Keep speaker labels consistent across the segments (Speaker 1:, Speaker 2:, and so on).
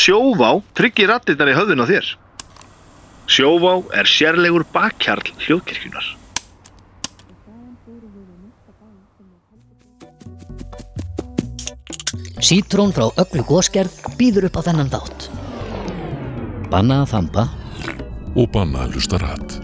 Speaker 1: Sjóvá tryggir rattirnar í höfðun á þér. Sjóvá er sérlegur bakkjarl hljóðkirkjunar.
Speaker 2: Sítrón frá öllu góskerð býður upp á þennan þátt. Banna að þampa
Speaker 3: og banna að hlusta rætt.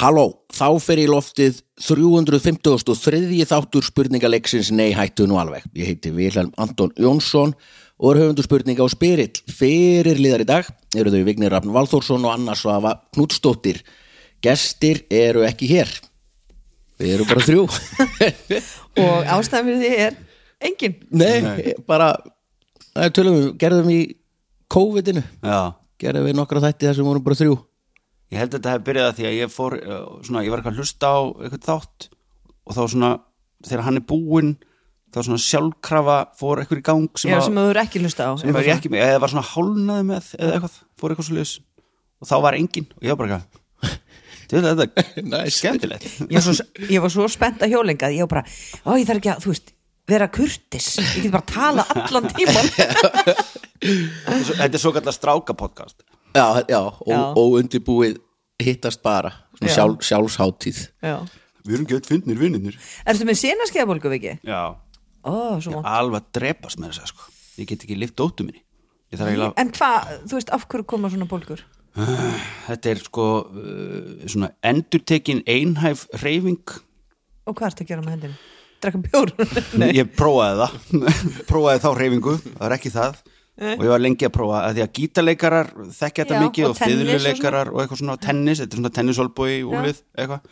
Speaker 4: Halló, þá fer í loftið 353. þáttur spurningaleiksins Nei hættu nú alveg. Ég heiti Vilhelm Anton Jónsson og er höfundur spurninga á Spyrill. Fyrir liðar í dag eru þau Vignir Rafn Valþórsson og Anna Svafa Knútsdóttir. Gestir eru ekki hér. Við erum bara þrjú.
Speaker 5: og ástæðan fyrir því er engin
Speaker 4: Nei, bara það er tölum við, gerðum í COVID-inu.
Speaker 6: Já,
Speaker 4: Gerðum við nokkra þætti þar sem vorum bara þrjú.
Speaker 6: ég held að þetta hefði byrjað að því að ég fór, uh, svona, ég var eitthvað að hlusta á eitthvað þátt og þá svona, þegar hann er búinn, þá svona sjálfkrafa fór eitthvað í gang sem,
Speaker 5: sem,
Speaker 6: að-
Speaker 5: sem þú eru ekki hlusta á
Speaker 6: sem var ég ekki með, eða var svona hálnaði með eða eitthvað, fór eitthvað svo liðs og þá var enginn og ég var bara eitthvað Þú veit þetta er
Speaker 4: Nice.
Speaker 6: skemmtilegt
Speaker 5: ég, var svo, ég var svo spennt að hjólinga ég var bara, ó ég þarf ekki að, þú veist vera kurtis, ég get bara að tala allan tíman
Speaker 6: Þetta er svo- Þetta er svo kallar stráka podcast
Speaker 4: Já, já, og,
Speaker 5: Já.
Speaker 4: og undirbúið hittast bara, svona
Speaker 5: Já.
Speaker 4: sjálf, sjálfsháttíð
Speaker 5: Já.
Speaker 6: Við erum gett fyndnir vinninir
Speaker 5: Ertu með senaskeiðabólgu viki?
Speaker 6: Já,
Speaker 5: Ó, svo vant
Speaker 6: alveg að drepast með þess að segja, sko Ég get ekki lift óttu minni Ég þarf eiginlega
Speaker 5: En hvað, þú veist, af hverju koma svona bólgur?
Speaker 6: þetta er sko uh, svona endurtekin einhæf reyfing
Speaker 5: Og hvað ertu að gera með hendinu? Drekka bjór? Nei.
Speaker 6: ég prófaði það prófaði þá reyfingu, það er ekki það og ég var lengi að prófa að því að gítaleikarar þekkja þetta
Speaker 5: Eh. Já,
Speaker 6: mikið
Speaker 5: og tennis og
Speaker 6: og, og
Speaker 5: svona.
Speaker 6: fiðluleikarar og, eitthvað svona tennis, þetta er svona tennisolbúi í úlið eitthvað,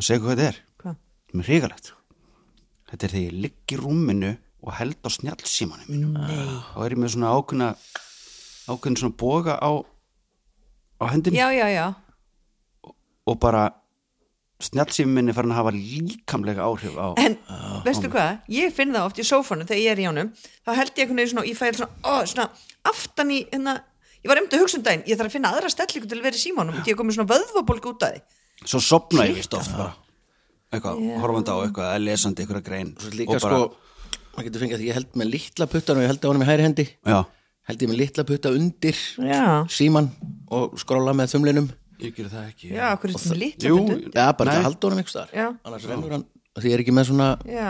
Speaker 6: og segja hvað þetta er
Speaker 5: Hvað?
Speaker 6: það er hrigalegt þetta er þegar ég ligg í rúminu og held á snjallsímanum mínum og er ég með svona ákveðna ákveðin svona boga á á hendinu
Speaker 5: Já, já, já
Speaker 6: og bara snjallsími minni farin að hafa líkamlega áhrif á
Speaker 5: En veistu hvað, ég finn það oft í sófanum þegar ég er í honum, þá held ég einhvern veginn svona, ég fæði svona, ó, svona aftan í hérna, ég var einmitt að hugsa um daginn, ég þarf að finna aðra stellingu til að vera í símánum og ég komið svona vöðvabólgu út af því.
Speaker 6: svo sopna ég vist oft bara eitthvað, horfandi á eitthvað, eða lesandi eitthvað grein
Speaker 4: Svo líka sko, maður getur fengið að ég held með litla puttan og ég held á honum í hæri hendi
Speaker 6: já,
Speaker 4: held ég með litla putta undir
Speaker 5: Já.
Speaker 4: síman og skróla með þumlinum
Speaker 6: ég gerði það ekki
Speaker 5: Já, okkur er svona lítið.
Speaker 6: jú,
Speaker 4: Já, bara til
Speaker 6: Nei.
Speaker 4: að halda honum ykkur staðar
Speaker 5: Já.
Speaker 4: annars rennur hann, af því ég er ekki með svona
Speaker 5: Já,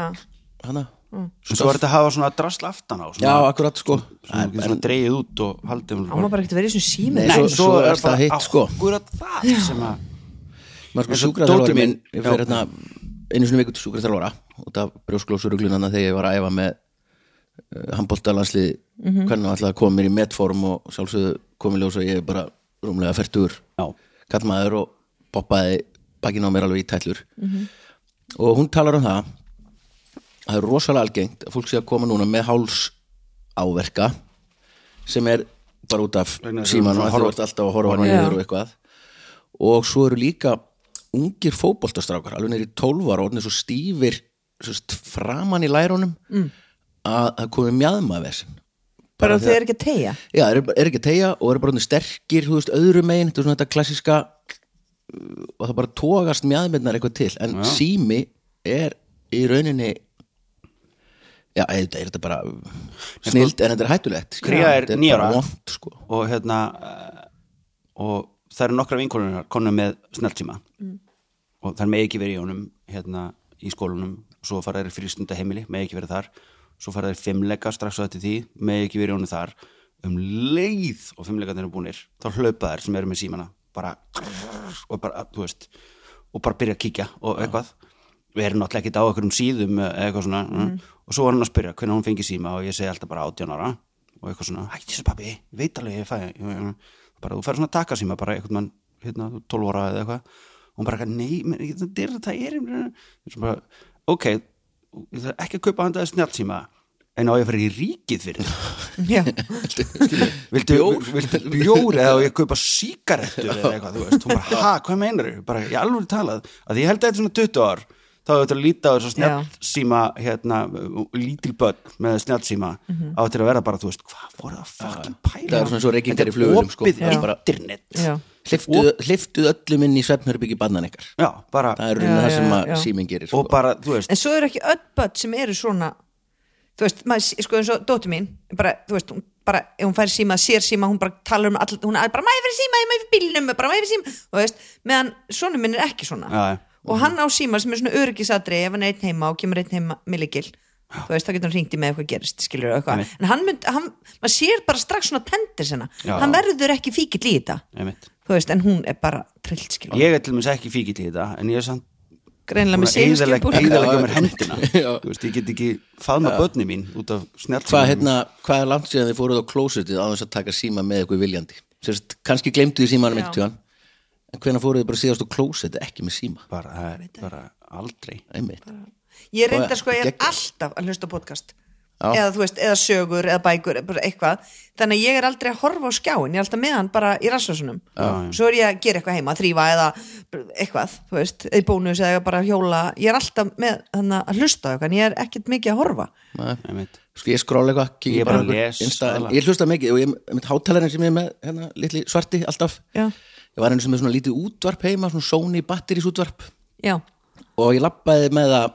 Speaker 4: hana,
Speaker 5: Mm.
Speaker 6: en svo er þetta að hafa svona drasl aftan á
Speaker 4: já,
Speaker 6: svona,
Speaker 4: akkurat sko
Speaker 6: svona, svona, svona dreigið út og haldið um-
Speaker 5: á maður bara ekkert að vera í svona sími.
Speaker 4: Nei, svo, svo, er það hitt sko
Speaker 6: akkurat það sem að
Speaker 4: maður sko
Speaker 6: eins og dótið
Speaker 4: sjúkraþjálfari minn
Speaker 6: mín-
Speaker 4: ég
Speaker 6: Já.
Speaker 4: fyrir hérna einu sinni viku til sjúkraþjálfara út af brjósklósuruglinana þegar ég var að æfa með uh, handbóltalanslið
Speaker 6: Mhm.
Speaker 4: hvernig hann ætlaði að koma mér í metform og sjálfsögðu komið ljós að ég er bara rúmlega færtur
Speaker 6: já,
Speaker 4: kallmaður og poppaði bakkinn á mér alveg í tællur og hún talar um það að það er rosalega algengt að fólk sé að koma núna með háls áverka sem er bara út af
Speaker 6: Vegna þess að
Speaker 4: símanum
Speaker 6: þú
Speaker 4: að þú
Speaker 6: horfa-
Speaker 4: ert alltaf að horfa niður og eitthvað og svo eru líka ungir fótboltastrákar alveg niður í 12 ára og orðnir svo stífir svo st- framan í lærunum
Speaker 6: Mm.
Speaker 4: að það komi mjadmaversin
Speaker 5: Bara þegar þeir eru ekki að tegja.
Speaker 4: Já, er, er ekki að tegja og eru bara orðnir sterkir, þú veist, öðru megin, þetta er svona þetta klassiska uh, og það bara tógast mjadmyndnar eitthvað til, en sími er í rauninni já, þetta er þetta bara snild, en þetta er hættulegt skilur.
Speaker 6: Kría er
Speaker 4: Þetta
Speaker 6: níu
Speaker 4: bara
Speaker 6: ára.
Speaker 4: vont, sko.
Speaker 6: og hérna eh, og það eru nokkra vinkonunnar konum með snjálfsíma og það með ekki verið í honum hérna í skólanum svo fara þeir frístunda heimili, með ekki verið þar svo fara þeir fimmleika strax á þetta því með ekki verið í honum þar um leið og fimmleikarnir eru búnir þá hlaupa þær sem eru með símana bara, og bara, þú veist og bara byrja að kíkja og eitthvað við erum náttúrulega ekkert á einhverjum síðum eða eitthvað svona, mm. og svo var hann að spyrja hvernig hún fengi síma og ég segi alltaf bara 18 ára og eitthvað svona, hætti þessu pappi, ég veit alveg ég fæ, bara þú færi svona að taka síma bara einhvern mann, hérna, 12 ára eða eitthvað og hún bara, eitthvað, nei, menn, ég- það er það er, ég bara, ok ég þarf ekki að kaupa hann þetta snjálfsíma en á ég að fara í ríkið fyrir það
Speaker 5: Já,
Speaker 6: viltu bjór, viltu bjór eða á ég að kaupa síkarettur eða eitthvað, þú veist, hún bara, ha, hvað meinar þau bara, ég alveg talað, að ég held að þetta er svona 20 ár þá hefur þetta að líta á þessu snjallsíma hérna, lítil börn með snjallsíma á til að vera bara, þú veist, hvað voru það fucking pæla
Speaker 4: Mhm. Það eru svona svo reykingar í
Speaker 6: Þetta er
Speaker 4: flugvélum, sko.
Speaker 6: opið
Speaker 4: Það er bara-
Speaker 6: internet
Speaker 5: já.
Speaker 4: Hleyptuð- hleyptuð öllum inn í svefnherbyggi bannan ykkar
Speaker 6: já, bara,
Speaker 4: það er rauninni
Speaker 5: Já,
Speaker 4: það sem
Speaker 5: já,
Speaker 4: að
Speaker 5: já.
Speaker 4: símin gerir sko.
Speaker 6: og bara, þú veist
Speaker 5: En svo eru ekki öll börn sem eru svona, þú veist, maður, sé- sko eins og dóttir mín bara, þú veist, hún bara, ef hún fær síma sér síma, hún bara talar um all, hún er bara maður fyrir síma, maður fyrir bílnum, bara maður fyrir síma þú veist, meðan sonur minn er ekki svona
Speaker 6: Já, já.
Speaker 5: og hann á síma sem er svona öryggisadri ef hann er einn heima og kemur einn heima milligil þú veist, þá getur hann ringt í með eitthvað gerist skilur eitthvað,
Speaker 6: Einmitt.
Speaker 5: en hann mynd, hann, maður sér bara strax svona tendir sinna
Speaker 6: Já.
Speaker 5: hann verður ekki fíkill í þetta
Speaker 6: einmitt.
Speaker 5: þú veist, en hún er bara trillt skilur,
Speaker 6: ég er til dæmis ekki fíkill í þetta en ég er samt
Speaker 5: greinlega með
Speaker 6: eðalega
Speaker 5: sérinskjöpur
Speaker 6: eðalega mér hendina
Speaker 4: Já.
Speaker 6: Þú veist, ég get ekki faðma börni mín út af snjálfum
Speaker 4: Hvað, hérna, hvað er langt síðan þið fóruð á klósitið á þess að taka síma með eitthvað viljandi? Sérst, kannski glemdu þið símanum
Speaker 5: Já.
Speaker 4: eitt tíðan en hvenær fóruð þið bara síðast á klósitið ekki með síma?
Speaker 6: bara, það er bara aldrei
Speaker 4: Einmitt.
Speaker 5: ég
Speaker 4: Og
Speaker 5: reyndar sko, ég er
Speaker 4: geggjað.
Speaker 5: alltaf að hlusta á podcast
Speaker 4: Já.
Speaker 5: eða þú veist, eða sögur, eða bækur bara eitthvað, þannig að ég er aldrei að horfa á skjáin ég er alltaf með hann bara í rassvarsunum svo er ég að gera eitthvað heima, þrýfa eða eitthvað, þú veist, eða í bónus eða bara hjóla, ég er alltaf með þannig að hlusta á eitthvað, en ég er ekkert mikið að horfa
Speaker 6: einmitt.
Speaker 4: Sko ég skróla eitthvað, kíkja
Speaker 6: Ég
Speaker 4: á
Speaker 6: bara
Speaker 4: einhver
Speaker 6: les
Speaker 4: Insta, en
Speaker 6: aðalega.
Speaker 4: Ég hlusta mikið og ég mitt hátalarinn sem ég er með hérna, litli svarti alltaf
Speaker 5: Já.
Speaker 4: Ég var einu sem er svona lítið útvarp heima svona Sony batterís útvarp
Speaker 5: já,
Speaker 4: og ég lappaði með það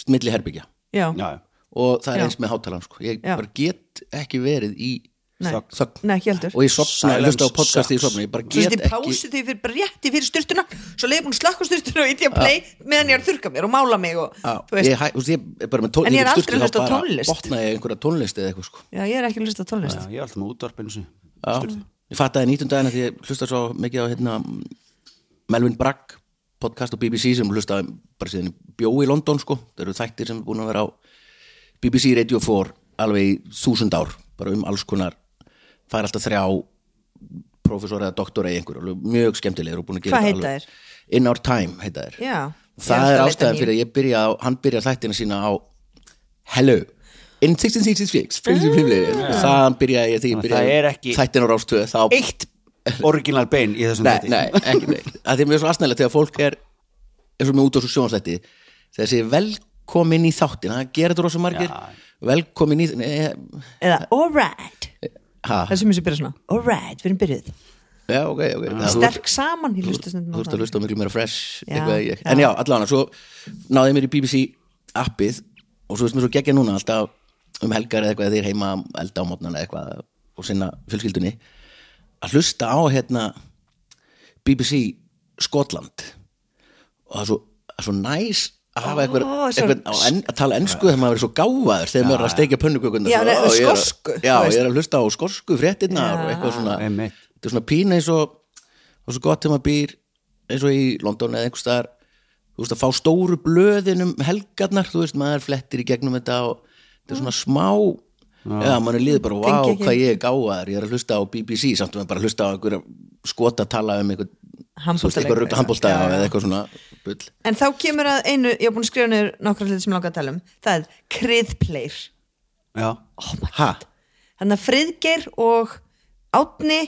Speaker 4: st- milli herbyggja
Speaker 5: já,
Speaker 6: já, já.
Speaker 4: og það er
Speaker 5: Já.
Speaker 4: eins með hátalarn sko. ég
Speaker 5: Já.
Speaker 4: bara get ekki verið í
Speaker 5: Nei.
Speaker 4: þögn
Speaker 5: Nei, ekki heldur.
Speaker 4: og ég sopna,
Speaker 6: Silence
Speaker 4: hlusta á podcasti í
Speaker 6: sucks.
Speaker 4: sopna ég bara
Speaker 5: Svo
Speaker 4: get
Speaker 5: veist, ég
Speaker 4: ekki
Speaker 5: pásu þau fyrir bara rétti fyrir styrtuna svo leið búin að slakka á styrtuna og ítti að play meðan ég er að þurka mér og mála mig og,
Speaker 4: Já, ég,
Speaker 5: þú veist,
Speaker 4: hæ- þú veist, ég er bara með tón,
Speaker 5: En ég er
Speaker 4: get
Speaker 5: aldrei
Speaker 4: sturtað,
Speaker 5: hlustað
Speaker 4: þá
Speaker 5: á
Speaker 4: bara
Speaker 5: tónlist.
Speaker 4: botna ég einhverja tónlist eða eitthvað sko.
Speaker 5: já, ég er ekki að hlusta á tónlist
Speaker 6: ég er alltaf með útvarpinu sem
Speaker 4: Já. ég fattaði nýtjum daginn að því ég hlusta svo mikið á hérna, Melvin Bragg podcast og BBC sem hlustaði bara síðan ég bjó í London sko. það eru þættir sem er búin að vera á BBC Radio 4 alveg í þúsund ár bara um alls konar það er alltaf þrjá professor eða doktora í einhverju, alveg mjög skemmtilegir og búin að gera
Speaker 5: Hvað
Speaker 4: þetta
Speaker 5: heita
Speaker 4: alveg- In Our Time heita þér
Speaker 5: Já. Ég
Speaker 4: það
Speaker 5: er
Speaker 4: er
Speaker 5: alltaf að leita
Speaker 4: ástæðan
Speaker 5: nýju.
Speaker 4: fyrir að ég byrja á, hann byrja þættina sína á Hello In 1666 ah. það byrjaði ég þegar ég
Speaker 6: Þannig að
Speaker 4: byrjaði
Speaker 6: það er ekki-
Speaker 4: þættin á rástöð þá
Speaker 6: eitt orginal bein í þessum
Speaker 4: nei, nei, ekki neitt að því er mjög svo aðsnæðilegt þegar fólk er eins og með út á svo sjónslætti þegar segir velkomin í þáttin það gera þetta rosa margir
Speaker 6: Já.
Speaker 4: velkomin í nei,
Speaker 5: eða alright
Speaker 4: ha,
Speaker 5: Það er sem þessi byrja svona, alright, við erum byrjuð
Speaker 4: já, ok, ok
Speaker 6: Ah.
Speaker 4: Það- þú-
Speaker 5: Sterk saman, ég hlusta stundum á
Speaker 4: þú ert
Speaker 5: það.
Speaker 4: að hlusta á miklu meira fresh
Speaker 5: Já,
Speaker 4: eitthvað ég,
Speaker 5: já.
Speaker 4: en já, allan svo náði ég mér í BBC appið og svo veist mér svo geggja núna alltaf um helgar eða eitthvað þeir heima elda á mótnana eða eitthvað og sinna fjölskyldunni að hlusta á hérna BBC Skotland og það er svo, það er svo næs að hafa eitthvað,
Speaker 5: Ó, svo-
Speaker 4: eitthvað á en, að tala ennsku þegar maður er svo gáfaður þegar maður er að steikja pönnukökunna
Speaker 5: Já, nei, skorsku,
Speaker 4: já,
Speaker 5: þú veist.
Speaker 4: ég er að hlusta á skorsku fréttinnar og eitthvað svona
Speaker 6: Einmitt.
Speaker 4: þetta er svona pína eins og og svo gott þegar maður býr eins og í London eða einhvers staðar þú veist að fá stóru blöðin um helgarnar þú veist maður flettir í gegnum þetta og þetta er svona smá já, mann er líður bara, vá,
Speaker 5: Tengi ekki.
Speaker 4: hvað ég er gáðar ég er að hlusta á BBC, samt að maður bara að hlusta á einhverja skota tala um einhver
Speaker 5: Handboltaleik.
Speaker 4: handbólstæða
Speaker 5: Já, já.
Speaker 4: eða eitthvað svona bull
Speaker 5: En þá kemur að einu, ég hef búin að skrifa niður nokkra hluti sem ég langa að tala um Það er Oh kriðpleir
Speaker 6: já,
Speaker 4: ha,
Speaker 5: Þannig að friðgeir og átni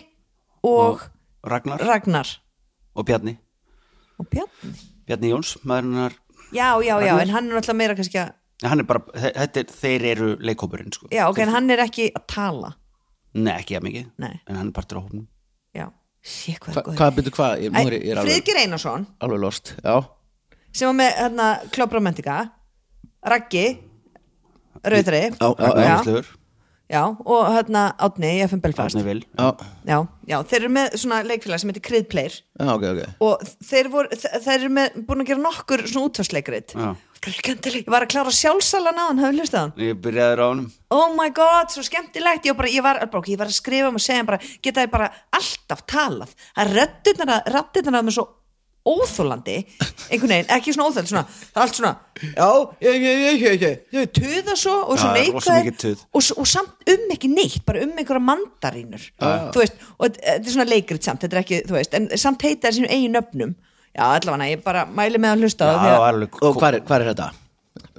Speaker 5: og,
Speaker 6: Ragnar
Speaker 5: Ragnar
Speaker 6: og Bjarni
Speaker 5: og Bjarni
Speaker 6: Bjarni Jóns, maðurinn hennar
Speaker 5: Já, já, já,
Speaker 6: Ragnar?
Speaker 5: en hann er alltaf meira kannski að
Speaker 6: en hann er bara, þe- þetta er, þeir eru leikhópurinn sko.
Speaker 5: Já, ok, en hann er ekki að tala
Speaker 6: nei, ekki að mikið,
Speaker 5: Nei.
Speaker 6: en hann er partur á hópnum
Speaker 5: Já, sé hvað
Speaker 4: hva,
Speaker 5: er góður.
Speaker 4: hvað byrju hvað, ég, nú er, ég- ég er alveg,
Speaker 5: Friðgeir Einarsson
Speaker 4: alveg lost já,
Speaker 5: sem var með hérna, klóbromantika Raggi Rauðri
Speaker 4: Já, já, já.
Speaker 5: já, já, og hérna Átni í FM Belfast
Speaker 6: Átni Vil
Speaker 4: já,
Speaker 5: já, já, þeir eru með svona leikfélag sem heitir Kriðpleir
Speaker 4: já, ok, ok
Speaker 5: og þeir, voru, þe- þeir eru með, búin að gera nokkur svona útvarsleikrit
Speaker 6: Já.
Speaker 5: ég var að klára sjálfsalan á hann hafði hlustað hann,
Speaker 6: ég byrjaði á honum
Speaker 5: oh my god, svo skemmtilegt ég var, bara, ég var, bara, ok, ég var að skrifa um og segja bara, geta þeir bara alltaf talað að rættirnar að með svo óþólandi einhvern veginn, ekki svona óþólandi svona, það er allt svona já, ég, ég, ég, ég, ég, ég töða svo og svo
Speaker 6: Já, rosa mikið
Speaker 5: neikvæð
Speaker 6: tuð.
Speaker 5: og, s- og samt um ekki neitt, bara um einhverja mandarínur þú veist, og þetta þetta er svona leikrit samt, þetta er ekki, þú veist, en samt heita það sínum eigin öfnum, já, allavega ég bara mæli með að hlusta á
Speaker 6: Já,
Speaker 5: því að
Speaker 6: alveg,
Speaker 4: og hvað er, hvað er þetta?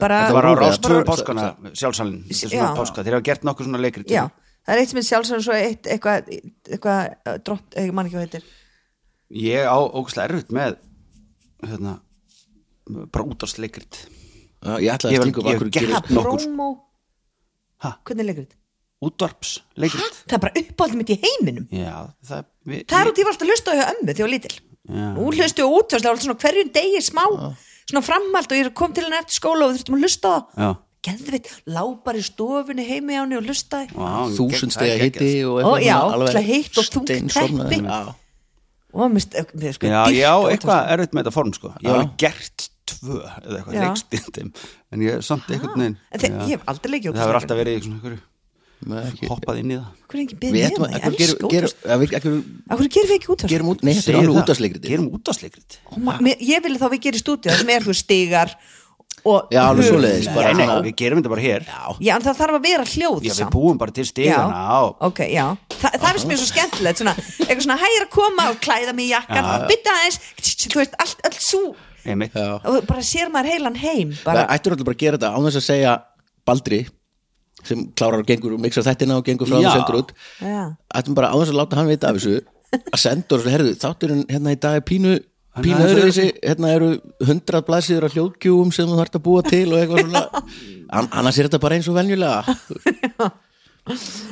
Speaker 5: bara,
Speaker 6: það var á
Speaker 4: Rúf eða
Speaker 6: rástöðu
Speaker 4: Tvö-
Speaker 6: páskana sjálfsalinn, þetta er
Speaker 5: Já.
Speaker 6: svona páska þeir hafa gert nokkuð svona leikrit
Speaker 5: já, það er eitt sem er sjálfsögur svo eitt, eitthvað, eitthvað, eh, drott eitthvað mann ekki hvað heitir,
Speaker 6: ég á ógæslega erfitt með hérna, bara út af leikrit
Speaker 4: Já, ég ætlaði að
Speaker 6: Ég var-
Speaker 4: stinga upp
Speaker 6: ég
Speaker 4: akkur
Speaker 6: hef gert
Speaker 4: gerist
Speaker 6: Nokkur.
Speaker 5: promo
Speaker 6: Ha?
Speaker 5: hvernig er leikrit?
Speaker 6: útvarps
Speaker 5: Ha?
Speaker 6: leikrit
Speaker 5: það er bara uppáldum mitt í heiminum
Speaker 6: já, það, við,
Speaker 5: það er út, ég var alltaf að hlusta á hjá ömmu þegar ég var lítil
Speaker 6: Já.
Speaker 5: nú hlustu á útvarslega, svona hverjum degi smá svona framhald og ég kom til henni eftir skóla og við þurftum að hlusta á það
Speaker 6: já,
Speaker 5: geðvitt, lápar í stofunni heimi á henni og hlustaði
Speaker 6: Vá,
Speaker 4: þúsund
Speaker 6: gegn- það
Speaker 4: stega
Speaker 6: er
Speaker 4: hitti
Speaker 6: geggjað.
Speaker 4: og
Speaker 5: Ó, já,
Speaker 4: svona
Speaker 5: til að heitt og þungt
Speaker 4: steinsofnaður.
Speaker 5: teppi.
Speaker 4: Já.
Speaker 5: og mér st- mér sko
Speaker 6: Já,
Speaker 5: dýrt
Speaker 6: já,
Speaker 5: að-
Speaker 6: eitthvað erfitt með þetta form sko Ég
Speaker 4: Já.
Speaker 6: hef alveg gert tvö eða eitthvað
Speaker 5: Já.
Speaker 6: leikstundum En ég samt eitthvað neinn
Speaker 5: en þe- ég hef aldrei leikið
Speaker 6: Það hefur
Speaker 5: ógeðslega.
Speaker 6: alltaf verið í svona einhverju
Speaker 4: Nei, ekki-
Speaker 6: Hoppað inn í það
Speaker 5: Akkur er enginn
Speaker 4: Við
Speaker 5: beðið
Speaker 4: ætlum að
Speaker 5: með það, ég
Speaker 4: akkur gerum-
Speaker 5: elska
Speaker 4: gerum-
Speaker 5: útvarp
Speaker 4: að við- akkur-
Speaker 5: Akkur gerum við ekki útvarp
Speaker 4: gerum út Nei, þetta er
Speaker 6: Segðu
Speaker 4: alveg
Speaker 6: það.
Speaker 4: útastleikriti
Speaker 6: Gerum útastleikrit
Speaker 5: Ó, ma- mér- Ég vil þá við gerum stúdíu það sem er þú stigar og
Speaker 4: Já, alveg
Speaker 5: hurð.
Speaker 4: svoleiðis, bara
Speaker 6: Nei, nei,
Speaker 4: svona-
Speaker 6: við gerum þetta bara hér Já,
Speaker 5: Já, en það þarf að vera hljóð
Speaker 6: við
Speaker 5: samt.
Speaker 6: búum bara til stigana á
Speaker 5: ok, já, Þa, það finnst mér svo skemmtilegt svona, eitthvað svona hægir að koma og klæða mig í jakkan, bytta aðeins þú veist, allt, allt svo
Speaker 6: einmitt.
Speaker 4: Já.
Speaker 5: og bara sér maður heilan heim
Speaker 4: Við
Speaker 5: bara,
Speaker 4: ættum alltaf bara að gera þetta án þess að segja Baldri sem klárar og gengur og mixar þettina og gengur frá hann
Speaker 6: Já.
Speaker 4: og sendur út
Speaker 5: já,
Speaker 4: ættum bara á þess að láta hann vita af þessu að senda og svo herðu þátturinn hérna í dag er pínu
Speaker 6: Hann
Speaker 4: pínu
Speaker 6: er aðeins
Speaker 4: öðru hérna eru hundrað blæsiður af hljóðgjúum sem þú þarft að búa til og eitthvað svona An annars er þetta bara eins og venjulega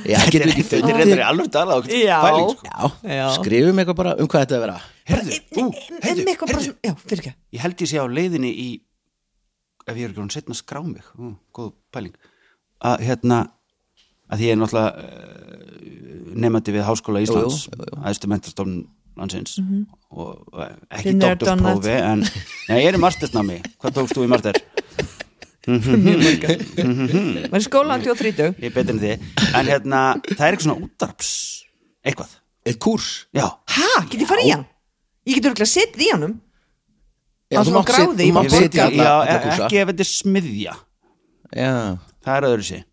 Speaker 4: Já,
Speaker 6: Þetta
Speaker 4: getum við
Speaker 6: er
Speaker 4: ekki
Speaker 6: þetta er
Speaker 4: fundið
Speaker 6: reyndar í alveg dala
Speaker 5: Já.
Speaker 6: pæling, sko.
Speaker 4: Já, skrifum eitthvað bara um hvað þetta er að vera
Speaker 5: bara um,
Speaker 6: Herðu, ú,
Speaker 5: um,
Speaker 6: heyrðu,
Speaker 5: um eitthvað bara
Speaker 6: heyrðu.
Speaker 5: svona, já, fyrir ekki
Speaker 6: Ég held ég sé á leiðinni í ef ég er ekki hún setna að skrá mig Ú, góð pæling að hérna að því ég er náttúrulega uh, nefandi við Háskóla Íslands aðstu mentarstofn landsins og eh, ekki
Speaker 5: Þinn er
Speaker 6: doktorsprófi en Nei, ég er í mastersnámi hvað tókst þú í master?
Speaker 5: maður er skólandi og þrítug
Speaker 6: Ég er betur en þið en hérna, það er eitthvað svona útarps eitthvað,
Speaker 4: Eitt kúrs
Speaker 6: já
Speaker 5: ha, get ég farið í hann? ég get örgulega setið í honum
Speaker 4: Já,
Speaker 5: Á
Speaker 4: þú
Speaker 5: svona
Speaker 4: mátt sit-
Speaker 5: gráðu,
Speaker 4: þú
Speaker 5: ég
Speaker 4: mátt
Speaker 5: má
Speaker 6: Ég veit
Speaker 4: sitja
Speaker 6: ekki-
Speaker 4: alla-
Speaker 6: já, e-
Speaker 4: alla kúrsa.
Speaker 6: ekki ef þetta er smiðja
Speaker 4: Já
Speaker 6: það er öðru sér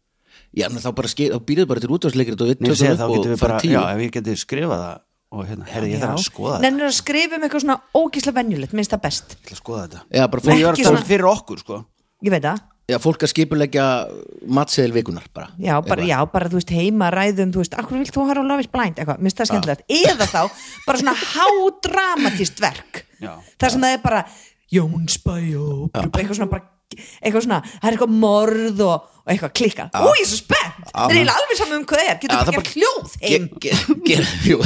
Speaker 4: Já, en þá bara skil, þá býrðu bara til útvarsleikrið og við
Speaker 6: Nei, ég segi
Speaker 4: tökum
Speaker 6: þá
Speaker 4: upp og
Speaker 6: getum við
Speaker 4: fara
Speaker 6: bara,
Speaker 4: tíu
Speaker 6: já, ef ég geti skrifað það og hérna, herri, ég þarf að skoða þetta
Speaker 5: nennir að skrifa um eitthvað svona ógísla venjulegt minnst það best,
Speaker 6: Ég ætla að skoða þetta
Speaker 4: Já, bara
Speaker 6: Nei, ég
Speaker 4: fólk,
Speaker 6: var að
Speaker 5: Ekki
Speaker 6: tala
Speaker 5: svona-
Speaker 6: fyrir okkur, sko
Speaker 5: ég veit það
Speaker 4: já, fólk að skipulegja matseðil vikunar bara
Speaker 5: Já bara, já, bara, þú veist, heima ræðum, þú veist, akkur vilt þú horfa á Love is Blind, eitthvað, minnst það skemmtilegt. Eða þá, bara svona hádramatist verk.
Speaker 6: Já.
Speaker 5: Það sem það er bara, Jónsbæjó, eitthvað svona bara, eitthvað svona, það er eitthvað morð og, og eitthvað klikkað. Ú, ég er svo spennt! Það er eiginlega alveg saman um hvað það er, getur bara gert hljóð
Speaker 4: ge,
Speaker 5: heim.
Speaker 4: ge, gera, jú.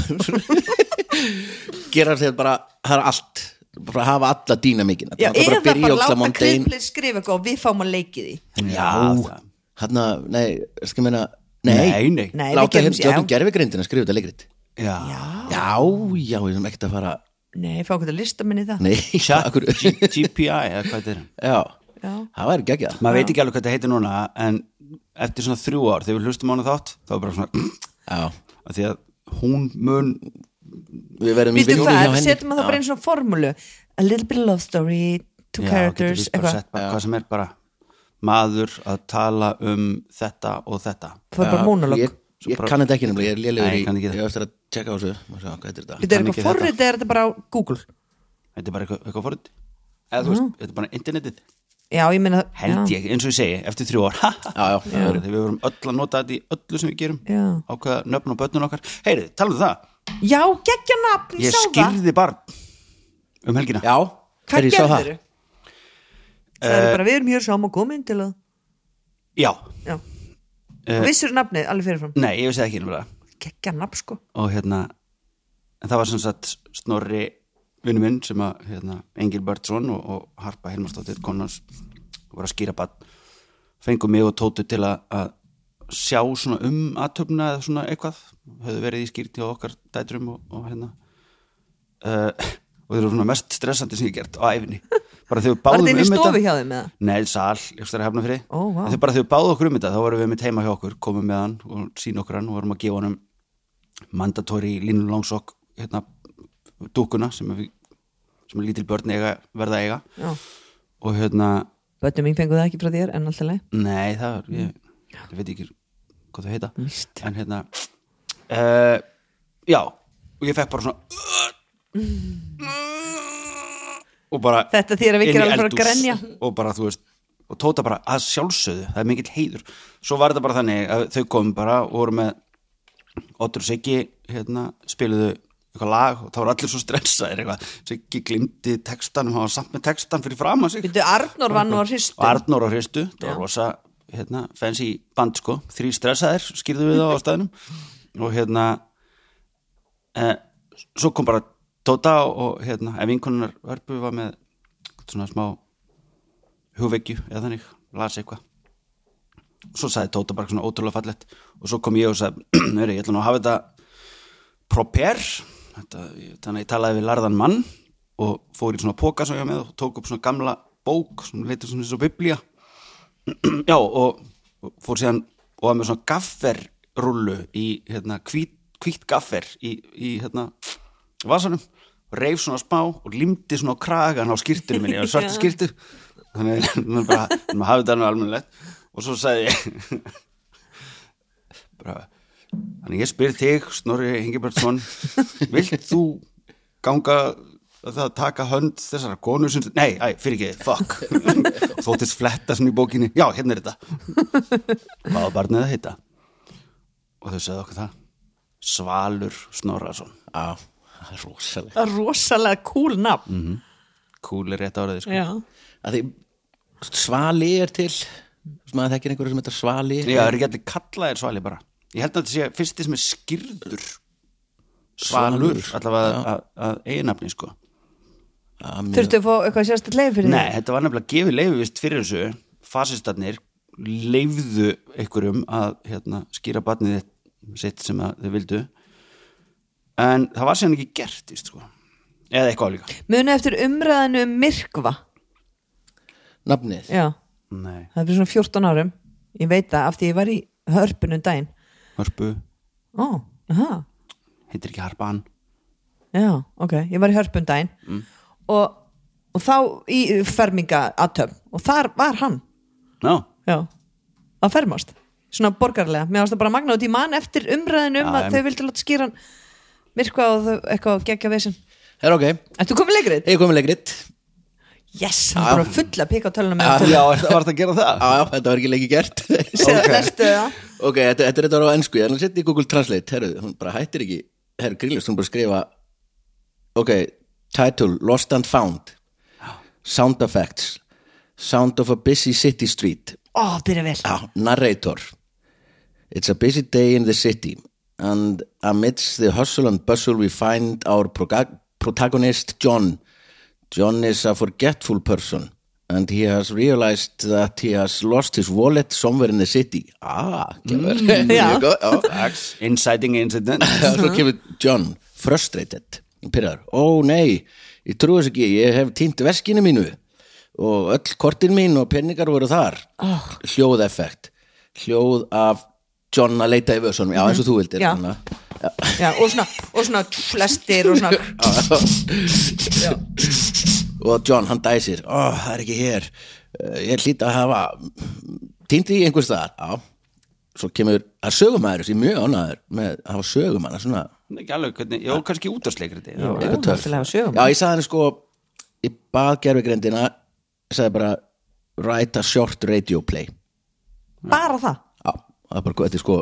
Speaker 4: gera þeir bara það er allt, bara hafa alla dýna mikið
Speaker 5: Já,
Speaker 4: bara
Speaker 5: eða
Speaker 4: að byrja
Speaker 5: bara
Speaker 4: óksla
Speaker 5: láta
Speaker 4: mondein
Speaker 5: kriplið skrifa eitthvað og við fáum að leikið því.
Speaker 4: já,
Speaker 6: það-
Speaker 4: hann að, nei, skal meina
Speaker 6: Nei,
Speaker 4: nei,
Speaker 6: nei,
Speaker 5: Nei. við
Speaker 4: láta
Speaker 5: gerum-
Speaker 4: hinn stjórnum
Speaker 5: já. Ah.
Speaker 4: gerfigrindina skrifa þetta leikrit
Speaker 6: Já,
Speaker 4: já, já, ég sem ekkert að fara
Speaker 5: Nei, fá okkur að lista minni það.
Speaker 4: nei,
Speaker 6: Chat
Speaker 4: akkur-
Speaker 6: G- GPI, eða hvað þetta er
Speaker 4: já,
Speaker 5: Já.
Speaker 4: það væri geggjað
Speaker 6: Maður veit ekki alveg hvað þetta heitir núna En eftir svona þrjú ár, þegar við hlustum á hana þátt Þá er bara svona,
Speaker 4: já,
Speaker 6: að því að hún mun
Speaker 4: við verðum í
Speaker 5: Býttu
Speaker 4: vinnunni hjá
Speaker 5: hvað,
Speaker 4: henni
Speaker 5: setjum að það bara einn svona formúlu. A little bit of love story, two
Speaker 6: Já, getur
Speaker 5: characters,
Speaker 6: víst bara sett bara hvað sem er bara Maður að tala um þetta og þetta
Speaker 5: Það er bara monolog.
Speaker 4: ég, ég kann þetta ekki nefnilega, ég er lélegur
Speaker 6: Nei,
Speaker 4: í
Speaker 6: ég kann ekki
Speaker 4: ég
Speaker 6: það.
Speaker 4: hef eftir að tjekka á þessu Má sjá, hvað heitir þetta?
Speaker 5: Þetta er
Speaker 6: Kann
Speaker 5: eitthvað
Speaker 6: ekki þetta.
Speaker 5: forrið eða er þetta bara á Google?
Speaker 6: Þetta er bara eitthvað, eitthvað forrið Eða þú veist,
Speaker 5: Mm.
Speaker 6: þetta er bara internetið
Speaker 5: Já, ég meina
Speaker 6: Held
Speaker 5: já.
Speaker 6: ég, eins og ég segi, eftir þrjú ár Já,
Speaker 4: já.
Speaker 6: Þegar við vorum öll að nota þetta í öllu sem við gerum
Speaker 5: Já.
Speaker 6: Ákveða nöfnum og börnum okkar Heyrið, talaðu um það
Speaker 5: Já, geggja nafn,
Speaker 6: Ég
Speaker 5: sá það
Speaker 6: skýrði barn um helgina
Speaker 4: Já,
Speaker 5: Hvað
Speaker 4: þegar ég sá það.
Speaker 5: gerður? Það
Speaker 6: Eh,
Speaker 5: er bara, við erum hér saman komin til að
Speaker 6: Já.
Speaker 5: Já
Speaker 6: Eh,
Speaker 5: uh, Vissur nafnið, alveg fyrirfram
Speaker 6: nei, ég vissi það ekki nefnilega
Speaker 5: Geggja nafn, sko
Speaker 6: og hérna en það var sem sagt Snorri vinnu minn sem að hérna, Engil Bertsson og, og Harpa Helmarsdóttir konans voru að skýra bann fengu mig og Tótu til að, að sjá svona um aðtöfna eða svona eitthvað, höfðu verið í skýrt hjá okkar dætrum og, og hérna uh, og þeir eru svona mest stressandi sem ég hef gert á æfinni bara þegar við
Speaker 5: Var
Speaker 6: báðum
Speaker 5: þetta
Speaker 6: um
Speaker 5: inn í
Speaker 6: þetta
Speaker 5: stofu hjá þeim eða?
Speaker 6: Nei, sal, ég stæði hefna fyrir
Speaker 5: Ó, vá.
Speaker 6: Þegar bara þau báðu okkur um þetta, þá vorum við mitt heima hjá okkur komum með hann og sín okkur hann og vorum að gefa honum mandatóri línu langsokk hérna, dúkuna sem, við, sem lítil börn eiga, verða að eiga
Speaker 5: Já
Speaker 6: og hérna,
Speaker 5: Böttum mín fengu það ekki frá þér, en alltaf leið
Speaker 6: nei það var ég, ég veit ekki hvað þau heita
Speaker 5: Mm. Víst.
Speaker 6: en hérna uh, já, og ég fekk bara svona og bara
Speaker 5: Þetta þýðir að við
Speaker 6: inn í
Speaker 5: gerum alveg bara að
Speaker 6: eldhús
Speaker 5: grenja.
Speaker 6: og bara þú veist og tóta bara að sjálfsöðu, það er mikill heiður svo var þetta bara þannig að þau komum bara og voru með Otur og Siggi hérna, spiluðu eitthvað lag og þá voru allir svo stressaðir eitthvað Siggi glimti textanum, hann var samt með textan fyrir fram að sig
Speaker 5: Býttu, Arnór vann og
Speaker 6: og
Speaker 5: hristu
Speaker 6: Arnór á Hristu, það var rosa hérna, fancy band sko, þrý stressaðir skýrðu við það á staðnum og hérna eh, svo kom bara Tóta og hérna, ef vinkonunar Hörpu var með svona smá hugveggju eða þannig, las eitthvað svo sagði Tóta bara svona ótrúlega fallett og svo kom ég og sagði, "Heyrðu, ég ætla nú að hafa þetta proper þetta, ég- þannig að ég talaði við larðan mann og fór í svona póka svo ég var með og tók upp svona gamla bók sem leitur svona eins og biblía já og, og fór síðan og var með svona gafferrullu í hérna hvít, hvít gaffer í, í hérna vasanum reif svona smá og limdi svona á kragan á skýrtinu minni, á svartu
Speaker 5: Já.
Speaker 6: skýrtu þannig að maður bara maður hafði þetta nú almennilegt og svo sagði ég bara þannig ég spyr þig, Snorri Hengibjörnsson vilt þú ganga að það taka hönd þessara konu sem, nei, æ, fyrir ekki, fuck þóttist fletta svona í bókinni já, hérna er þetta hvað var barnið að heita og þau sagði okkur það Svalur Snorrason
Speaker 4: Á, það er rosalega
Speaker 5: það er rosalega cool nafn
Speaker 6: Mm. cool er rétt áraði sko.
Speaker 5: já,
Speaker 4: að því, Svali er til sem maður þekkir einhverju sem heitir Svali
Speaker 6: já, er ekki allir kallaðir Svali bara ég held að þetta sé fyrsti sem er skýrður Svalur,
Speaker 4: Svalur.
Speaker 6: allavega að- að- að eiginafni sko
Speaker 5: þurftu að fá eitthvað sérstætt leið fyrir
Speaker 6: Nei, þetta var nefnilega gefið leifi vist fyrir þessu fasistarnir leifðu einhverjum að hérna, skýra barnið þitt- sitt sem að þau vildu en það var síðan ekki gert víst, sko. eða eitthvað líka
Speaker 5: því muni eftir umræðinu um myrkva
Speaker 4: nafnið
Speaker 5: já,
Speaker 6: Nei,
Speaker 5: það er fyrir svona 14 árum ég veit það af því ég var í hörpunum daginn
Speaker 6: Hörpu
Speaker 5: ó, aha
Speaker 6: heitir ekki Harpan
Speaker 5: Já, ok, ég var í hörpum daginn
Speaker 4: Mm.
Speaker 5: og, og þá í ferminga aðtöfn og þar var hann
Speaker 6: no.
Speaker 5: já, að fermast svona borgarlega, mér varst það bara magna og því man eftir umræðinu um
Speaker 6: Já,
Speaker 5: að
Speaker 6: em.
Speaker 5: þau vildi láta skýra hann myrkva og þau, eitthvað geggja vesen
Speaker 4: er ok,
Speaker 5: Ertu komið leikrið?
Speaker 4: ég komið leikrit
Speaker 5: Yes, hann er bara fulla pík á tölunum með
Speaker 6: Já, var þetta að gera það?
Speaker 4: á, þetta var ekki leiki gert
Speaker 5: tölunum Lestu það?
Speaker 4: ok, þetta, þetta er þetta var á ennsku ég er að setja í Google Translate, herru, hún bara hættir ekki herru, grillist, hún bara skrifa ok, title Lost and Found sound effects sound of a busy city street
Speaker 5: Ó, byrja vel
Speaker 4: Ah, narrator. It's a busy day in the city, and amidst the hustle and bustle, we find our proga- protagonist, John. John is a forgetful person, and he has realized that he has lost his wallet somewhere in the city. Ah, kemur.
Speaker 5: já.
Speaker 4: Mjög gott, já.
Speaker 6: Ax, inciting incident
Speaker 4: Já, Svo kemur John, frustrated, pyrrar. Ó nei, ég trúi þess ekki, ég hef týnt veskinu mínu og öll kortin mín og peningar voru þar. Oh. Hljóðeffekt, hljóð af John að leita í vössunum, já eins og þú vildir.
Speaker 5: Já.
Speaker 4: Anna.
Speaker 5: Já, og svona, og svona flestir og svona
Speaker 4: Og John, hann dæsir, ó það er ekki hér, Eh, ég hlýt að hafa týnt í einhvers þar. Já, svo kemur að sögumæður, ég er mjög ánæður með að hafa sögumæður, svona
Speaker 6: Ekki alveg, hvernig, já, kannski útarsleikri Já,
Speaker 4: eitthvað töff.
Speaker 5: náttúrulega sögum.
Speaker 4: Já, ég sagði henni sko ég bað gerfugrindina ég sagði bara write a short radio play já,
Speaker 5: Bara það
Speaker 4: það er bara, þetta er sko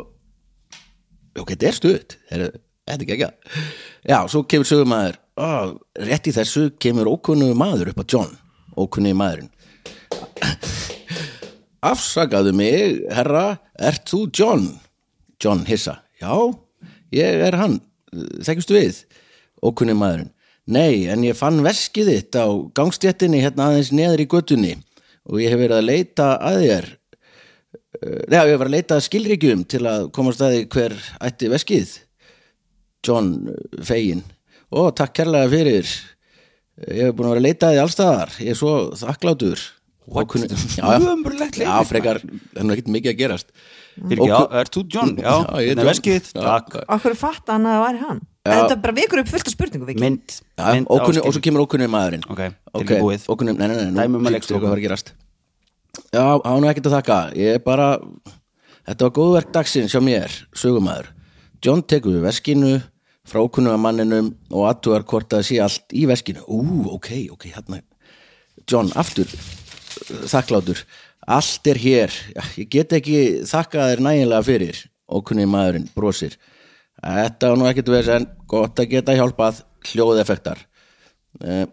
Speaker 4: ok, þetta er stuðt þetta er- þetta er ekki já, svo kemur sögumæður oh, rétt í þessu kemur ókunnugu maður upp á John ókunnugu maðurinn afsakaðu mig, herra ert þú John? John hissa, já, ég er hann þekkistu við ókunni maðurinn, nei, en ég fann veskið þitt á gangstjættinni hérna aðeins neður í göttunni og ég hef verið að leita að þér Eh, nei, ég hef verið að leita að skilríkjum til að komast að því hver ætti veskið John fegin ó, takk kærlega fyrir ég hef búin að vera að leita að því allstaðar ég er svo þakklátur Ókunni- Já, já.
Speaker 6: Ömurlegt leikrit,
Speaker 4: Já, frekar, það er nú ekkert mikið að gerast
Speaker 6: Fyrir ekki,
Speaker 4: Og-
Speaker 6: já, er þú John? Já,
Speaker 4: Já, ég er
Speaker 6: hérna
Speaker 4: John.
Speaker 6: er veskið þitt,
Speaker 4: Já.
Speaker 6: takk
Speaker 5: Akkur fatta hann að það væri hann En þetta bara vekur upp fullt af spurningum, Viki
Speaker 6: Mynd,
Speaker 4: Já,
Speaker 6: mynd á
Speaker 4: ókunni, og
Speaker 6: skýringu.
Speaker 4: svo kemur ókunni maðurinn
Speaker 6: Ok, tilbúið.
Speaker 4: ókunni, nei, nei, nei,
Speaker 6: Dæmum að
Speaker 4: nú
Speaker 6: leikstjórn.
Speaker 4: hvað var að gerast Já, á nú ekkert að þakka Ég er bara, þetta var góðverk dagsins hjá mér, sögumæður John tekur við veskinu frá ókunni manninum og aðtugar hvort að sé allt í veskinu Ú, ok, ok, hérna John, aftur þakklátur, allt er hér Já, ég get ekki þakkað þér nægilega fyrir ókunni maðurinn brosir þetta var nú ekkert veðs en gott að geta hjálpað hljóðeffektar uh,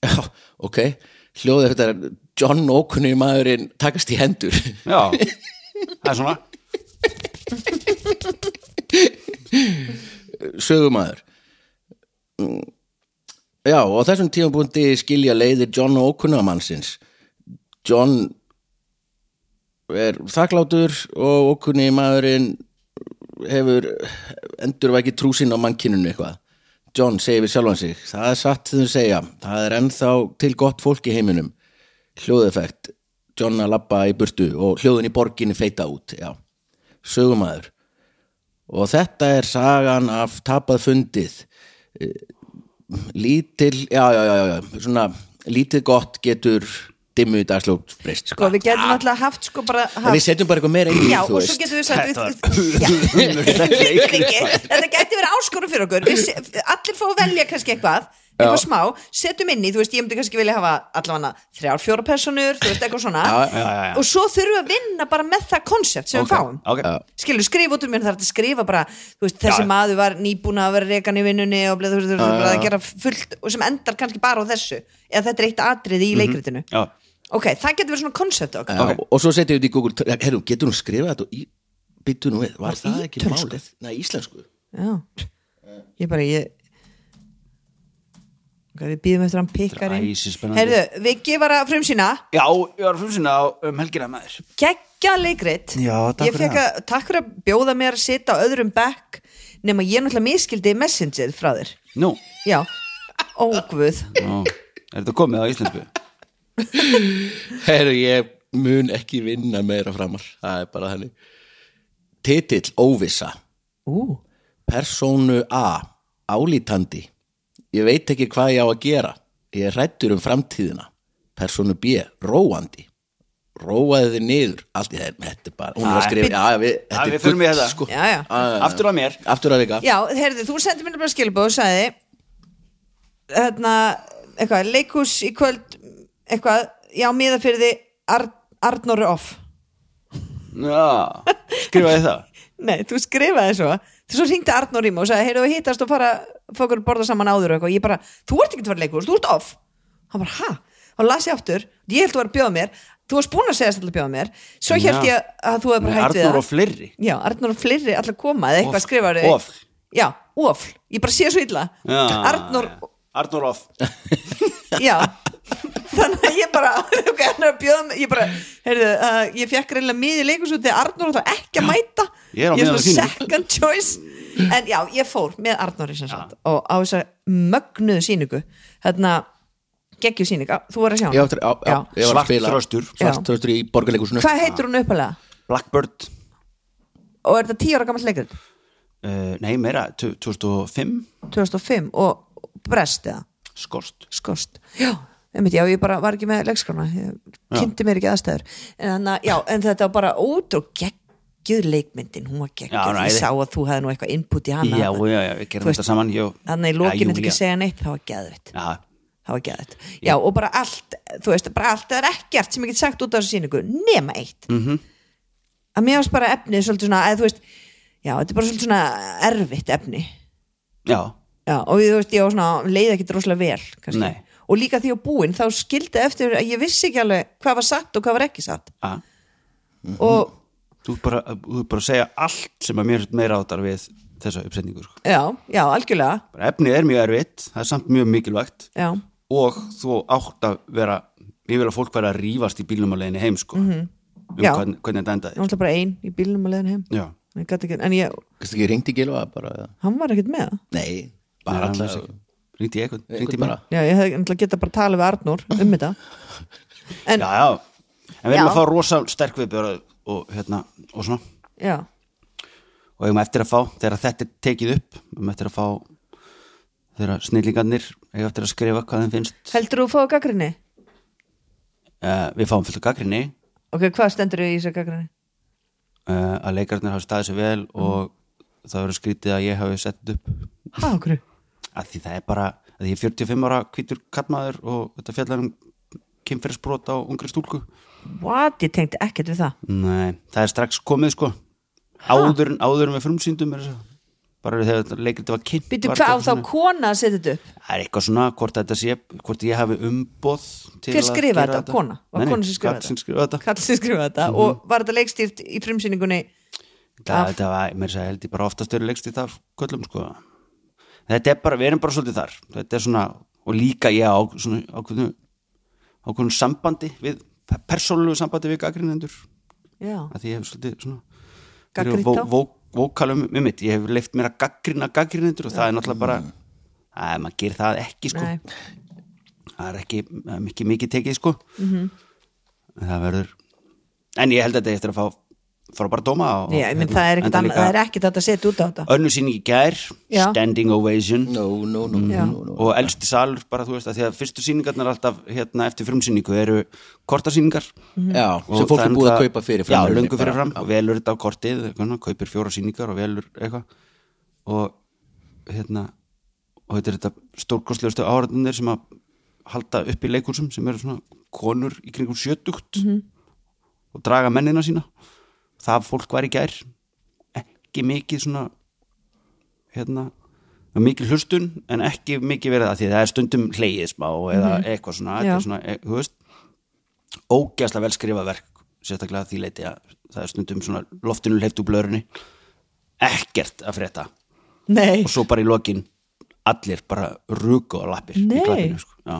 Speaker 4: já, ok hljóðeffektar, John ókunni maðurinn takast í hendur
Speaker 6: Já, það er svona
Speaker 4: sögumadur Mm, já, og á þessum tímabundi skilja leiðir John og ókunna mannsins John er þakklátur og okkunni maðurinn hefur endurvækið trúsinn á mannkinunu eitthvað John segir við sjálfan sig það er satt þeim segja, það er ennþá til gott fólk í heiminum hljóðeffekt, John að labba í burtu og hljóðin í borginni feita út já, sögumæður og þetta er sagan af tapað fundið Eh, lítil, já, já, já, já, já svona, lítið gott getur dimmu í dagslót breyst
Speaker 5: sko, við getum alltaf haft sko bara
Speaker 4: En við
Speaker 5: haft,
Speaker 4: setjum bara eitthvað meira inn í,
Speaker 5: já,
Speaker 4: þú
Speaker 5: og svo
Speaker 4: veist
Speaker 5: getum við sagt við, já, Ekki. þetta gæti verið áskorum fyrir okkur Við se- allir fá að velja kannski eitthvað eitthvað smá, setjum inn í, þú veist, ég myndi kannski vilja hafa allavega þrjár, fjóra personur þú veist, eitthvað svona og svo þurfum við að vinna bara með það konsept sem við fáum
Speaker 6: ok,
Speaker 5: skilur skrifa út úr mér, það er hægt að skrifa bara þú veist, þessi maður var nýbúna að vera rekan í vinnunni og bleið, þú veist, þú veist, bara að gera fullt og sem endar kannski bara á þessu eða þetta er eitt atrið
Speaker 6: Mhm.
Speaker 5: í leikritinu
Speaker 6: já,
Speaker 5: ok, það getur verið svona konsept okkar
Speaker 4: Já, og svo setjum við þetta í Google Herru, getur hún skrifað þetta og í byttu nú við, var það ekki
Speaker 5: ítölsku?
Speaker 4: málið? Nei, íslensku
Speaker 5: já, ég bara ég ok, við býðum eftir að hann pikkar
Speaker 6: Þetta er
Speaker 5: inn
Speaker 6: æsispennandi.
Speaker 5: herðu, Viki var að frumsýna
Speaker 6: já, ég var fyrir sinna á um helgina maður
Speaker 5: geggja leikrit
Speaker 6: Já, takk
Speaker 5: ég
Speaker 6: fyrir
Speaker 5: fekk að, takk fyrir að bjóða mér að sita á öðrum bekk nema ég náttúrulega miskildi messengerið frá þér
Speaker 6: nú,
Speaker 5: já, ógvöð
Speaker 6: nú, er þetta komið á íslensku
Speaker 4: Herru, ég mun ekki vinna meira framar það er bara þannig Titill óvissa
Speaker 5: ú,
Speaker 4: Persónu A Álítandi Ég veit ekki hvað ég á að gera Ég er rættur um framtíðina Persónu B Róandi Róaði þið niður Allt í þeir, þetta er bara Hún er að
Speaker 6: Æ,
Speaker 4: skrifa Já, við,
Speaker 6: Já,
Speaker 4: þetta
Speaker 6: við
Speaker 4: er
Speaker 6: förum í
Speaker 4: gull,
Speaker 6: þetta.
Speaker 4: sko.
Speaker 5: já, Ah, já
Speaker 6: aftur á mér
Speaker 4: Aftur að vika
Speaker 5: Já, heyrðu, þú sendir mér bara skilbóð og sagði hérna, eitthvað, leikhús í kvöld eitthvað, já, miða fyrir því Ar Arnóru off
Speaker 6: já, skrifaði það
Speaker 5: Nei, þú skrifaði svo þú svo ringdi Arnór í mig og sagði, heyrðu, við hittast og fara fókur borða saman áður og eitthvað ég bara, þú ert ekki að fara í leikhús, þú ert off hann bara, ha? Hann las ég aftur, ég held þú var að bjóða mér þú varst búin að segja þetta að bjóða mér svo held
Speaker 6: Já.
Speaker 5: ég að þú hefði bara hætt við
Speaker 6: Arnur
Speaker 5: það.
Speaker 6: og fleiri
Speaker 5: Já, Arnur og fleiri allir koma eða eitthvað
Speaker 6: Ofl,
Speaker 5: skrifar
Speaker 6: ofl.
Speaker 5: Já, ofl, ég bara sé svo illa
Speaker 6: Já,
Speaker 5: Arnur,
Speaker 6: já. Arnur off
Speaker 5: já Þannig að ég bara, ok, hann er að bjóða mig ég bara, heyrðu, uh, ég fekk reyna miði leikus út þegar Arnur ætlar ekki að mæta
Speaker 6: Ég er á
Speaker 5: er
Speaker 6: meðan
Speaker 5: svona
Speaker 6: þínum.
Speaker 5: second choice En já, ég fór með Arnur sem sagt og á þessa mögnuðu síningu hérna, geggju síningu á, þú var að sjá
Speaker 4: Ég
Speaker 5: hana
Speaker 4: var aftur- á- á- ég var að
Speaker 6: svart
Speaker 4: spila-
Speaker 6: þröstur
Speaker 4: Svart þröstur í borgarleikusinu
Speaker 5: Hvað heitir hún uppalega?
Speaker 6: Blackbird
Speaker 5: Og er þetta 10 ára gammal leikur?
Speaker 6: uh, nei meira, tu- 2005
Speaker 5: 2005 og brest eða?
Speaker 6: skorst
Speaker 5: skost já, einmitt, já, ég bara var ekki með leikskrána ég kynnti mér ekki aðstæður en, þannig að- já, en þetta var bara út og geggjuð leikmyndin, hún var
Speaker 6: Já, hún
Speaker 5: geggjuð
Speaker 6: var
Speaker 5: ég
Speaker 6: æði.
Speaker 5: sá að þú hefði nú eitthvað input í hana
Speaker 6: já, já, já, við
Speaker 5: Þú
Speaker 6: gerum
Speaker 5: veist,
Speaker 6: þetta saman ég,
Speaker 5: þannig í lokinu þetta
Speaker 6: Júlía.
Speaker 5: ekki segja neitt, það var geðvitt
Speaker 6: já,
Speaker 5: það var geðvitt, já og bara allt þú veist, bara allt, það er ekkert sem ég get sagt út af þessu síningu nema eitt -hmm.
Speaker 6: Mhm.
Speaker 5: að mér varst bara efnið svolítið svona, eða þú veist já, þetta er bara svolítið svona erfitt efni
Speaker 6: já,
Speaker 5: Já, og ég, þú veist, ég var svona leiði ekkit rosalega vel kannski.
Speaker 6: Nei.
Speaker 5: og líka því að búinn þá skildi eftir að ég vissi ekki alveg hvað var satt og hvað var ekki satt
Speaker 6: já Mhm.
Speaker 5: og
Speaker 6: þú ert bara, þú ert bara að segja allt sem að mér meira átar við þessa uppsetningu sko.
Speaker 5: já, já, algjörlega
Speaker 6: bara efnið er mjög erfitt, það er samt mjög mikilvægt
Speaker 5: já,
Speaker 6: og þú átt að vera ég vil að fólk vera að rífast í bílnum á leiðinni heim sko, um
Speaker 5: Mhm. Já.
Speaker 6: hvern, hvernig þetta
Speaker 5: ég
Speaker 6: endaði
Speaker 5: var bara ein í bílnum að leiðin heim
Speaker 6: já,
Speaker 5: en, ekki, en ég,
Speaker 4: Kannski ekki ringdi Gilva bara eða?
Speaker 5: hann var ekkit með
Speaker 4: Nei, bara
Speaker 6: Nei,
Speaker 4: alltaf
Speaker 6: hann vissi ringdi ég eitthvað, ringdi
Speaker 4: Ringdi
Speaker 6: ég bara
Speaker 4: bara
Speaker 5: já, ég hefði náttúrulega getað bara talað við Arnór um þetta
Speaker 6: já, já, en við erum
Speaker 5: Já.
Speaker 6: að fá rosa sterk viðbjörð og hérna, og svona
Speaker 5: já,
Speaker 6: og eigum eftir að fá, þegar þetta er tekið upp eigum eftir að fá þegar snillingarnir eigum eftir að skrifa hvað þeim finnst
Speaker 5: heldur þú að fáið gaggrinni?
Speaker 6: uh, við fáum fullt af gaggrinni
Speaker 5: ok, hvað stendur í þessu gaggrinni?
Speaker 6: uh, að leikarnir hafi staðið sér vel
Speaker 5: Mhm.
Speaker 6: og það verður skrítið að ég hafi sett þetta upp
Speaker 5: ha, okkur,
Speaker 6: að því það er bara, að því ég er 45 ára hvítur kallmaður og þetta fjallar um kynferðisbrot á ungri stúlku
Speaker 5: what, ég tengdi ekkert við það
Speaker 6: Nei, það er strax komið sko áður, en- áður en við frumsýndum er þess að- bara þegar leikriti var kynnt
Speaker 5: býttu
Speaker 6: var
Speaker 5: hvað á
Speaker 6: þetta
Speaker 5: þá
Speaker 6: svona-
Speaker 5: kona að setja þetta upp?
Speaker 6: Það er eitthvað svona, hvort þetta sé hvort ég hafi umboð til
Speaker 5: Hver
Speaker 6: að
Speaker 5: skrifaði
Speaker 6: gera
Speaker 5: þetta? Kona? Var
Speaker 6: Nei, nei,
Speaker 5: kona sem skrifaði
Speaker 6: karl
Speaker 5: þetta?
Speaker 6: sem skrifaði þetta
Speaker 5: Karl sem skrifaði þetta
Speaker 6: Mhm.
Speaker 5: og var þetta leikstýrt í frumsýningunni
Speaker 6: Það, þetta var, mér sagði held ég bara oftast eru leikst í það köllum sko þetta er bara, við erum bara svolítið þar þetta er svona, og líka ég á svona ákveðnu, ákveðnu sambandi við persónulegu sambandi við gaggrinendur
Speaker 5: Já.
Speaker 6: að því ég hef svolítið svona
Speaker 5: Gagnrýnt
Speaker 6: vó,
Speaker 5: þá?
Speaker 6: vó, vókalum um mitt, ég hef leift mér að gaggrina gaggrinendur og það er náttúrulega bara að maður gerir það ekki sko
Speaker 5: Nei.
Speaker 6: það er ekki það er mikið mikið tekið sko mm
Speaker 5: Mhm.
Speaker 6: -hmm. það verður en ég held að þetta eigi eftir að fá fara bara dóma og,
Speaker 5: Já, ég menn, það er ekkit annað- það er ekkit hægt að setja út á þetta
Speaker 6: önnu sín í gær,
Speaker 5: Já.
Speaker 6: standing ovation
Speaker 4: no, no, no,
Speaker 5: Mm. Já.
Speaker 4: no, no, no.
Speaker 6: og elsti salur bara þú veist að því að fyrstu síningarnar alltaf hérna eftir frumsýningu eru kortasýningar
Speaker 4: Já,
Speaker 6: Og
Speaker 4: sem fólk
Speaker 6: það
Speaker 4: er búið að
Speaker 6: náttúrulega-
Speaker 4: kaupa fyrir
Speaker 6: já, löngu fyrir fram, og velur þetta á kortið hvernig, kaupir fjóra síningar og velur eitthvað og hérna og þetta er þetta stórkostlegustu áhörðunir sem að halda upp í leikursum sem eru svona konur í kringum sjötugt og draga mennina sína það fólk var í gær ekki mikið svona hérna mikið hlustun en ekki mikið verið að því það er stundum hlegið smá eða eitthvað svona, þetta
Speaker 5: Mhm. Já.
Speaker 6: er svona e, þú veist, ógeðslega vel skrifa verk sérstaklega að því leiti að það er stundum svona loftinu hleyft úr blöðrunni ekkert að frétta
Speaker 5: Nei,
Speaker 6: og svo bara í lokin allir bara ruku á lappir
Speaker 5: Nei.
Speaker 6: í klappinu sko. já,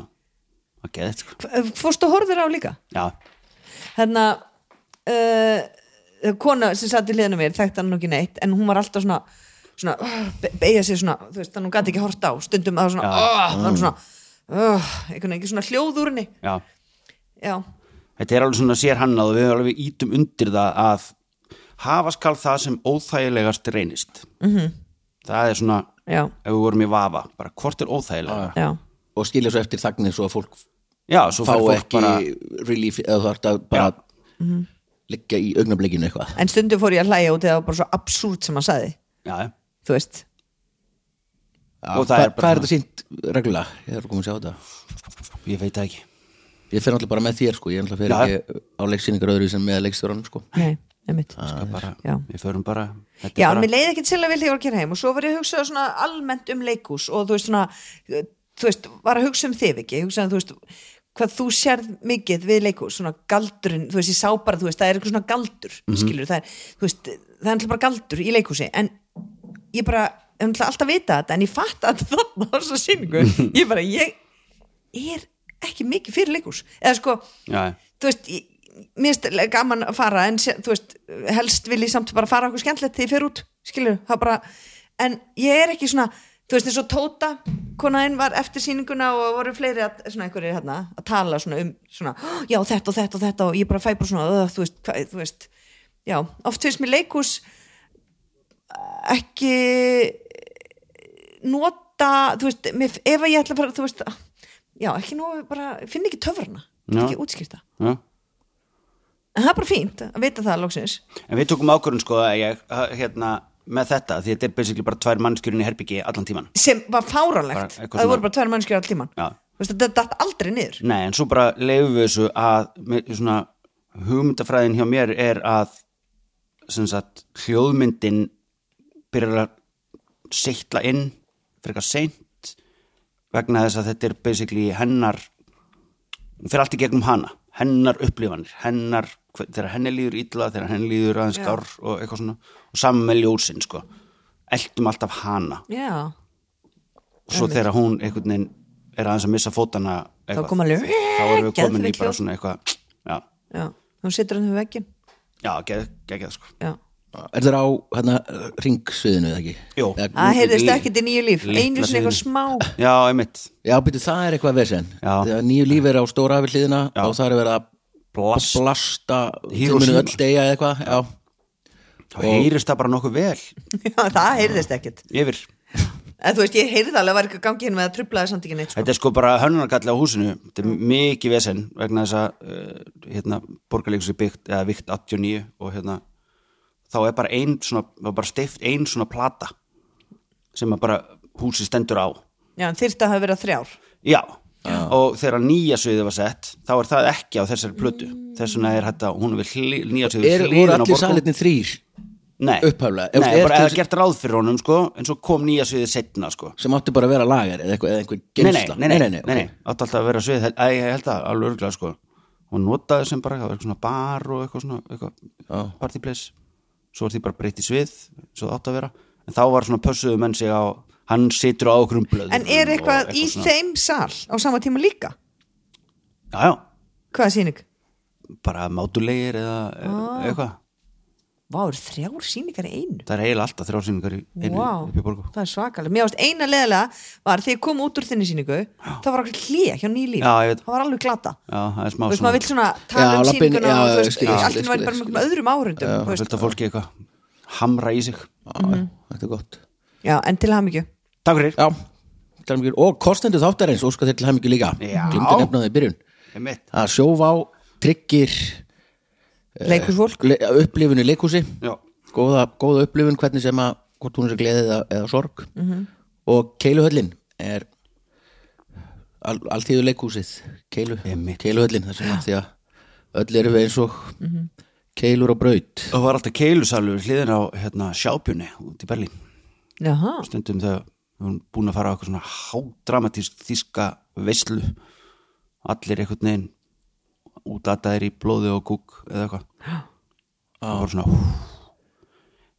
Speaker 6: það geðið sko.
Speaker 5: F- fórstu og horfður á líka
Speaker 6: já,
Speaker 5: hérna uh, kona sem satt í liðinu mér þekkti hann nú ekki neitt en hún var alltaf svona, svona uh, beigja sig svona, þú veist, þannig hún gæti ekki hort á stundum að svona, uh,
Speaker 6: Mm.
Speaker 5: þannig svona uh, einhvern veginn, ekki svona hljóð úr henni
Speaker 6: já
Speaker 5: já,
Speaker 6: þetta er alveg svona sér hannað og við alveg ítum undir það að hafa skal það sem óþægilegast reynist -hmm.
Speaker 5: Mhm.
Speaker 6: það er svona
Speaker 5: já,
Speaker 6: ef við vorum í vafa, bara hvort er
Speaker 4: Ah.
Speaker 6: óþægilega
Speaker 5: já
Speaker 4: og skilja svo eftir þagnir svo að fólk
Speaker 6: já, svo
Speaker 4: fá
Speaker 6: fær fólk
Speaker 4: ekki
Speaker 6: bara
Speaker 4: relief eða þú ert að bara
Speaker 5: Mhm.
Speaker 4: liggja í augnablikinu eitthvað
Speaker 5: en stundum fór ég að hlæja út eða bara svo absúrt sem hann sagði,
Speaker 6: já, já.
Speaker 5: þú veist
Speaker 4: Já,
Speaker 6: Og það
Speaker 4: Hvað
Speaker 6: er bara
Speaker 4: hvað er
Speaker 6: svona-
Speaker 4: þetta sínt reglulega? Ég er komin að sjá þetta
Speaker 6: ég veit það ekki
Speaker 4: Ég fer náttúrulega bara með þér sko, ég náttúrulega fer
Speaker 6: Já.
Speaker 4: ekki á leiksýningar öðru sem með leikstjóranum sko
Speaker 5: nei, einmitt
Speaker 6: bara,
Speaker 5: Já.
Speaker 6: við förum bara þetta er
Speaker 5: Já,
Speaker 6: bara,
Speaker 5: mér leiði ekkert sérlega vel þegar ég var að gera heim og svo var ég að hugsa svona almennt um leikús og þú veist svona, eh, þú veist, var að hugsa um þig ekki, hugsa um, þú veist, hvað þú sérð mikið við leikús, svona galdurinn, þú veist, ég sá bara, þú veist, það er eitthvað svona galdur,
Speaker 6: Mhm.
Speaker 5: skilur, það er, þú veist, það er alltaf bara galdur í leikúsi, en ég bara, ég ætla alltaf að vita þetta, en ég fatt að þarna var svo síningu, ég bara, ég er ekki mikið fyrir leikús, eða sko,
Speaker 6: já, já.
Speaker 5: þú veist, ég- mér finnst gaman að fara en sé- þú veist, helst vil ég samt bara fara okkur skemmtilegt þegar ég fer út, skilur það bara, en ég er ekki svona þú veist, eins og Tóta, konaðinn var eftir sýninguna og voru fleiri að, svona einhverjir hérna, að tala svona um svona, "Hó, já, þetta og þetta og þetta og ég bara fæ bara svona, "Ugh," þú veist, hvað, þú veist já, oft finnst mér leikús ekki nota, þú veist, mér, ef að ég ætla bara, þú veist, já, ekki nú bara, finn ekki töfrana,
Speaker 6: Já.
Speaker 5: ekki útskýrta
Speaker 6: Já.
Speaker 5: en það er bara fínt að vita það loksins
Speaker 6: en við tókum ákvörðun sko að ég, hérna, með þetta, því þetta er basically bara tvær mannskjörinn í herbyggi allan tíman
Speaker 5: sem var
Speaker 6: Bara
Speaker 5: fáránlegt
Speaker 6: eitthvað
Speaker 5: að það
Speaker 6: svona-
Speaker 5: voru bara tveir mannskjur alltíman
Speaker 6: Já.
Speaker 5: þetta datt aldrei niður
Speaker 6: Nei, en svo bara leifum við þessu að mér- svona, hugmyndafræðin hjá mér er að sem sagt, hljóðmyndin byrjar að seittla inn fyrir eitthvað seint vegna þess að þetta er basically hennar hún fer allt í gegnum hana hennar upplifanir, hennar hve- þegar henni líður illa, þegar henni líður aðeins skár og eitthvað svona, og saman með ljósin sko, eltum alltaf hana
Speaker 5: já,
Speaker 6: og svo þegar hún einhvern veginn er aðeins að missa fótana eitthvað,
Speaker 5: koma alveg,
Speaker 6: þá erum við komin í
Speaker 5: geðveik
Speaker 6: bara
Speaker 5: hljóð.
Speaker 6: svona eitthvað já,
Speaker 5: já, hún situr hann við veggin
Speaker 6: já, geð, geð, geð sko
Speaker 5: já,
Speaker 4: Er þetta á hérna ringsviðinu eða ekki?
Speaker 6: Jú.
Speaker 4: Eða-
Speaker 5: það heyrðist
Speaker 6: lí-
Speaker 5: ekkert í nýju líf
Speaker 6: litla
Speaker 5: einu sinni eitthvað smá
Speaker 6: hliðinu. já, einmitt,
Speaker 4: Já, byrju, það er eitthvað vesen
Speaker 6: Já.
Speaker 4: Þegar nýju líf er á stóra hafið hliðina
Speaker 6: Já.
Speaker 4: og það er verið að
Speaker 6: Blast.
Speaker 4: blasta
Speaker 6: Hiroshima.
Speaker 4: tíminu öll deyja eða eitthvað Já,
Speaker 6: þá heyrist það bara nokkuð vel
Speaker 5: já, það heyrðist ekkert
Speaker 6: yfir,
Speaker 5: en þú veist, ég heyrði alveg að var eitthvað gangi hérna með að trublaði samt ekki neitt sko.
Speaker 6: þetta er sko bara hönnunarkalli á húsinu, þetta er mikið vesen vegna þess að uh, hérna, borgarleikus er byggt, eða vikt 89 og hérna, þá er bara ein svona, þá er bara steift ein svona plata sem að bara húsi stendur á
Speaker 5: já, en þyrst að hafa verið þrjár
Speaker 6: Já, og þegar nýja sviðið var sett þá er það ekki á þessari plötu þess vegna er þetta, hún er við hli, nýja sviðið
Speaker 4: er, voru allir salinni þrýr
Speaker 6: Nei,
Speaker 4: upphaflega?
Speaker 6: Nei,
Speaker 4: Er-
Speaker 6: bara
Speaker 4: er-
Speaker 6: eða gert ráð fyrir honum sko, en svo kom nýja sviðið setna sko.
Speaker 4: sem átti bara að vera lagar eða eitthvað, eða eitthvað
Speaker 6: nei, nei,
Speaker 4: geimsla
Speaker 6: nei, nei, nei,
Speaker 4: ok.
Speaker 6: nei, nei. átti alltaf að vera svið hel- Æ, ég held að alveg örglega sko. hún notaði sem bara, það var eitthvað svona bar og eitthvað svona, eitthvað party place svo var því bara breytt í svið svo það átti að vera, en þá var svona pössuðu menn sig á, hann situr á okkur um blöð
Speaker 5: en er eitthvað í þeim sal á sama tíma líka
Speaker 6: Já, já,
Speaker 5: hvað er síning?
Speaker 6: bara mátulegir eða ah. eitthvað
Speaker 5: Vá, eru þrjár síningar í einu
Speaker 6: það er eiginlega alltaf þrjálsýningar í einu
Speaker 5: Vá,
Speaker 6: upp í borgu
Speaker 5: það er svakalega Mér ást eina leðilega var þegar ég kom út úr þinni síningu það var okkur hlýja hjá nýlíf
Speaker 6: Já, ég veit.
Speaker 5: það var alveg glata
Speaker 6: já, það er smá
Speaker 5: þú veist, maður vill svona
Speaker 4: Já,
Speaker 5: tala um
Speaker 4: labbin-
Speaker 5: síninguna
Speaker 4: já,
Speaker 5: og þú veist,
Speaker 4: skil ég,
Speaker 5: allt
Speaker 4: skil ég,
Speaker 5: í væri bara
Speaker 4: skil ég.
Speaker 5: með einhverjum öðrum áhrundum já,
Speaker 6: fullt af fólki eitthvað hamra í sig
Speaker 4: mm. þetta er gott
Speaker 5: já, en til hamingju
Speaker 6: takk fyrir
Speaker 4: já, til hamingju- og kostendur þáttarins óska þér til hæmingi líka
Speaker 6: Já.
Speaker 4: glimti nefnaði í byrjun
Speaker 6: Einmitt.
Speaker 4: að sjóvá tryggir Eh,
Speaker 5: leikursfólk,
Speaker 4: le, upplifinu leikúsi
Speaker 6: Já.
Speaker 4: góða, góða upplifun hvernig sem að hvort hún er gleðið eða, eða sorg -hmm. og keiluhöllin er al, alltíðu leikúsið keilu,
Speaker 6: Einmitt.
Speaker 4: keiluhöllin þar sem að því að öll eru við eins og keilur á braut
Speaker 6: það var alltaf keilusalur hliðin á hérna, sjápjunni út í Berlín
Speaker 5: jaha,
Speaker 6: stundum þegar við vorum búin að fara á eitthvað svona hádramatísk þíska veislu allir einhvern veginn út að í blóði og gúk eða eitthvað það var svona hú,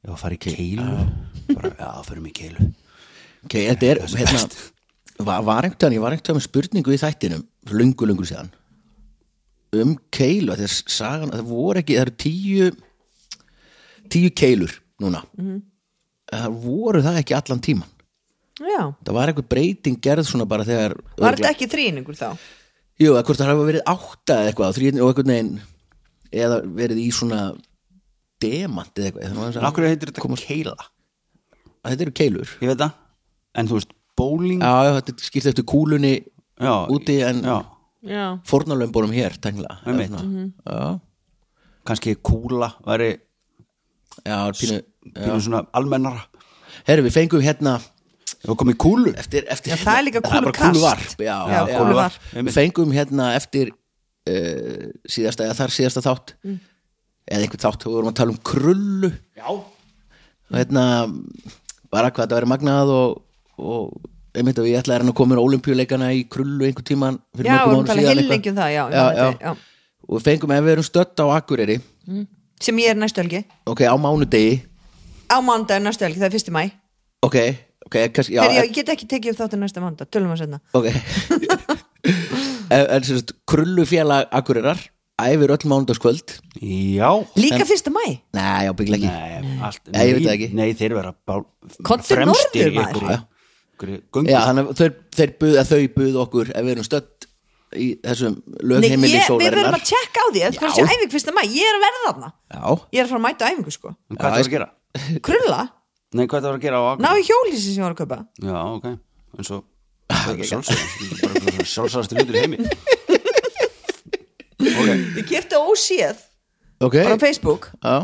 Speaker 6: ég var að fara í keilu bara, já, fyrir mig í keilu
Speaker 4: okay, þetta er hérna, var, var einhvern veginn, ég var einhvern veginn með spurningu í þættinum lungu lungu síðan um keilu, þegar sagan það voru ekki, það eru tíu tíu keilur núna það voru það ekki allan tíman
Speaker 5: já
Speaker 4: það var eitthvað breyting gerð svona bara þegar
Speaker 5: var þetta ekki þrýningur þá?
Speaker 4: Jú, eða hvort það hafa verið átta eða eitthvað þrýðin og einhvern veginn eða verið í svona demant eða eitthvað Þannig að-
Speaker 6: en okkur heitir þetta keila
Speaker 4: að Þetta eru keilur
Speaker 6: ég veit það, en þú veist bowling
Speaker 4: Já, já, þetta skýrt eftir kúlunni
Speaker 6: já,
Speaker 4: úti en
Speaker 6: já,
Speaker 5: já,
Speaker 4: fornalömbunum hér, tengla
Speaker 6: Einmitt.
Speaker 4: Já,
Speaker 6: kannski kúla væri
Speaker 4: já, pínu
Speaker 6: pínu svona almennara
Speaker 4: Herru, við fengum hérna
Speaker 6: ég var komið í kúlu
Speaker 4: eftir, eftir, hérna-
Speaker 5: Já, það er líka
Speaker 4: bara
Speaker 5: kúlukast.
Speaker 4: kúluvarp, Já,
Speaker 5: Já, kúluvarp.
Speaker 4: Við fengum hérna eftir uh, síðasta, eða þar síðasta þátt
Speaker 5: Mm.
Speaker 4: eða einhvern þátt, við vorum að tala um krullu
Speaker 6: já,
Speaker 4: og hérna bara hvað þetta verið magnað og, og einmitt og ég ætlaði hann að koma inn á olimpíuleikana í krullu einhvern tíman fyrir
Speaker 5: Já,
Speaker 4: mörgum
Speaker 5: vorum
Speaker 4: árum
Speaker 5: talað
Speaker 4: síðan
Speaker 5: heillengi
Speaker 4: eitthvað.
Speaker 5: um það, já, ég
Speaker 4: já,
Speaker 5: man
Speaker 4: já.
Speaker 5: þetta, já.
Speaker 4: og við fengum ef við erum stödd á Akureyri
Speaker 5: sem ég er næstu helgi
Speaker 4: ok, á mánudegi
Speaker 5: á mándag næstu helgi, það er fyrsti mæ
Speaker 4: ok, ok, kannski já,
Speaker 5: Þegar ég, ég get ekki tekið upp þáttir næsta mándag, tölum um að setna
Speaker 4: ok en, en sem sagt, krullufélag Akureyrar æfir öll mánudagskvöld
Speaker 6: já.
Speaker 5: líka fyrsta mæ,
Speaker 4: nei, já, byggla ekki
Speaker 6: Nei, allt,
Speaker 4: Nei, ég veit það ekki.
Speaker 6: Nei, þeir vera bál,
Speaker 5: Komdu norður, maður.
Speaker 6: Göngu,
Speaker 4: já, þannig að þeir, þeir buð, að þau buð okkur ef við erum stödd í þessum
Speaker 5: Nei, ég,
Speaker 4: lögheimili
Speaker 5: við verðum
Speaker 4: sólarinnar
Speaker 5: að tjekka á því að hvað
Speaker 4: Já.
Speaker 5: sé æfing fyrsta mæ, ég er að verða þarna
Speaker 4: já,
Speaker 5: ég er að fara að mæta á æfingu sko
Speaker 6: En hvað það var að gera?
Speaker 5: krulla,
Speaker 6: Nei, hvað það var að gera á
Speaker 5: ná
Speaker 6: Akureyri?
Speaker 5: í hjólísi sem ég var að kaupa
Speaker 6: Já, ok, en svo
Speaker 4: Ah,
Speaker 6: Sjálfsæðast hlutur í heimi Ok,
Speaker 5: ég kefti óséð,
Speaker 4: ok
Speaker 5: bara á Facebook
Speaker 4: Já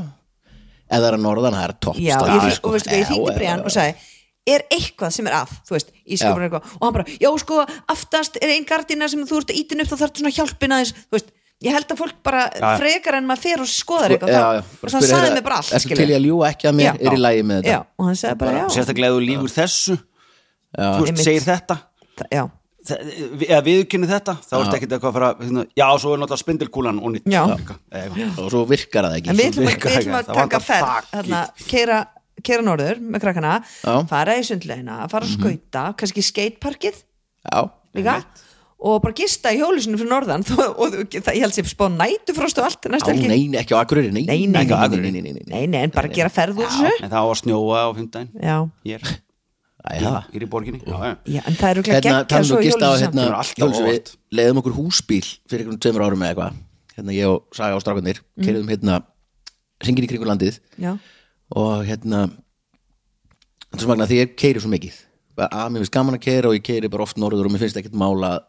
Speaker 4: Ef það er að norðan, það er
Speaker 5: já,
Speaker 4: toppstað
Speaker 5: ég, og veistu hvað, ég hringdi
Speaker 4: Já,
Speaker 5: Brian
Speaker 4: já,
Speaker 5: og sagði er eitthvað sem er að, þú veist, í skapur
Speaker 4: Já.
Speaker 5: eitthvað og hann bara, já sko, aftast er ein gardina sem þú ert að ítin upp, þá þarf svona hjálpin aðeins þú veist, ég held að fólk bara
Speaker 6: Já.
Speaker 5: frekar en maður fer og
Speaker 4: já,
Speaker 5: skoðar eitthvað
Speaker 4: Sko, já, já,
Speaker 5: þá-
Speaker 4: bara
Speaker 5: og þannig
Speaker 4: spyrja
Speaker 5: sagði
Speaker 4: þeirra,
Speaker 5: mér bara allt
Speaker 4: Ertu til
Speaker 5: skilur.
Speaker 4: í að ljúga ekki að mér,
Speaker 5: Já.
Speaker 4: er í lagi með
Speaker 5: já,
Speaker 4: þetta
Speaker 5: og hann sagði bara, já,
Speaker 6: sérstaklega ef þú lífur þessu Þú veist,
Speaker 5: Einmitt.
Speaker 6: segir þetta
Speaker 5: það- já
Speaker 6: þe- eða viðkynni þetta, þá er ekkert eitthvað að fara hérna, já, svo er náttúrulega spindilkúlan og nýtt
Speaker 5: Já.
Speaker 6: Eitthvað, eitthvað.
Speaker 4: Og svo virkar það ekki
Speaker 5: en við ætlum að,
Speaker 6: virkar
Speaker 5: við ætlum
Speaker 6: ekki,
Speaker 5: að
Speaker 6: það
Speaker 5: taka
Speaker 6: vantar
Speaker 5: ferð
Speaker 6: þakið.
Speaker 5: þarna, keira, keira norður með krakkana
Speaker 4: Já. Mhm.
Speaker 5: fara í sundleina, fara að skauta kannski skateparkið
Speaker 4: Já,
Speaker 5: líka og bara gista í hjólusinu fyrir norðan þó, og þú- það, ég held sér spá nætufrost og allt
Speaker 4: á
Speaker 5: næsta helgi
Speaker 4: neini, ekki á Akureyri, nei
Speaker 5: Nei, nei,
Speaker 4: ekki á
Speaker 5: nei,
Speaker 4: Akureyri Nei, nei, nei, nei
Speaker 5: nei, nei, en bara gera ferð úr þessu
Speaker 6: En það á að snjóa á fimmtudaginn
Speaker 5: já,
Speaker 6: Ég er,
Speaker 4: Æ,
Speaker 6: ég
Speaker 4: það.
Speaker 6: er í borginni já, já.
Speaker 5: já, en það eru ekki að
Speaker 4: Hérna,
Speaker 5: gegja
Speaker 4: talum
Speaker 5: svo
Speaker 4: við
Speaker 5: í
Speaker 4: gist á
Speaker 5: hjólusinu
Speaker 4: hérna
Speaker 6: Kemur alltaf
Speaker 4: Jóns, við
Speaker 6: óvart.
Speaker 4: leiðum okkur húsbíl fyrir einhvern tveimur árum eða eitthvað Hérna ég og Saga og strákunir
Speaker 5: Mm.
Speaker 4: Keirðum hérna hringin í kringu landið
Speaker 5: já,
Speaker 4: og hérna þetta er svo magna því ég keiri svo mikið Bara, að mér finnst gaman að keira og ég keiri bara oft norður og mér finnst ekkert mála að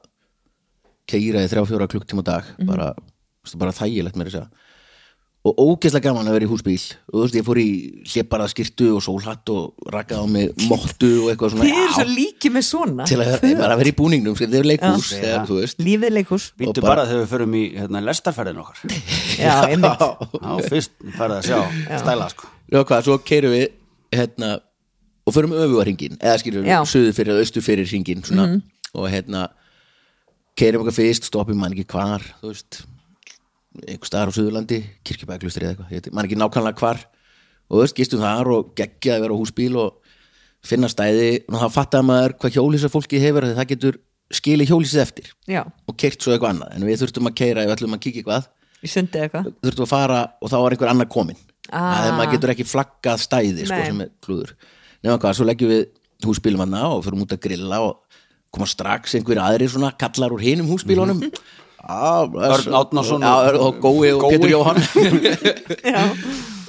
Speaker 4: keira í þrjá fjóra klukktíma á dag
Speaker 5: Mhm.
Speaker 4: bara, þú veist, bara þægilegt mér þess að og ógeðslega gaman að vera í húsbíl og þú veist ég fór í hlébarað skirtu og sólhatt og rakkaði á mig mottu og eitthvað svona
Speaker 5: þið eru
Speaker 4: já,
Speaker 5: svo líki með svona
Speaker 4: til að, bara að vera í búningnum skil, þeir eru leikhús eða, þú veist
Speaker 5: lífið leikus
Speaker 6: Býttu
Speaker 4: Og bara-
Speaker 6: bara þegar við förum í hérna, lestarferðin okkar
Speaker 5: já, einmitt
Speaker 6: Já, fyrst færði að sjá stæla sko
Speaker 4: Já, hvað, svo keirum við hérna, og förum öfuga hringin eða skýrum
Speaker 5: Já.
Speaker 4: við suðu fyrir eða austu fyrir hringin svona, og hérna keirum okkar fyrst, stoppum mann ekki hvar þú veist einhver staðar á Suðurlandi, kirkjubæklustri eða eitthvað ég veit- man ekki nákvæmlega hvar og þú veist, gistum þar og geggja að vera á húsbíl og finna stæði og það fattaði maður hvað hjólísa fólki hefur þegar það getur skili hjólísið eftir
Speaker 5: já,
Speaker 4: og keirt svo eitthvað annað en við þurftum að keira ef við ætlum að kíkja eitthvað
Speaker 5: í sundi eða eitthvað
Speaker 4: þurftu að fara og þá var einhver annar komin
Speaker 5: Ah.
Speaker 4: að maður getur ekki flaggað stæði sko,
Speaker 5: Nei.
Speaker 4: sem er klúður nefnum hvað, svo leggjum við húsbílum hana og fyrir út að grilla og koma strax einhver aðri svona kallar úr hinum húsbílunum
Speaker 5: Mhm.
Speaker 4: mm
Speaker 6: Örn
Speaker 4: og,
Speaker 6: Árnason og-
Speaker 4: og Gói og
Speaker 6: Gói.
Speaker 4: Pétur Jóhann
Speaker 5: já,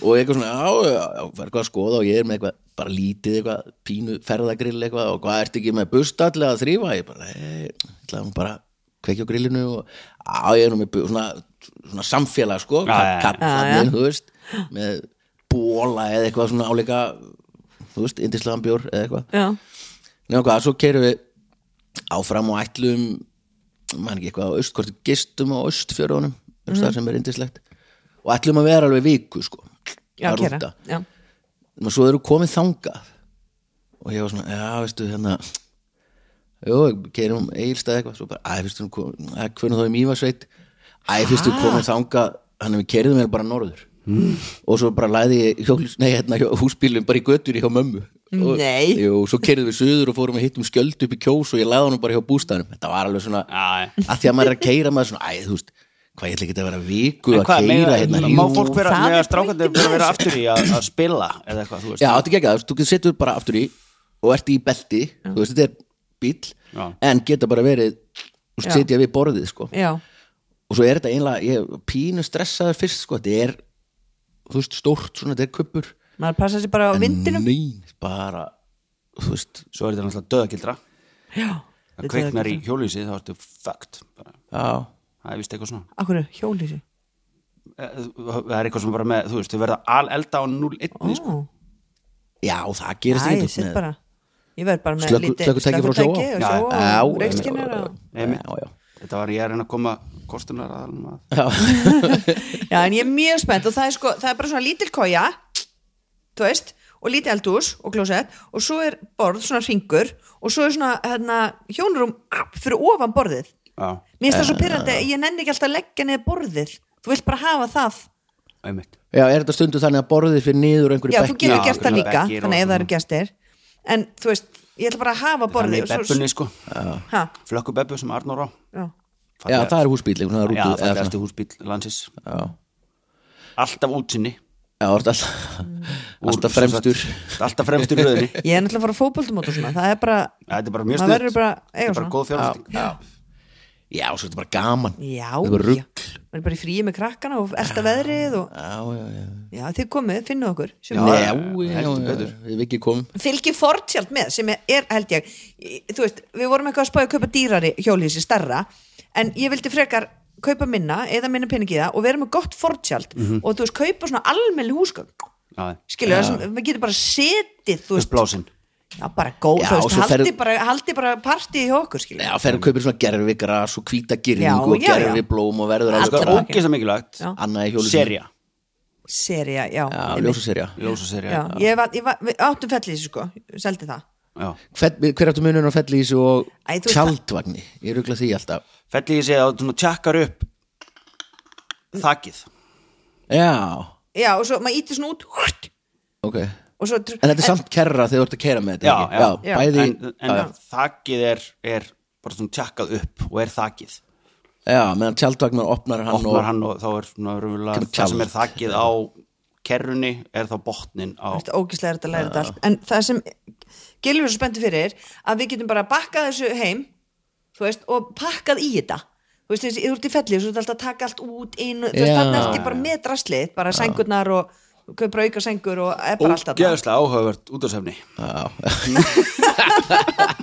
Speaker 4: og eitthvað svona, já, já, já, var eitthvað að skoða og ég er með eitthvað, bara lítið eitthvað pínu ferðagrill eitthvað og hvað ertu ekki með bustall eða þrýfa, ég bara "Nei, ég ætlaði nú bara að kveikja á grillinu og á, ég er nú með bu- svona, svona samfélag sko,
Speaker 6: Já, já, já.
Speaker 4: kaffanninn, þú veist með bóla eða eitthvað svona áleika þú veist, indislegan bjór eða eitthvað
Speaker 5: já,
Speaker 4: Nefnum hvað, svo keirum við áfram og ætlum mann ekki eitthvað á aust, hvort við gistum á austfjörðunum um stað sem er indislegt og ætlum að vera alveg viku sko
Speaker 5: já,
Speaker 4: að
Speaker 5: kera
Speaker 4: rúnta.
Speaker 5: já,
Speaker 4: og svo eru komið þangað og ég var svona, já, veistu, hérna jú, keirum eigilstað eitthvað, svo bara, æ, veistu, nú kom- æ, hvernig þá er mývasveit æ, veistu, komið þangað, hann við keirðum mér bara norður og svo bara læði ég hjólis, nei, hérna, hjó- húsbílum bara í götur hjá mömmu og,
Speaker 5: Nei.
Speaker 4: jú, svo keirðum við suður og fórum að hittum skjöld upp í kjós og ég læði honum bara hjá bústæðanum þetta var alveg svona,
Speaker 6: Já, já.
Speaker 4: að því að maður er að keira maður er svona, æ, þú veist, hvað ég ætla ekki að vera viku
Speaker 6: En
Speaker 4: að
Speaker 6: hvað,
Speaker 4: keira
Speaker 6: mega,
Speaker 4: hérna
Speaker 6: má
Speaker 4: Jú,
Speaker 6: fólk vera,
Speaker 5: það
Speaker 6: mega
Speaker 5: er
Speaker 6: strákandi
Speaker 5: pointið
Speaker 6: bara
Speaker 5: með
Speaker 6: vera
Speaker 5: þessu.
Speaker 6: aftur í að, að spila eða eitthvað, þú veist
Speaker 4: Já, þetta er geggjað, þú veist, þú getur settur bara aftur í og ert í belti, þú veist, þetta er bíll
Speaker 6: Já.
Speaker 4: en geta bara verið og
Speaker 5: Já.
Speaker 4: setja við borðið, sko
Speaker 5: já,
Speaker 4: og svo er þetta einlega, ég er pínu stressaður fyrst, sko, þetta er þú veist, stórt, svona, þetta er kuppur
Speaker 5: maður passa sér bara á vindinum
Speaker 4: Nein, bara, þú veist
Speaker 6: Svo er þetta náttúrulega döðagildra
Speaker 5: já,
Speaker 6: Það kveiknar í hjólísi þá ertu fucked bara.
Speaker 4: Já,
Speaker 6: Það er vist eitthvað svona
Speaker 5: akkur hjólísi
Speaker 6: Eh, Það er eitthvað sem bara með, þú veist, þau verða alelda á 0-1
Speaker 5: Ó.
Speaker 6: sko.
Speaker 4: já það gerist
Speaker 5: Æ,
Speaker 4: ekki
Speaker 5: ég
Speaker 4: út
Speaker 5: sitt
Speaker 4: með-
Speaker 5: bara Ég verð bara með
Speaker 4: Slökku- slökkutæki frá sjóa
Speaker 5: slökkutæki og
Speaker 6: Já,
Speaker 5: sjóa
Speaker 4: Já,
Speaker 5: og reikskynnar
Speaker 4: já,
Speaker 5: og...
Speaker 6: Einmitt.
Speaker 4: já, já.
Speaker 6: Þetta var ég að reyna að koma kostunar aðalum að
Speaker 5: Já, en ég er mjög spennt og það er sko, það er bara svona lítil koja þú veist, og lítið eldús og klósett og svo er borð, svona ringur og svo er svona, hérna, hjónurum fyrir ofan borðið
Speaker 6: Já,
Speaker 5: Mér finnst það svo pyrrandi, ég nenni ekki alltaf að leggja niður borðið Þú vilt bara hafa það
Speaker 6: einmitt
Speaker 4: Já, er þetta stundu þannig að borðið fyrir niður á einhverju
Speaker 5: Já,
Speaker 4: bekki
Speaker 5: þú getur
Speaker 6: Já,
Speaker 5: gert það
Speaker 6: svona
Speaker 5: líka,
Speaker 6: bekkir og
Speaker 5: þannig ef það
Speaker 6: svona.
Speaker 5: eru gestir En, þú veist, ég ætla bara að hafa
Speaker 6: Þannig
Speaker 5: borðið
Speaker 6: í
Speaker 5: og svo-
Speaker 6: bebbunni sko
Speaker 5: Ha,
Speaker 6: Flökku bebbu sem Arnór á
Speaker 5: já,
Speaker 4: Já, það er húsbíll, einhvern
Speaker 6: Já,
Speaker 4: veginn
Speaker 6: það
Speaker 4: það
Speaker 6: er
Speaker 4: er
Speaker 6: eftir húsbíl landsins Alltaf útsinni
Speaker 4: Já, þú ert alltaf,
Speaker 6: Úr-
Speaker 4: alltaf fremstur
Speaker 6: sem sagt, Alltaf fremstur í röðinni
Speaker 5: Ég er náttúrulega að fara á fótboltumót og svona Það er bara,
Speaker 6: Þetta er bara mjög
Speaker 5: maður verður
Speaker 6: sniðt
Speaker 5: bara að
Speaker 6: Þetta
Speaker 5: eiga
Speaker 6: er bara
Speaker 5: svona
Speaker 6: góð fjárfæsting
Speaker 4: Já, svo er þetta bara gaman
Speaker 5: Já,
Speaker 4: Þetta er bara rugl.
Speaker 5: já. maður er bara í fríi með krakkana og elda veðrið og
Speaker 4: Já, já, já
Speaker 5: já, þið komið, finnum okkur sem
Speaker 4: Já,
Speaker 5: er,
Speaker 4: já, já, já, ég hef ekki komið
Speaker 5: fylgir fortjald með sem er, held ég í- þú veist, við vorum eitthvað að spája að kaupa dýrari hjólísi starra, en ég vildi frekar kaupa minna, eða minna pening í það og vera með gott fortjald
Speaker 4: Mhm.
Speaker 5: og þú veist, kaupa svona almenni húsgögn skilur það sem, maður getur bara setið þú veist,
Speaker 6: Uppblásin
Speaker 5: já, bara góð,
Speaker 4: Já,
Speaker 5: þú
Speaker 4: og
Speaker 5: veist,
Speaker 4: svo
Speaker 5: haldi,
Speaker 4: ferð-
Speaker 5: bara, haldi bara partí hjá okkur, skilur
Speaker 4: Já, ferðu kaupir svona gerfi gras og hvíta girðingu og
Speaker 5: Já, já, já.
Speaker 4: gerfi blóm og verður
Speaker 5: Allt
Speaker 4: alls
Speaker 6: Sko,
Speaker 5: bara-
Speaker 4: konar
Speaker 6: ógeðsa mikilvægt
Speaker 5: Já.
Speaker 4: Annað í hjólusinu
Speaker 6: Serja
Speaker 5: serja, já,
Speaker 4: Já,
Speaker 5: einmitt.
Speaker 4: ljósaserja
Speaker 6: Ljósa
Speaker 5: já,
Speaker 6: serja
Speaker 5: ég var, ég var, við áttum fellið sko, seldi það
Speaker 6: Já
Speaker 4: Hver, hver áttu munur á fellísi og
Speaker 5: Æ, þú veist það-
Speaker 4: tjaldvagni? Ég rugla því alltaf
Speaker 6: Felli ég segja að þú tjekkar upp Þakið
Speaker 4: Já,
Speaker 5: já, og svo maður íti svona út húrt,
Speaker 4: ok
Speaker 5: og svo
Speaker 4: En þetta er samt kerra þegar þú ert að kera með þetta
Speaker 6: Já,
Speaker 4: ekki?
Speaker 6: já.
Speaker 5: Já.
Speaker 4: Bæði,
Speaker 6: En, en þakið er, er bara svona tjekkað upp og er þakið
Speaker 4: já, meðan tjaldvagnar opnar hann
Speaker 6: opnar
Speaker 4: og
Speaker 6: hann og þá er svona raunverulega
Speaker 4: Kemur
Speaker 6: það sem er
Speaker 4: tjald.
Speaker 6: þakið á kerrunni er þá botnin á
Speaker 5: Þetta er ógíslega erfitt að læra þetta allt en það sem Gilvi er svo spennti fyrir að við getum bara bakkað þessu heim þú veist, og pakkað í þetta þú veist, þessi, þú ert í fellið, þú ert alltaf að taka allt út inn, og- þú veist,
Speaker 4: Já.
Speaker 5: þannig ertu bara með draslið bara sengurnar og kaupra auka sengur og er bara allt alltaf
Speaker 6: ógeðslega áhugavert útastefni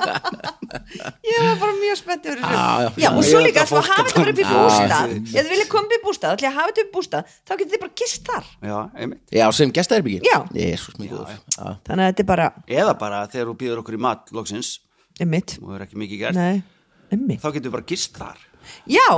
Speaker 5: ég var bara mjög spennt fyrir þessu
Speaker 4: Já, já.
Speaker 5: já, og svo
Speaker 6: Ég held
Speaker 5: líka,
Speaker 6: að
Speaker 5: þú
Speaker 6: fólk
Speaker 5: hafa þetta bara upp í
Speaker 6: Já,
Speaker 5: bústað
Speaker 6: ég-
Speaker 5: eða þú vilja koma upp í bústað, ætli að hafa þetta upp í bústað þá getur þið bara gist þar
Speaker 6: já, einmitt
Speaker 4: Já, sem gestaherbyggi
Speaker 5: Já.
Speaker 4: Jesús, mjög góður Já.
Speaker 5: þannig að þetta er bara,
Speaker 6: eða bara þegar þú býður okkur í mat loksins
Speaker 5: emmitt
Speaker 6: og er ekki mikið gert
Speaker 5: nei, emmitt
Speaker 6: þá getur við bara gist þar
Speaker 5: Já,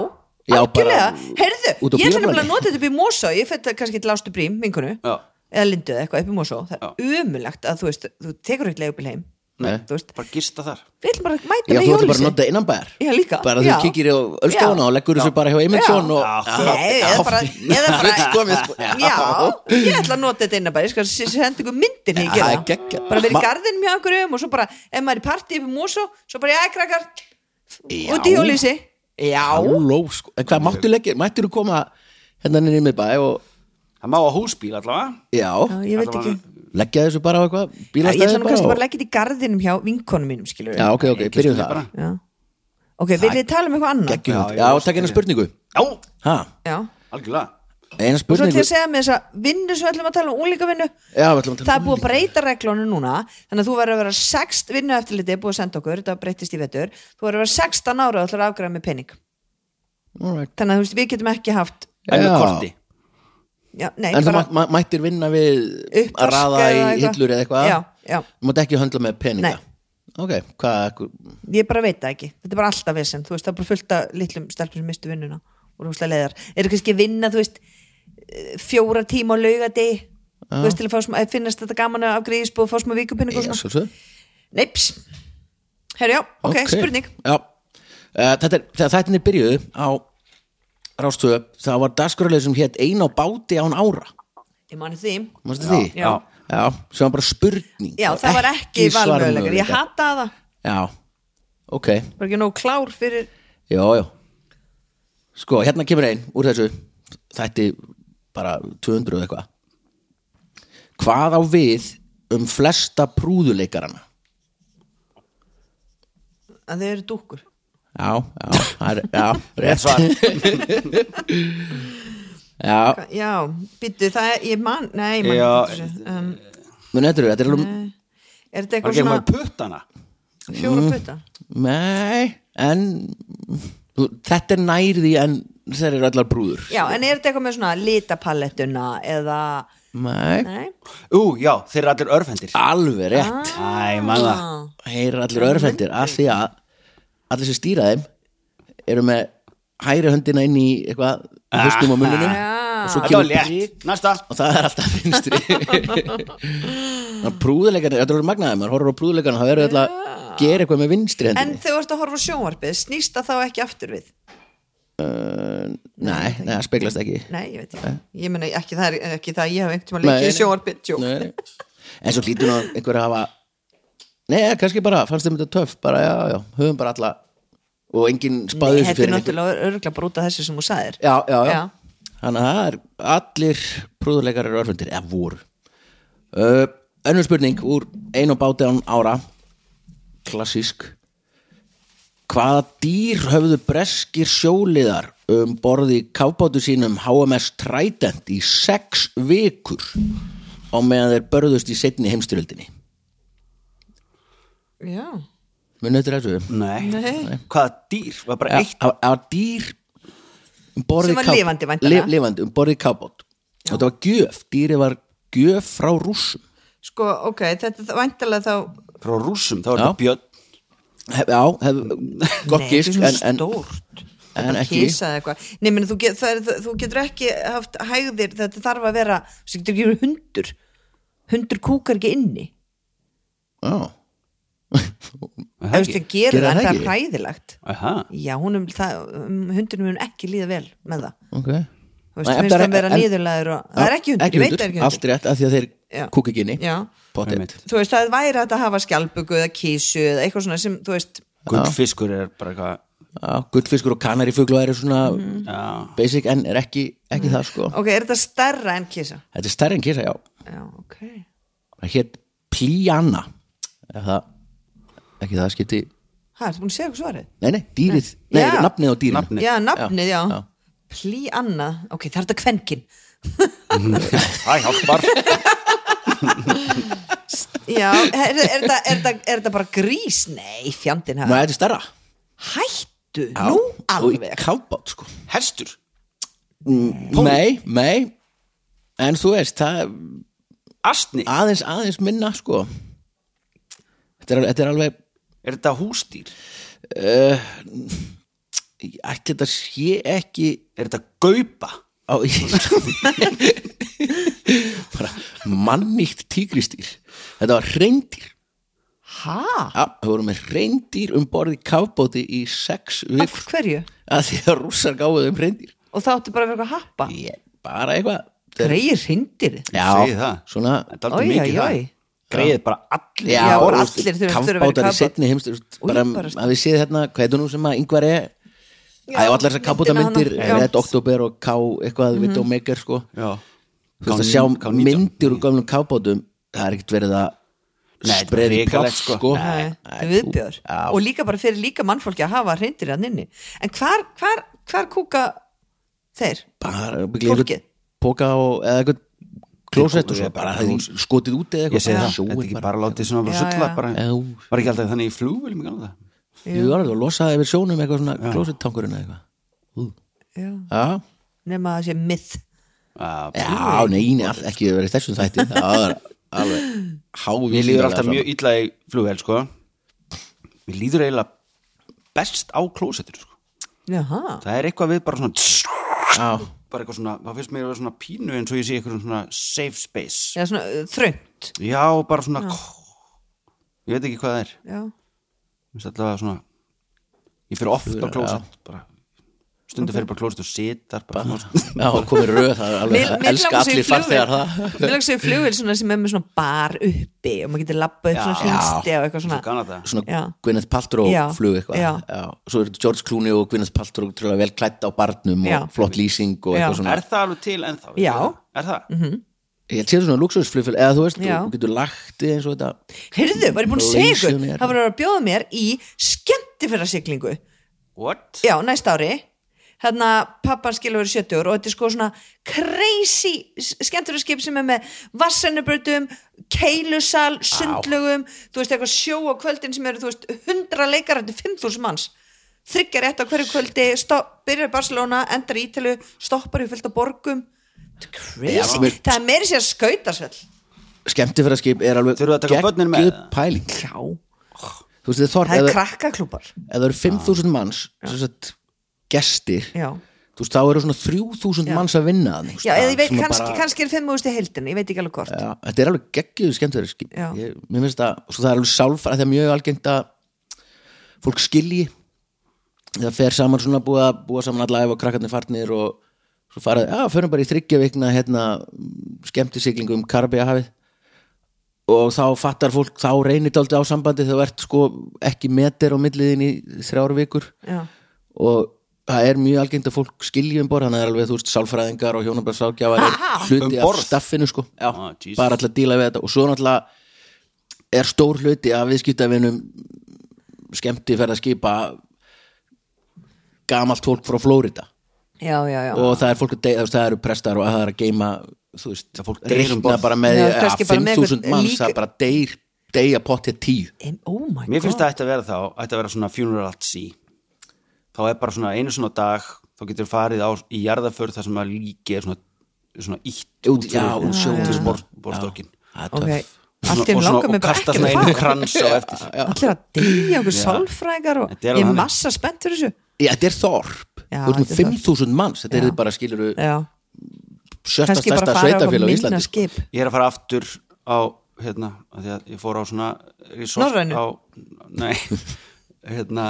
Speaker 4: Já,
Speaker 5: algjörlega,
Speaker 4: bara-
Speaker 5: heyrðu,
Speaker 4: út á
Speaker 5: ég ætla
Speaker 4: bílaplani.
Speaker 5: nefnilega að nota þetta upp í Mosó ég fætti kannski til Ástu Brím, vinkunu
Speaker 6: já,
Speaker 5: eða Lindu eða eitthvað upp í Mosó það
Speaker 6: Já.
Speaker 5: er umulagt að þú veist, þú tekur eitthvað upp í heim
Speaker 4: Nei.
Speaker 5: þú veist,
Speaker 6: bara gista þar
Speaker 5: við ætlum bara að mæta
Speaker 4: Já,
Speaker 5: með
Speaker 4: þú ætlar bara að
Speaker 5: hjólísi
Speaker 4: nota innanbæjar
Speaker 5: Já, líka.
Speaker 4: Bara þú
Speaker 5: Já.
Speaker 4: kíkir á
Speaker 5: Já.
Speaker 4: öllstofana og leggur þessu bara hjá Eymundsson
Speaker 5: Já.
Speaker 4: og
Speaker 6: Já.
Speaker 5: Nei, eða bara, eða bara
Speaker 4: Fullkomið, sko.
Speaker 5: Já, ég ætla að nota þetta inn bara, ég skal s- senda ykkur myndin ég
Speaker 4: Já,
Speaker 5: gera það.
Speaker 4: geggjað.
Speaker 5: bara verið
Speaker 4: Ma-
Speaker 5: í garðin mjög okkur um og svo bara, ef maður er í partí upp í Mosó svo bara, já, krakkar,
Speaker 4: Já.
Speaker 5: út í hjólísi Já,
Speaker 4: Halló, sko. En hvað máttu leggja, mættur þú koma hérna niður með bæ og
Speaker 6: Það má á húsbíl allavega
Speaker 4: já,
Speaker 5: Já, ég veit ekki.
Speaker 6: Allavega-
Speaker 4: leggja þessu bara á eitthvað
Speaker 5: Ja, ég ætla
Speaker 4: bílastæði
Speaker 5: nú kannski
Speaker 4: og-
Speaker 5: bara að leggja þetta í garðinum hjá vinkonum mínum, skilur
Speaker 4: já, ok, ok, byrjum það
Speaker 6: bara.
Speaker 5: Já. Ok, viljið þið tala um eitthvað annað?
Speaker 4: Geggjum
Speaker 6: Já,
Speaker 4: þetta.
Speaker 6: ég
Speaker 4: já,
Speaker 6: var
Speaker 4: og takk eina
Speaker 6: skilja.
Speaker 4: spurningu
Speaker 6: Já,
Speaker 4: ha,
Speaker 5: Já.
Speaker 6: algjörlega
Speaker 4: eina
Speaker 5: Og svo ætlum
Speaker 4: spurningu
Speaker 5: ég að segja með þess að vinnu sem við ætlum að tala um úlíkavinnu
Speaker 4: já, við ætlum að
Speaker 5: Það
Speaker 4: tala um
Speaker 5: er búið að breyta reglunum núna þannig að þú verður að vera sext vinnu eftirliti búið að senda okkur, þetta breytist í vetur þú verður að vera sextan ára og ætlar að afgræða með pening
Speaker 4: um right.
Speaker 5: þannig að þú veist, við getum ekki haft
Speaker 6: En með
Speaker 4: Já.
Speaker 6: korti
Speaker 5: já, nei,
Speaker 4: en þú
Speaker 5: bara
Speaker 4: mæ- mæ- mættir vinna við að
Speaker 5: Uppvask
Speaker 4: raða í
Speaker 5: eða eitthvað.
Speaker 4: hillur eða eitthvað
Speaker 5: Já, já.
Speaker 4: þú mátt ekki höndla með peninga
Speaker 5: Nei.
Speaker 4: ok, hvað
Speaker 5: ég bara veit það ekki, þetta er bara alltaf vesen þú veist, það er bara fullt af litlum stelpum sem mistu vinnuna og rúslega leðar, eru kannski að vinna þú veist, eh, fjóra tíma á laugadi þú veist, til að, fá smá, að finnast þetta gaman að afgriðisbúð og fá smá vikupenning og
Speaker 4: já,
Speaker 5: svona,
Speaker 4: svo, svo.
Speaker 5: neips herru já, ok, spurning
Speaker 4: já. Uh, þetta er, þegar þættinni byrjuðu á rástöðu, það var dagskoruleg sem hétt ein á báti án ára
Speaker 5: ég mani því
Speaker 4: mástu því?
Speaker 5: Já.
Speaker 4: já, sem var bara spurning
Speaker 5: Já, það var ekki valmöðuleikar, ég
Speaker 4: svarmöguleikar.
Speaker 5: hata það
Speaker 4: já, ok,
Speaker 5: bara ekki nóg klár fyrir
Speaker 4: já, já sko, hérna kemur ein úr þessu þætti bara 200 og eitthvað hvað á við um flesta prúðuleikarana
Speaker 5: að þau eru dúkkur
Speaker 4: já, já, það er- já, rétt
Speaker 6: svar.
Speaker 4: já,
Speaker 5: Já, býttu, það er, ég man, nei, ég man
Speaker 6: Já,
Speaker 5: ekki eftir þessu. um,
Speaker 4: muni þetta eru, þetta er alveg
Speaker 5: Er þetta
Speaker 6: Var
Speaker 5: eitthvað
Speaker 6: ekki
Speaker 5: svona
Speaker 6: eitthvað með puttana
Speaker 5: fjóra puta?
Speaker 4: Nei, en þú- þetta er nær því en þeir eru allar brúður
Speaker 5: Já, en er þetta eitthvað með svona litapalettuna eða,
Speaker 4: Nei,
Speaker 5: nei,
Speaker 6: Ú, já, þeir eru allir örfendir
Speaker 4: alveg
Speaker 5: Ah.
Speaker 4: rétt
Speaker 6: Æ, mann það
Speaker 4: Þeir eru allir örfendir að því að allir sem stýra þeim eru með hæri höndina inn í eitthvað hlustum á munninu og svo
Speaker 6: Þetta var
Speaker 4: kemur
Speaker 6: létt, næsta
Speaker 4: og það er alltaf vinstri Prúðuleikarnir, þetta eru magnaði maður horfður á prúðuleikarna, það eru alltaf að gera eitthvað með vinstri
Speaker 5: en
Speaker 4: hendinni
Speaker 5: þau ert að horfa á sjónvarpið, snýst það þá ekki aftur við?
Speaker 4: Nei, nei, það speglast ekki
Speaker 5: Nei, ég veit ekki, ég meina ekki það, er, ekki það að ég hef einhvern tímann
Speaker 4: Nei,
Speaker 5: leikið
Speaker 4: nei.
Speaker 5: sjónvarpið, tjók
Speaker 4: Nei. en svo hlýtur nú einhver að hafa Nei, eða kannski bara, fannst þeim þetta töff bara, já, já, höfum bara alla og enginn spáði þessu
Speaker 5: Þetta er
Speaker 4: fyrir einhver-
Speaker 5: náttúrulega örgulega bara út af þessu sem þú sagðir
Speaker 4: Já, já, já,
Speaker 5: Já.
Speaker 4: Þannig að það er allir prúðuleikar eru örfundir, eða voru uh, Önnur spurning úr ein og báti án ára klassísk Hvaða dýr höfðu breskir sjóliðar um borði kafbátu sínum HMS Trident í sex vikur á meðan þeir börðust í setni heimstyröldinni
Speaker 5: Já,
Speaker 4: Munu þetta rættu?
Speaker 6: Nei,
Speaker 5: Nei.
Speaker 6: hvaða dýr Var bara eitt
Speaker 4: Það var dýr um borði
Speaker 5: Sem var lifandi væntanlega.
Speaker 4: lif, Lifandi, um borði kábót Og þetta var gjöf, dýrið var gjöf frá rússum
Speaker 5: sko, ok, þetta væntalega þá
Speaker 6: frá rússum Þá
Speaker 4: Já.
Speaker 6: er þetta björn
Speaker 4: hef, Já, hef, gott
Speaker 5: Nei,
Speaker 4: gísk en,
Speaker 5: þetta er svona
Speaker 4: en,
Speaker 5: stórt
Speaker 4: en
Speaker 5: Bara
Speaker 4: ekki
Speaker 5: kisa eða eitthvað. Nei, meni, þú, get, það er, þú getur ekki haft hægðir þetta þarf að vera, þú getur ekki verið hundur hundur kúkar ekki inni
Speaker 4: Já,
Speaker 6: Er
Speaker 5: ef
Speaker 6: það
Speaker 5: þú
Speaker 6: ekki?
Speaker 5: gerir
Speaker 4: Gerir
Speaker 5: það,
Speaker 4: það
Speaker 5: það er
Speaker 4: ekki?
Speaker 5: hræðilegt
Speaker 6: Aha.
Speaker 5: já, honum, það, um, hundurinn mun ekki líða vel með það,
Speaker 4: ok
Speaker 5: þú
Speaker 4: Nei, en
Speaker 5: veist, finnst
Speaker 4: það er-
Speaker 5: það vera
Speaker 4: en-
Speaker 5: niðurlegaður og það er ekki hundur, ég veit það er ekki
Speaker 4: Allt
Speaker 5: hundur
Speaker 4: rétt, af því að þeir
Speaker 5: Já.
Speaker 4: kúka ekki inni
Speaker 5: já,
Speaker 4: Pottet
Speaker 6: Einmitt.
Speaker 5: þú veist, það væri hægt að hafa skjálpugu eða kísu eða eitthvað svona sem, þú veist
Speaker 6: Gullfiskur er bara eitthvað
Speaker 4: Gullfiskur og kanarifugla eru svona
Speaker 5: Mhm.
Speaker 6: Já,
Speaker 4: basic en er ekki,
Speaker 5: Mm.
Speaker 4: ekki það sko
Speaker 5: ok, er þetta stærra en kísa?
Speaker 4: Þetta er stærri en kisa, já
Speaker 5: já, ok
Speaker 4: Það hétt Plíana Ef það ekki það skipti
Speaker 5: hæ, ertu búin að segja eitthvað svarið?
Speaker 4: Nei, nei, dýrið, nei,
Speaker 5: Já.
Speaker 4: nafnið á dýrinu
Speaker 6: Nafnið.
Speaker 5: já, nafnið, já,
Speaker 4: já.
Speaker 5: Plíanna, ok, það er þetta kvenkin
Speaker 6: það hjálpar
Speaker 5: Já, er, er, er, er, er, er það bara grís? Nei, fjandinn
Speaker 4: Nei,
Speaker 5: hafa
Speaker 4: þetta er stærra
Speaker 5: Hættu, nú
Speaker 4: Og í
Speaker 5: alveg
Speaker 4: kafbát, sko
Speaker 6: Hestur
Speaker 4: Nei, nei En þú veist, það er
Speaker 6: Astni
Speaker 4: aðeins, aðeins minna, sko Þetta er, alveg- þetta er alveg
Speaker 6: Er þetta hústýr?
Speaker 4: ég Ætli þetta sé ekki
Speaker 6: Er þetta gaupa?
Speaker 4: á Bara mannýtt tígristýr Þetta var reyndýr
Speaker 5: Hæ?
Speaker 4: Já, það voru með reyndýr um borði kafbóti í sex
Speaker 5: Af
Speaker 4: vikur
Speaker 5: hverju?
Speaker 4: að því að rússar gáðu um reyndýr
Speaker 5: Og það átti bara að vera eitthvað að happa
Speaker 4: ég, Bara eitthvað Þetta er-
Speaker 5: Greir hindir
Speaker 6: Segið
Speaker 4: Já,
Speaker 6: það.
Speaker 4: svona
Speaker 6: Þetta er
Speaker 5: Ói,
Speaker 6: aldrei
Speaker 5: ói,
Speaker 6: mikið það
Speaker 5: ói
Speaker 6: Greið bara allir
Speaker 5: Já,
Speaker 4: og
Speaker 5: bara
Speaker 4: þú veist,
Speaker 5: allir þurfa- þurfa að vera í
Speaker 4: kafbátar í
Speaker 5: kafbát.
Speaker 4: setni heimstur
Speaker 5: Új,
Speaker 4: bara
Speaker 5: bara-
Speaker 4: að við séð hérna, hvað heitir nú sem að yngvar er Það er allar þessar kaputa myndir eh,
Speaker 5: myndina hana, já. Mhm.
Speaker 4: Red October og K eitthvað mm Widowmaker sko
Speaker 6: Já
Speaker 4: Þú veist að sjá myndir úr gamlum kábátum það er ekkert verið að
Speaker 6: Nei,
Speaker 4: spreði
Speaker 6: hrikalegt,
Speaker 4: plátt
Speaker 6: sko.
Speaker 4: sko
Speaker 5: Nei, þetta er viðbjör
Speaker 4: Já.
Speaker 5: og líka bara fyrir líka mannfólki að hafa reyndir hann inni en hvar, hvar, hvar kúka þeir?
Speaker 4: bara
Speaker 5: Fólkið?
Speaker 4: byggja póka og eða eitthvað klósett og svo
Speaker 6: Ég-
Speaker 4: bara
Speaker 6: ég-
Speaker 4: hefði skotið út eða
Speaker 6: Ég segi
Speaker 4: eitthvað
Speaker 6: það, þetta er ekki bara látið sem að bara
Speaker 5: Já,
Speaker 6: sulla
Speaker 5: já.
Speaker 6: bara,
Speaker 4: Já.
Speaker 6: Var ekki alltaf þannig í flugvélum í gamla það
Speaker 4: Jú, það er alveg að losa yfir sjónum eitthvað svona klósettankurinn eða eitthvað
Speaker 5: Já,
Speaker 4: Já,
Speaker 5: nema að það sé myth
Speaker 4: já, nei, nei, all- ekki verið í þessum þætti Það er alveg
Speaker 6: Mér
Speaker 4: hávísindalega
Speaker 6: líður alltaf
Speaker 4: svona.
Speaker 6: mjög illa í flugvél sko. Mér líður eiginlega best á klósettur sko.
Speaker 5: Jaha,
Speaker 6: Það er eitthvað við bara svona
Speaker 4: Já,
Speaker 6: bara eitthvað svona, það finnst mér að vera svona pínu eins og ég sé eitthvað svona safe space
Speaker 5: já svona uh, þröngt
Speaker 6: Já, bara svona Ég veit ekki hvað það er
Speaker 5: Já,
Speaker 6: Mér finnst alltaf svona Ég fyrir oft á klósett bara Stundu fyrir bara klósett og sitar bara, svona,
Speaker 4: já, komið röð Það er alveg, það elska allir farþegar það
Speaker 5: Mér langs ég flugvél svona sem er með svona bar uppi og maður getur labbað upp svona hringsti og eitthvað
Speaker 6: svona
Speaker 5: svona
Speaker 6: gana það
Speaker 4: svona
Speaker 5: Já.
Speaker 4: Gwyneth Paltrow
Speaker 5: Já.
Speaker 4: flug eitthvað
Speaker 5: Já.
Speaker 4: Já. svo eru George Clooney og Gwyneth Paltrow trúlega vel klætt á barnum
Speaker 5: Já.
Speaker 4: og flott lýsing og eitthvað
Speaker 5: Já.
Speaker 4: svona
Speaker 6: Er það alveg til ennþá?
Speaker 5: Já.
Speaker 6: Er það?
Speaker 4: ég held sér svona luxusflugfél eða þú veist, þú
Speaker 5: Já.
Speaker 4: þú getur lagt þig eins og þetta
Speaker 5: Heyrðu, var ég búin að segja ykkur
Speaker 4: Malaysian Air.
Speaker 5: Það var að bjóða mér í skemmtifæra siglingu
Speaker 6: What?
Speaker 5: Já, næsta ári hérna pappan skilur verið 70 og þetta er sko svona crazy skemmturarskip sem er með vassennubrötum keilusal, sundlögum þú veist eitthvað sjó á kvöldin sem eru þú veist 100 leikar, þetta er 5000 manns þryggja rétt á hverju kvöldi stopp, byrjar í Barcelona, endar í Ítali stoppar í fylgta borgum Þetta er
Speaker 4: Já,
Speaker 5: crazy,
Speaker 4: mér-
Speaker 5: það er meiri sér skautasvell
Speaker 4: skemmtifæraskip er alveg
Speaker 6: Þurfa að taka börnin með
Speaker 4: geggjuð
Speaker 6: það?
Speaker 4: pæling
Speaker 5: Já,
Speaker 4: þú veist, þið þorð,
Speaker 5: það er
Speaker 4: eða,
Speaker 5: krakkaklúpar
Speaker 4: eða það eru 5000 manns sem sagt, gestir
Speaker 5: Já,
Speaker 4: þú veist, þá eru svona 3000 manns að vinna þarna, þú veist,
Speaker 5: Já eða ég veit,
Speaker 4: sem að
Speaker 5: kannski, kannski er 5.000 heildin, ég veit ekki alveg hvort
Speaker 4: Já, þetta er alveg geggjur skemmtverðarskip
Speaker 5: Já.
Speaker 4: mér finnst það, svo það er alveg sálfara það er mjög algengt að fólk skilji það fer saman svona búa, búa saman allæf og krakkarnir farnir og svo farað, já, förum bara í þryggja vikna hérna, skemmtisiglingu um Karabíahafið og þá fattar fólk, þá reynir dálítið á sambandi þegar þú ert sko ekki metir á milliðin í þrjár vikur
Speaker 5: Já.
Speaker 4: og það er mjög algengt að fólk skilji um borð þannig er alveg, þú veist, sálfræðingar og hjónabarsákjafar er hluti
Speaker 6: Um
Speaker 4: af
Speaker 6: borð?
Speaker 4: staffinu sko Já,
Speaker 6: Ah, Jesus.
Speaker 4: bara alltaf að díla við þetta og svo náttúrulega er stór hluti af viðskiptavinum skemmti fyrir að skipa gamalt fólk frá Flórida
Speaker 5: Já, já, já
Speaker 4: og það er fólk að deyja, þú veist, það eru prestar og það er að geima, þú veist,
Speaker 6: Það fólk deyr um
Speaker 4: reikna
Speaker 6: borð.
Speaker 4: bara með
Speaker 5: Já,
Speaker 4: því að
Speaker 5: kannski bara með
Speaker 4: 5.000
Speaker 5: eitthvað
Speaker 4: manns
Speaker 5: líka-
Speaker 4: það bara deyr, deyja pottið tíu
Speaker 5: Em- Oh my
Speaker 6: Mér finnst
Speaker 5: god
Speaker 6: það ætti að vera þá, ætti að vera svona funeral at sea þá er bara svona einu svona dag þá getur farið á, í jarðaför þar sem að líki er svona, svona ítt
Speaker 4: Út- já, út
Speaker 6: út
Speaker 4: sjó.
Speaker 6: fyrir
Speaker 4: Já.
Speaker 6: borstokkin
Speaker 4: það er
Speaker 5: Ok,
Speaker 4: töff
Speaker 5: allt í enn langar mig
Speaker 6: og
Speaker 5: bara
Speaker 6: kasta
Speaker 5: ekki að
Speaker 6: svona einu
Speaker 5: fara
Speaker 6: krans á eftir
Speaker 5: Allir að deyja okkur sálfræðingar og
Speaker 6: Þetta er
Speaker 5: ég
Speaker 6: alveg
Speaker 5: er
Speaker 6: þannig.
Speaker 5: massa spennt fyrir þessu
Speaker 4: Já, þetta er þorp,
Speaker 5: Já,
Speaker 4: þú veist,
Speaker 5: þetta er þorp.
Speaker 4: 5.000 manns þetta
Speaker 5: Já.
Speaker 4: er bara, skilur við,
Speaker 5: Já,
Speaker 4: sjösta
Speaker 5: kannski
Speaker 4: stærsta
Speaker 5: bara fara á okkur
Speaker 4: sveitafélag á
Speaker 5: minna
Speaker 4: Íslandi sko.
Speaker 5: skip
Speaker 6: Ég er að fara aftur á hérna, af því að ég fór á svona resort
Speaker 5: Norrænu?
Speaker 6: á, Nei, hérna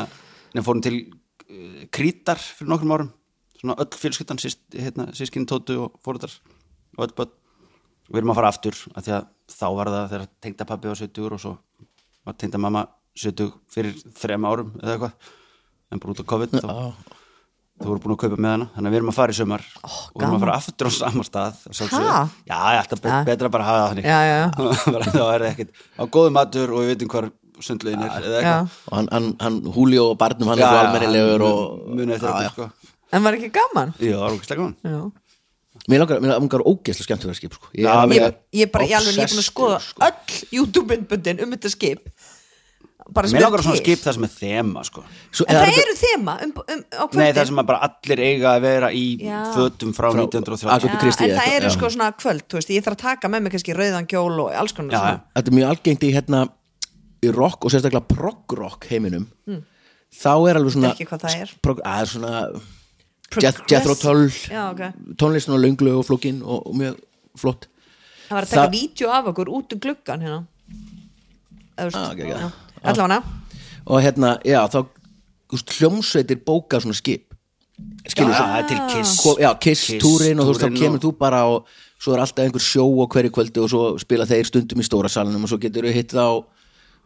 Speaker 6: Nei, fórum til uh, Krítar fyrir nokkrum árum, svona öll fjölskyldan síst, hérna, sískinn Tótu og fóruðar og öll börn og við erum að fara aftur, af því að þá var það þegar tengda pappi var 70 og svo var tengda mamma 70 fyrir þrem árum eða eitthvað en bara út á COVID þá þú voru búin að kaupa með hana þannig að við erum að fara í sömar og við erum að fara aftur á sama stað að sjálfsögðu.
Speaker 5: Ha?
Speaker 6: já, já, alltaf be-
Speaker 5: Ja.
Speaker 6: betra bara að hafa það þannig
Speaker 5: Já, já, já.
Speaker 6: Bara þá er það ekkert á góðu matur og við veitum hvar sundlegin er eða
Speaker 5: Já.
Speaker 6: eitthvað
Speaker 4: og hann, hann, hann Julio og barnum hann er svo almennilegur og
Speaker 6: muni eftir
Speaker 4: Já,
Speaker 6: þetta
Speaker 4: já.
Speaker 6: sko
Speaker 5: En var ekki gaman?
Speaker 6: já, það var ógislega gaman
Speaker 5: Já.
Speaker 4: mér langar, mér langar ógeðslega skemmt að vera skip sko. ég er
Speaker 6: Já,
Speaker 4: alveg
Speaker 5: Ég, ég bara, ég alveg, ég er búin að
Speaker 4: obsessed,
Speaker 5: skoða
Speaker 4: sko.
Speaker 5: öll YouTube-myndböndin um þetta skip bara sem
Speaker 6: mér
Speaker 5: er
Speaker 6: langar á svona
Speaker 5: til.
Speaker 6: skip það sem er þema sko
Speaker 4: Svo,
Speaker 5: En það
Speaker 4: þetta-
Speaker 5: eru þema um, um, á
Speaker 6: nei, það
Speaker 5: kvöldin
Speaker 6: sem að bara allir eiga að vera í
Speaker 5: Já.
Speaker 6: fötum frá
Speaker 4: Frá- Agatha
Speaker 5: Já,
Speaker 6: 1930
Speaker 4: Christie
Speaker 5: En það
Speaker 4: eitthvað,
Speaker 5: eru
Speaker 4: já.
Speaker 5: sko svona kvöld, þú veist, ég þarf að taka með mig kannski rauðan kjól og alls konar
Speaker 6: Já,
Speaker 5: svona.
Speaker 4: þetta er mjög algengt í hérna í rock og sérstaklega prog-rock heiminum þá er alveg svona
Speaker 5: Ekki Mm. hvað það er.
Speaker 4: prog, að, svona Jeth-
Speaker 5: Progress-
Speaker 4: Jethro Tull
Speaker 5: Já, ok.
Speaker 4: tónlistin og lönglu og flókin og, og mjög flott
Speaker 5: Það var að taka
Speaker 4: Það-
Speaker 5: vídeo af okkur út um gluggan hérna
Speaker 4: Ah, ok, ok.
Speaker 5: Alla hana
Speaker 4: og hérna, já, þá þú veist, hljómsveitir bóka svona skip skilur
Speaker 6: Já,
Speaker 4: svo
Speaker 6: það er til kiss
Speaker 4: Ko- já, kiss,
Speaker 6: Kiss,
Speaker 4: túrin og þú veist,
Speaker 6: túrinn
Speaker 4: þá kemur
Speaker 6: og-
Speaker 4: þú bara og svo er alltaf einhver sjó á hverju kvöldi og svo spila þeir stundum í stóra salunum og svo getur þau hitt þá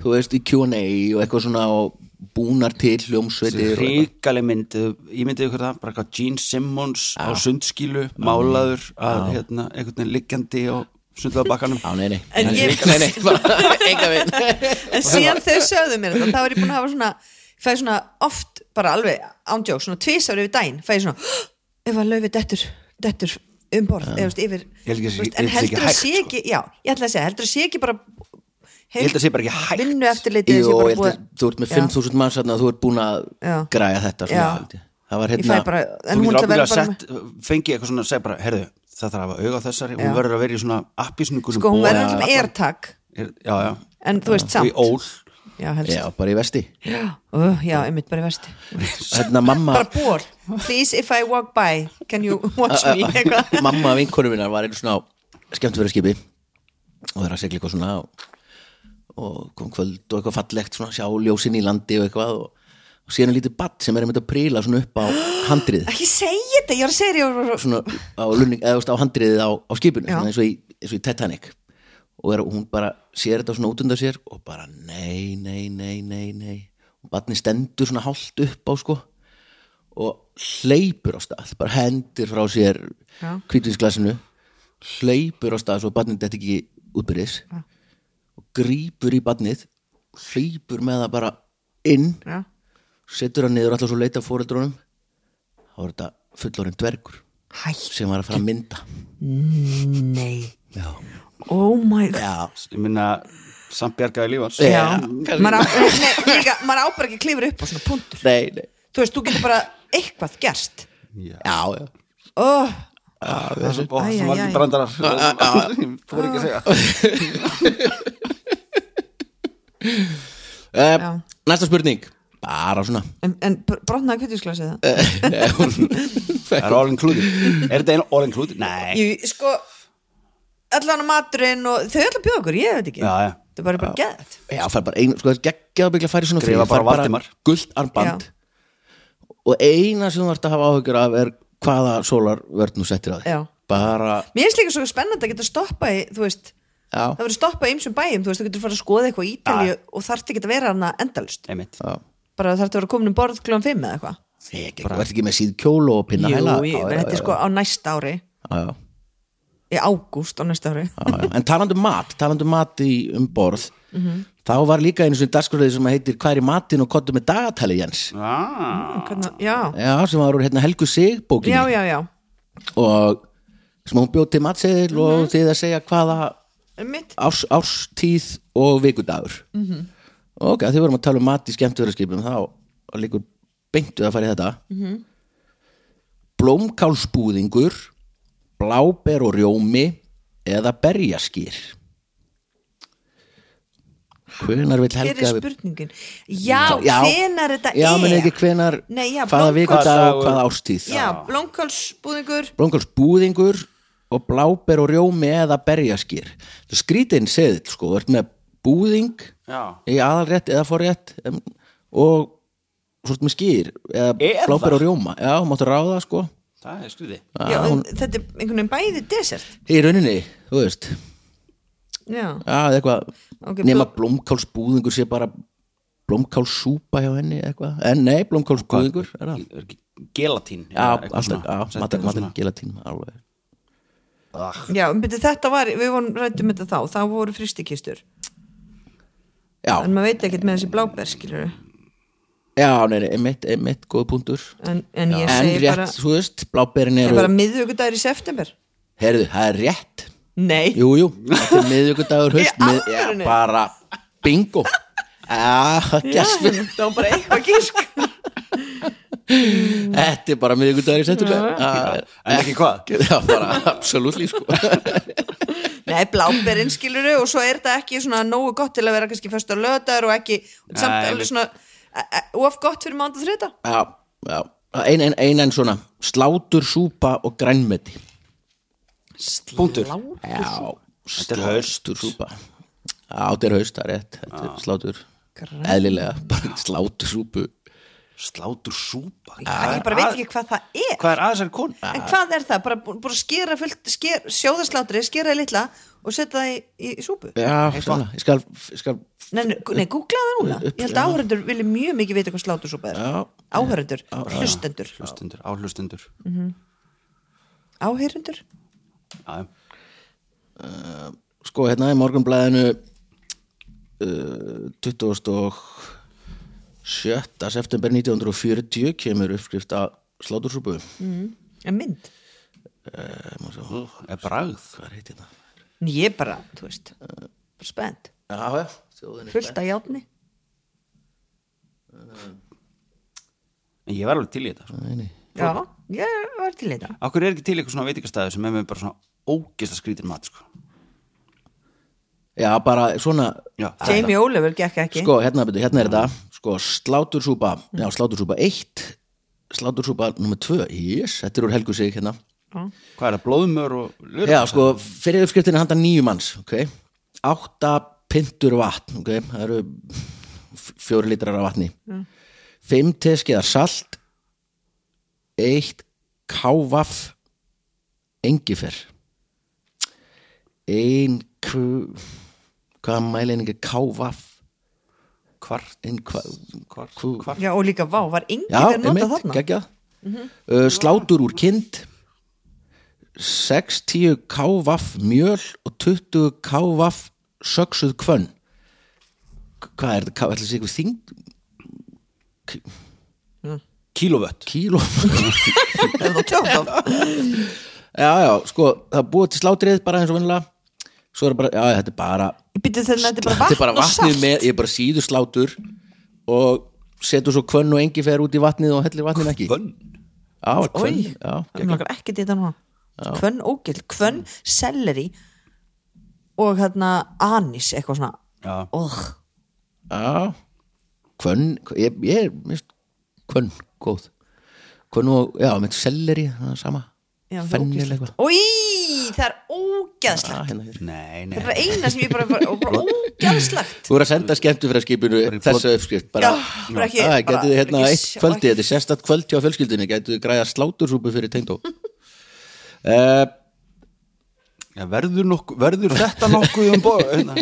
Speaker 4: þú veist, í Q&A og eitthvað svona og búnar til hljómsveitir og eitthvað.
Speaker 6: ríkaleg mynd eh, ég myndið ykkur það, bara eitthvað Gene Simmons á sundskilu, málaður að hérna, einhvern veginn liggjandi og sundlaða bakkanum
Speaker 4: Á, nei, nei,
Speaker 5: En
Speaker 4: nei,
Speaker 5: ég-
Speaker 4: nei, nei, nei, bara, enga veginn.
Speaker 5: en síðan þau sögðu mér þetta þá er ég búin að hafa svona fæði svona oft bara alveg ándjók svona tvisar yfir daginn fæði svona "Hå, ef að laufi dettur, dettur um borð eða, veist, yfir,
Speaker 6: Ah. Ég held ekki að sé-
Speaker 5: þú veist,
Speaker 6: ég held
Speaker 5: en
Speaker 6: að sé
Speaker 5: heldur að sé
Speaker 6: ekki hægt, sko.
Speaker 5: ekki já, ég ætla að segja, heldur að sé ekki bara
Speaker 6: Ég held að sé bara ekki hægt.
Speaker 5: vinnu eftir litið
Speaker 4: Jú, og ég held að þú ert með 5.000 manns þarna, þú ert búin að
Speaker 5: Já.
Speaker 4: græja þetta svona,
Speaker 5: Já.
Speaker 4: held ég. það var
Speaker 5: ég fæ bara,
Speaker 4: hérna
Speaker 5: en
Speaker 6: þú
Speaker 5: hún ætla að
Speaker 6: getur ábyggilega
Speaker 5: vera
Speaker 6: að
Speaker 5: bara með-
Speaker 6: sett, fengi eitthvað svona, segi bara, herðu það þarf að hafa auga á þessari,
Speaker 5: Já.
Speaker 6: hún verður að vera í svona appisningunum
Speaker 5: sko, hún verður alltaf með airtag
Speaker 6: já, já,
Speaker 5: en þú veist
Speaker 6: og í
Speaker 5: samt
Speaker 6: ól
Speaker 5: já, helst
Speaker 4: já, bara í vesti
Speaker 5: já, Ó, já, einmitt bara í vesti
Speaker 4: hérna mamma
Speaker 5: bara bor, please if I walk by can you watch me eitthvað
Speaker 4: mamma vinkonu minnar var einu svona á skemmt verið skipi og það er að segla eitthvað svona og, og kom kvöld og eitthvað fallegt svona sjá ljósin í landi og eitthvað og, og síðan er lítið batt sem er einmitt að príla svona upp á handrið
Speaker 5: ekki segja þetta, ég var að segja þér, ég var-
Speaker 4: svona á, lunning, eða, þú veist, á handriðið á, á skipinu
Speaker 5: Já.
Speaker 4: svona eins, og í, eins og í Titanic og er, hún bara sér þetta svona út undan sér og bara nei, nei, nei, nei, nei og batni stendur svona hálft upp á sko og hleypur á stað bara hendir frá sér
Speaker 5: Já.
Speaker 4: kvítinsglasinu hleypur á stað svo batnið þetta ekki útbyrðis og grípur í batnið hleypur með það bara inn
Speaker 5: já,
Speaker 4: setur hann niður alltaf svo leita fóreldrónum þá er þetta fullorinn dvergur
Speaker 5: hæ
Speaker 4: sem var að fara að mynda
Speaker 5: Nei
Speaker 4: Já.
Speaker 5: Oh my god
Speaker 4: Já,
Speaker 6: ég minna, samt bjargaði lífans
Speaker 4: Já.
Speaker 5: maður á, nei, líka, maður á bara ekki að klifra upp á svona punkt
Speaker 4: nei, nei
Speaker 5: Þú veist, þú getur bara eitthvað gerst
Speaker 4: Já, já
Speaker 5: oh,
Speaker 6: það sem
Speaker 5: Æ, æ,
Speaker 6: var
Speaker 5: æ.
Speaker 6: ekki brandarar þú voru ekki að segja
Speaker 4: uh,
Speaker 5: Já.
Speaker 4: Næsta spurning Bara svona
Speaker 5: En, en brotnaði kvitisglasið
Speaker 4: Eh.
Speaker 5: það
Speaker 4: Nei, hún-
Speaker 6: það er all included, er þetta einu all included? nei,
Speaker 5: Ég, sko Allan á maturinn og þau ætla að bjóða okkur, ég veit ekki
Speaker 6: Já, já.
Speaker 5: Það er bara, bara geðt
Speaker 4: Já, fær bara einu, sko, það er geggjað byggla að fara í svona frí,
Speaker 6: Skrifa
Speaker 4: fær
Speaker 6: bara Valdimar.
Speaker 4: Gult armband Og eina sem þú ert að hafa áhugjur af er hvaða sólarvörn þú settir að því
Speaker 5: Já.
Speaker 4: Bara,
Speaker 5: Mér finnst líka svo spennandi að geta stoppa í, þú veist
Speaker 4: já,
Speaker 5: Það verður stoppa í ymsum bæjum, þú veist, þú getur fara að skoða eitthvað í Ítalíu og þarft ekki að vera hana endalust
Speaker 6: einmitt
Speaker 4: já.
Speaker 5: bara þarft að vera komin um borð kljóðan fimm eða eitthvað
Speaker 4: Ég ekki, verð ekki með síð kjólu og pinna hæla
Speaker 5: Jú, ég, menn þetta er sko á næsta ári
Speaker 4: já, já.
Speaker 5: í ágúst á næsta ári
Speaker 4: Já, já. en talandi um mat, talandi um mat í um borð þá var líka einu svona dagskurðið sem heitir Hvað er í matinn og kottu með dagatali Jens
Speaker 6: Ah,
Speaker 5: Hvernig, já.
Speaker 4: já, sem var úr hérna Helgu Sig bókinni
Speaker 5: já, já, já
Speaker 4: og sem hún bjóð til matseðil
Speaker 5: Mhm.
Speaker 4: og þið að segja hvaða
Speaker 5: Mitt,
Speaker 4: árs, árstíð og vikudagur
Speaker 5: Mhm.
Speaker 4: og ok, þið vorum að tala um mat í skemmtverðarskipum þá var líkur beintu að fara í þetta
Speaker 5: Mhm.
Speaker 4: blómkálsbúðingur bláber og rjómi eða berjaskýr hvenar vil
Speaker 5: hver
Speaker 4: helga
Speaker 5: er
Speaker 4: við-
Speaker 5: spurningin Já, já hvenar þetta
Speaker 4: já,
Speaker 5: er
Speaker 4: menn ekki hvenar
Speaker 5: Nei, já,
Speaker 4: hvaða
Speaker 5: blómkál-
Speaker 4: vikudag og
Speaker 6: Hvaða dagur?
Speaker 4: hvaða árstíð
Speaker 5: Já, blómkálsbúðingur
Speaker 4: blómkálsbúðingur og bláber og rjómi eða berjaskýr það skrítinn seðil sko, þú ert með búðing
Speaker 6: Já.
Speaker 4: í aðalrétt eða forrétt em, og svo ert með skýr eða
Speaker 6: Eða?
Speaker 4: bláber og rjóma, já, máttu ráða sko
Speaker 6: það er skriði
Speaker 5: já, hún... Þetta er einhvern veginn bæði desert
Speaker 4: í rauninni, þú veist
Speaker 5: Já,
Speaker 4: já, eða eitthvað,
Speaker 5: Ok,
Speaker 4: nema
Speaker 5: bló-
Speaker 4: blómkálsbúðingur sé bara blómkálsúpa hjá henni eitthvað, en nei, blómkálsbúðingur er það
Speaker 6: Er ekki gelatín
Speaker 4: Já,
Speaker 6: Eitthvað
Speaker 4: alltaf,
Speaker 6: svona.
Speaker 4: já, matur,
Speaker 6: Settu eitthvað
Speaker 4: matur,
Speaker 6: svona.
Speaker 4: gelatín alveg.
Speaker 5: já beti, þetta var, við vorum rættum þetta þá þá voru fristikistur,
Speaker 4: Já,
Speaker 5: en maður veit ekkert með þessi bláber skilur
Speaker 4: já, nei, nei, einmitt, einmitt, góða punktur
Speaker 5: en, en ég
Speaker 4: En
Speaker 5: segi
Speaker 4: rétt,
Speaker 5: bara,
Speaker 4: þú veist, bláberin
Speaker 5: ég
Speaker 4: eru
Speaker 5: bara miðvikudagur í september
Speaker 4: Herðu, það er rétt
Speaker 5: Nei,
Speaker 4: Jú, jú, þetta er miðvikudagur
Speaker 5: Í
Speaker 4: haust mið, já,
Speaker 5: alvörunni?
Speaker 4: Bara bingo Já, gæst við
Speaker 5: það var bara eitthvað gísk
Speaker 4: Þetta er bara miðvikudagur í september
Speaker 6: en ekki hvað
Speaker 4: Já, bara, absolutt sko
Speaker 5: Nei, bláberinn skilur og svo er þetta ekki svona nógu gott til að vera kannski fyrst á löðar og ekki samt
Speaker 6: Nei,
Speaker 5: alveg
Speaker 6: einmitt.
Speaker 5: svona e- e- of gott fyrir mánda þriðta
Speaker 4: Já, já Ein, ein, ein en svona, slátur, súpa og grænmeti
Speaker 6: Punktur.
Speaker 4: Já,
Speaker 6: Þetta er haust.
Speaker 4: slátur, súpa Já, þetta er haust, það er rétt Þetta er slátur, eðlilega bara slátur, súpu
Speaker 6: slátur súpa
Speaker 5: ég bara veit ekki hvað það er
Speaker 6: hvað er að þessari konu
Speaker 5: en hvað er það, bara bú- búin að skera fullt, sker, sjóða slátri, skera í litla og setja það í, í, í súpu
Speaker 4: Já, svona, ég skal, ég skal
Speaker 5: nei, nei, nei, googlaði það núna ég held að áhörendur vilja mjög mikið vita hvað slátursúpa er
Speaker 4: Já.
Speaker 5: áhörendur, hlustendur Mm.
Speaker 6: hlustundur, áhlustundur
Speaker 5: áhörendur,
Speaker 6: já, já.
Speaker 4: sko hérna í uh, morgunblæðinu uh, 27. september 1940 kemur uppskrift að slátursúpu mm.
Speaker 5: en mynd
Speaker 6: er hérna? bragð
Speaker 4: hvað heitir það?
Speaker 5: en ég bara, þú veist, bara spennt
Speaker 4: Já, já, þjóðinni
Speaker 5: fullt af játni
Speaker 6: en ég var alveg til í þetta sko.
Speaker 4: Nei, nei.
Speaker 5: já, ég var til í þetta
Speaker 6: Akkur er ekki til eitthvað svona veitingastæði sem er með bara svona ógist að skrítir mat sko.
Speaker 4: Já, bara svona
Speaker 6: Já, það er
Speaker 5: Jamie Oliver gekk ekki
Speaker 4: sko, hérna, byrju, hérna er þetta sko, slátursúpa, já, slátursúpa 1 slátursúpa nummer 2 yes, þetta er úr helgu sig hérna
Speaker 6: það. Hvað er það, blóðmör og lur?
Speaker 4: Já, sko, fyrir uppskriftin er handa nýju manns ok, átta pintur vatn, ok, það eru f- fjóri litrar af vatni fimm teskeiðar salt eitt kávaf engifer ein kv... hvaða mæleininga kávaf
Speaker 6: Kvart,
Speaker 4: ein kva...
Speaker 6: kvart,
Speaker 4: Kú-
Speaker 6: kvart.
Speaker 5: já, og líka, vá, var engin
Speaker 4: Já,
Speaker 5: þegar notað
Speaker 4: einmitt,
Speaker 5: þarna Mhm.
Speaker 4: geggjað uh, Slátur úr kind 60 kávaf mjöl og 20 kávaf söksuð kvönn K- Hvað er þetta? Ká- Ætli sé eitthvað þing?
Speaker 6: Kílovött.
Speaker 4: Kíló?
Speaker 5: er það tjótt á
Speaker 4: já, já, sko, það er búið til slátrið bara eins og vinnulega Svo er bara, já, þetta er bara
Speaker 5: ég byrja þennan, þetta er bara
Speaker 4: Þetta er bara
Speaker 5: vatn og
Speaker 4: vatnið
Speaker 5: salt
Speaker 4: með, ég er bara síður slátur og setur svo kvönn og engi fer út í vatnið og hellir vatnið ekki
Speaker 6: Bönn.
Speaker 4: Já,
Speaker 5: Oj,
Speaker 4: kvönn, já,
Speaker 5: það er ekki þetta núna Kvönn ógild, kvönn, selleri og hérna anis, eitthvað svona
Speaker 6: Já.
Speaker 5: oh,
Speaker 4: Já, hvönn, ég, ég er mist hvönn, góð hvönn og, já, með selleri, það er sama
Speaker 5: já, það er
Speaker 4: fennileg
Speaker 5: ógeðslegt
Speaker 4: eitthvað
Speaker 5: Í, það er ógeðslegt
Speaker 4: Ah, hérna hér.
Speaker 6: Nei, nei.
Speaker 5: Það er bara eina sem ég bara, bara, bara ógeðslegt
Speaker 4: Þú er að senda skemmtu fyrir skipinu þessa uppskrift bara,
Speaker 5: Já, bara ekki-
Speaker 4: Æ,
Speaker 5: bara-
Speaker 4: gætið þið hérna
Speaker 5: ekki
Speaker 4: eitt
Speaker 5: sjá-
Speaker 4: kvöldi þetta er sérstætt kvöldi á fjölskyldinu gætið þið græða slátursúpu fyrir tengdó uh,
Speaker 6: Já, verður, nokku, verður þetta nokkuð um borð? Hérna.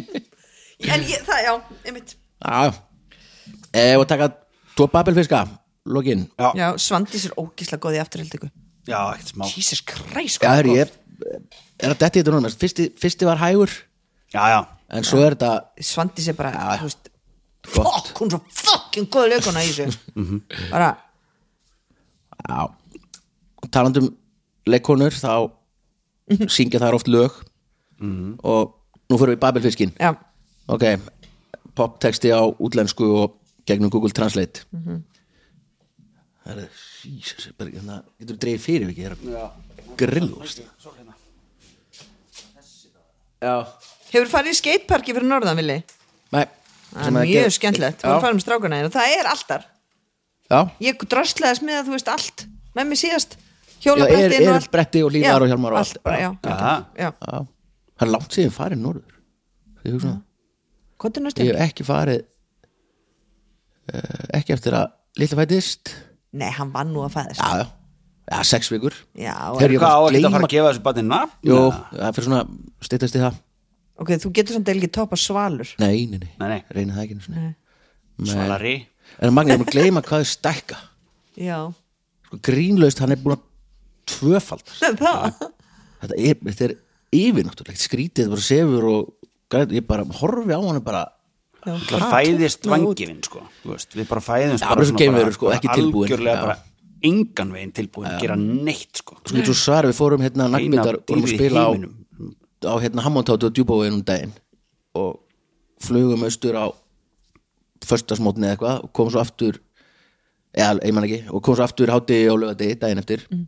Speaker 5: En ég, það, já, einmitt
Speaker 4: Já eh, og taka tvo babelfiska lokin
Speaker 6: Já.
Speaker 5: Já, Svandís er ógeðslega góð í afturhildingu
Speaker 6: Já, ekkert smá.
Speaker 5: Jesus Christ,
Speaker 4: Já,
Speaker 5: hvað
Speaker 4: herri,
Speaker 5: hún er
Speaker 4: ég er að detti þetta núna fyrsti, fyrsti var hægur
Speaker 6: Já, já.
Speaker 4: en svo er þetta
Speaker 5: góð Svandís er bara, þú veist
Speaker 4: Gott. Mhm.
Speaker 5: Fuck, hún er svo fucking góð leikuna í þessu Bara,
Speaker 4: Já Talandum leikonur þá
Speaker 5: Mhm.
Speaker 4: syngja þær oft lög og nú fyrir við í Babelfiskin
Speaker 5: já,
Speaker 4: ok, poptexti á útlensku og gegnum Google Translate mm
Speaker 5: Mhm.
Speaker 4: -hmm. Það er Jesus, ég bara, hérna, getur þú dreigð fyrir ekki, ég er að grillast Já
Speaker 5: hefur farið í skateparki fyrir norðan, Vili?
Speaker 4: Nei,
Speaker 5: Það
Speaker 4: sem
Speaker 5: er
Speaker 4: að
Speaker 5: mjög
Speaker 4: gera-
Speaker 5: skemmtilegt,
Speaker 4: Já,
Speaker 5: við farum strákana hérna Það er alltar,
Speaker 4: já.
Speaker 5: ég dröslaðis með að þú veist allt Með mér síðast,
Speaker 4: Já,
Speaker 5: hjólabretti
Speaker 4: er- er bretti og hlífar og hjálmar og allt.
Speaker 5: bara, já,
Speaker 6: Já.
Speaker 5: já.
Speaker 4: já. Það er langt síðan farið norður Ég hugsa það
Speaker 5: Hvað er næstu?
Speaker 4: ég hef ekki farið uh, ekki eftir að litla fættist
Speaker 5: Nei, hann vann nú að fæðast
Speaker 4: já, já, já, sex vikur
Speaker 5: Já,
Speaker 4: Þegar
Speaker 5: er,
Speaker 4: ég
Speaker 6: Hvað á
Speaker 4: var að
Speaker 6: ekki að fara
Speaker 4: gleyma-
Speaker 6: að gefa þessu barni nafn?
Speaker 4: jú, það fyrir svona steytast í það
Speaker 5: ok, þú getur samt ekki topa svalur
Speaker 4: nei, nei, nei,
Speaker 6: Nei, nei.
Speaker 4: reyna það ekki einu sinni.
Speaker 6: Svalari.
Speaker 4: en það magnir að gleyma hvað er stækka
Speaker 5: Já,
Speaker 4: sko, grínlaust, hann er búin að tvöfald
Speaker 5: það
Speaker 4: þetta er, þetta er yfirnáttúrlegt skrítið, bara sefur og grænt, ég bara horfi á hann bara
Speaker 6: Það fæðist vangifinn, sko. Þú veist, við bara fæðumst
Speaker 4: Já,
Speaker 6: bara
Speaker 4: bara
Speaker 6: svona
Speaker 4: geimverur, sko, ekki tilbúin.
Speaker 6: Algjörlega
Speaker 4: Já.
Speaker 6: bara engan veginn tilbúin að gera neitt, sko.
Speaker 4: sko, þú svar, við fórum hérna
Speaker 6: Eina
Speaker 4: nagnbyndar, vorum að
Speaker 6: dýrið í
Speaker 4: spila á
Speaker 6: heiminum.
Speaker 4: á hérna Hammontátu og Djúbói um daginn og flugum austur á föstasmótni eða eitthvað og kom svo aftur eða, ég man ekki, og kom svo aftur hátti og lögadegi daginn eftir
Speaker 5: Mm.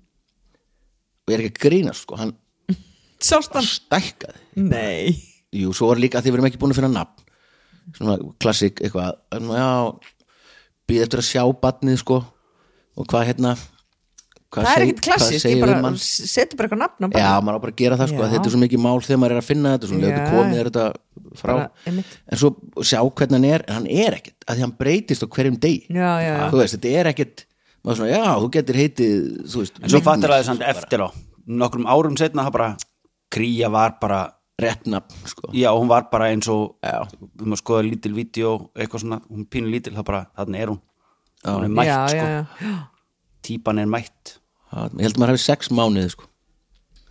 Speaker 4: og ég er ekki að grínast sko, hann
Speaker 5: Sást hann?
Speaker 4: stækkaði
Speaker 5: Nei
Speaker 4: Jú, svo var líka að því við erum ekki búin að finna nafn svona klassik eitthvað en já, býð eftir að sjá batnið sko og hvað hérna Hvað
Speaker 5: það er
Speaker 4: seg-
Speaker 5: ekkit klassist,
Speaker 4: hvað
Speaker 5: ég
Speaker 4: segir um
Speaker 5: bara
Speaker 4: mann?
Speaker 5: setur bara eitthvað nafn á
Speaker 4: Já,
Speaker 5: bara
Speaker 4: maður á bara að gera það sko,
Speaker 5: Já.
Speaker 4: að þetta er svo mikið mál þegar maður er að finna þetta, svona
Speaker 5: Já.
Speaker 4: lögur komið er þetta frá,
Speaker 5: Bara, einmitt.
Speaker 4: en svo sjá hvernig hann er, en hann er ekkert, að því hann breytist á hverjum degi,
Speaker 5: Já, já, já.
Speaker 4: þú veist, þetta er ekkert, maður svona, já, þú getur heitið, þú veist, sko,
Speaker 6: en svo fattar það samt eftir á nokkrum árum setna það bara kríja var bara
Speaker 4: retnafn, sko,
Speaker 6: já hún var bara eins og við maður skoða lítil vídeo eitthvað svona hún pínu lítil það bara þannig er hún hún er mætt
Speaker 5: já,
Speaker 6: sko
Speaker 5: já, já.
Speaker 6: típan er mætt
Speaker 4: Það- ég held maður hafi sex mánuði, sko,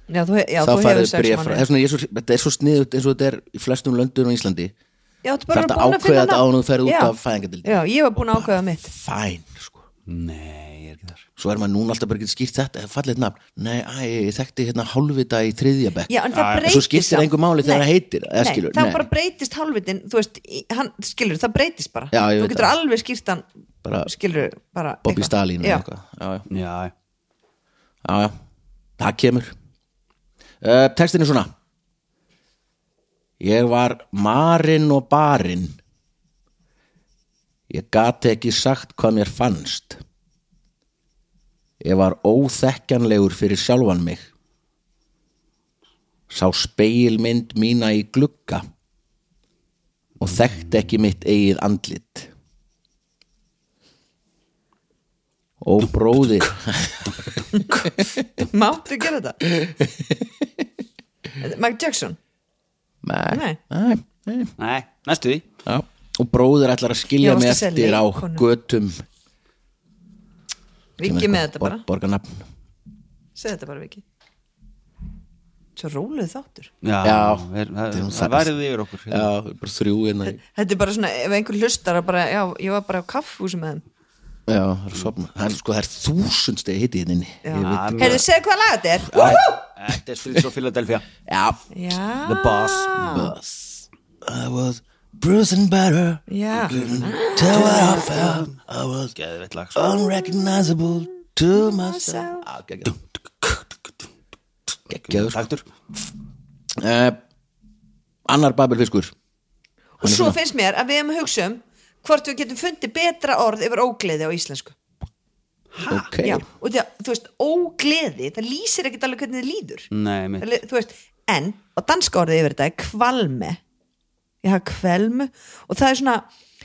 Speaker 5: Já, þú, he- já,
Speaker 4: þá
Speaker 5: þú hefur
Speaker 4: farið
Speaker 5: sex
Speaker 4: bréf frá,
Speaker 5: mánuði.
Speaker 4: það er svona, ég er svo, þetta er svo sniðut eins og þetta er í flestum löndunum á Íslandi,
Speaker 5: Já,
Speaker 4: þarf
Speaker 5: þú bara
Speaker 4: þetta
Speaker 5: búin að finna
Speaker 4: ákveða þetta
Speaker 5: nafn.
Speaker 4: áður en þú ferð út
Speaker 5: Já.
Speaker 4: af fæðingardeildinni.
Speaker 5: Já, ég var búin að ákveða mitt
Speaker 4: fæn, sko,
Speaker 6: nei ég er ekki þar
Speaker 4: svo er maður núna alltaf bara ekki skýrt þetta, fallið nafn, nei, æ, ég þekkti hérna hálfvita í þriðja bekk,
Speaker 5: Já, en það breytist
Speaker 4: Ah, svo skiptir
Speaker 5: samt.
Speaker 4: engu máli þegar
Speaker 5: Nei.
Speaker 4: það heitir, eða
Speaker 5: Nei,
Speaker 4: skilur,
Speaker 5: þá
Speaker 4: nei.
Speaker 5: bara breytist hálfitin Þú veist, í- hann, skilur, það breytist bara
Speaker 4: Já, ég
Speaker 5: Þú
Speaker 4: veit
Speaker 5: getur
Speaker 4: það.
Speaker 5: alveg skýrt hann
Speaker 4: Bara-
Speaker 5: Skilur, bara
Speaker 4: Bobby
Speaker 5: eitthvað.
Speaker 4: Stalin
Speaker 5: Já.
Speaker 4: eða eitthvað já, já,
Speaker 6: já já
Speaker 4: já, já, það kemur uh, textin er svona ég var marinn og barinn ég gati ekki sagt hvað mér fannst ég var óþekkjanlegur fyrir sjálfan mig sá speilmynd mína í glugga og þekkti ekki mitt eigið andlit Ó bróðir
Speaker 5: Máttu gera þetta? Mike Jackson
Speaker 4: Nei,
Speaker 5: Nei.
Speaker 4: nei, nei.
Speaker 6: nei næstu því
Speaker 4: Já. Og bróður ætlar að skilja
Speaker 5: Já,
Speaker 4: mig
Speaker 5: varstu að segja
Speaker 4: eftir á
Speaker 5: leikkonu?
Speaker 4: götum
Speaker 5: Viki með þetta bara,
Speaker 4: Borgarnafn
Speaker 5: segð þetta bara Viki Svo róluð þáttur
Speaker 6: já,
Speaker 4: Já. Þegar
Speaker 6: er, það,
Speaker 4: hún
Speaker 6: það
Speaker 4: sagðist-
Speaker 6: værið yfir okkur
Speaker 4: Já, bara þrjú hérna í-
Speaker 5: Þetta er bara svona, ef einhver hlustar að bara, já, ég var bara á kaffhúsi með þeim
Speaker 4: Já, það er að sofna Það er sko, það er þúsund stegi hitti hérna inni Ég veit-
Speaker 6: Amen.
Speaker 5: Heyrðu, segðu hvað laga þetta er Woohoo!
Speaker 6: þetta er Streets of Philadelphia
Speaker 4: Já,
Speaker 5: Já
Speaker 6: The Boss
Speaker 4: bus I was bruising better
Speaker 5: Já,
Speaker 4: Tell what I felt I was
Speaker 6: geðveitt lag sko.
Speaker 4: unrecognizable to myself Á, geggjað. Geggjaður sko.
Speaker 6: taktur
Speaker 4: Eh, Annar babelfiskur
Speaker 5: og svo finnst mér að við hefum að hugsa um hvort við getum fundið betra orð yfir ógleði á íslensku
Speaker 4: Ok
Speaker 5: já, og því að, þú veist, ógleði það lýsir ekkert alveg hvernig þið líður
Speaker 6: nei mitt
Speaker 5: Það li- þú veist, en og danska orðið yfir þetta er kvalme já, kvelmu og það er svona,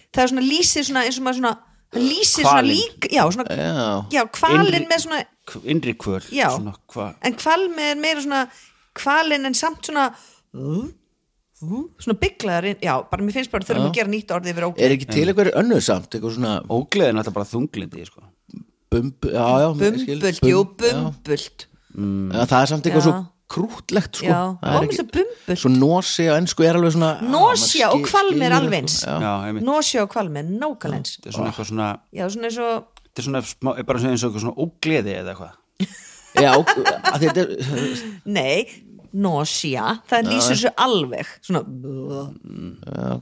Speaker 5: það er svona lýsir svona eins og maður svona, það lýsir svona
Speaker 6: Hvalinn.
Speaker 5: lík já, svona,
Speaker 4: Já.
Speaker 5: já kvalin
Speaker 6: Innri-
Speaker 5: með svona
Speaker 6: K- innri kvöl
Speaker 5: já,
Speaker 6: svona hva
Speaker 5: en kvalmi er meira svona kvalin en samt svona svona bygglaðar inn- já, bara mér finnst bara að þurfum að gera nýtt orðið yfir ógleði
Speaker 4: Er ekki til eitthvað önnur samt, eitthvað svona
Speaker 6: ógleðin er náttúrulega bara þunglindi sko.
Speaker 4: bumbu, já, já, ég skil,
Speaker 5: bumbult, jú,
Speaker 4: já. Mm.
Speaker 5: bumbult
Speaker 4: Já, það er samt eitthvað
Speaker 5: Já.
Speaker 4: svo krútlegt sko.
Speaker 5: Já,
Speaker 4: Það
Speaker 5: ó,
Speaker 4: er
Speaker 5: mér finnst það bumbult.
Speaker 4: Svo nósi og ennsku er alveg svona á,
Speaker 5: Nausea
Speaker 4: maður
Speaker 5: og
Speaker 4: skil-
Speaker 5: hvalm er
Speaker 4: skilur eitthvað.
Speaker 5: alveg eins.
Speaker 4: Já.
Speaker 6: já, einmitt
Speaker 5: Nósjá og kvalmi, nákvæmleins
Speaker 6: þetta er svona eitthvað svona
Speaker 5: já, svona eins og
Speaker 6: þetta er svona smá, er bara eins og eitthvað svona ógleði eða eitthvað
Speaker 4: Já, og, að þetta er
Speaker 5: nei, nósjá það lýsir svo alveg svona Eh,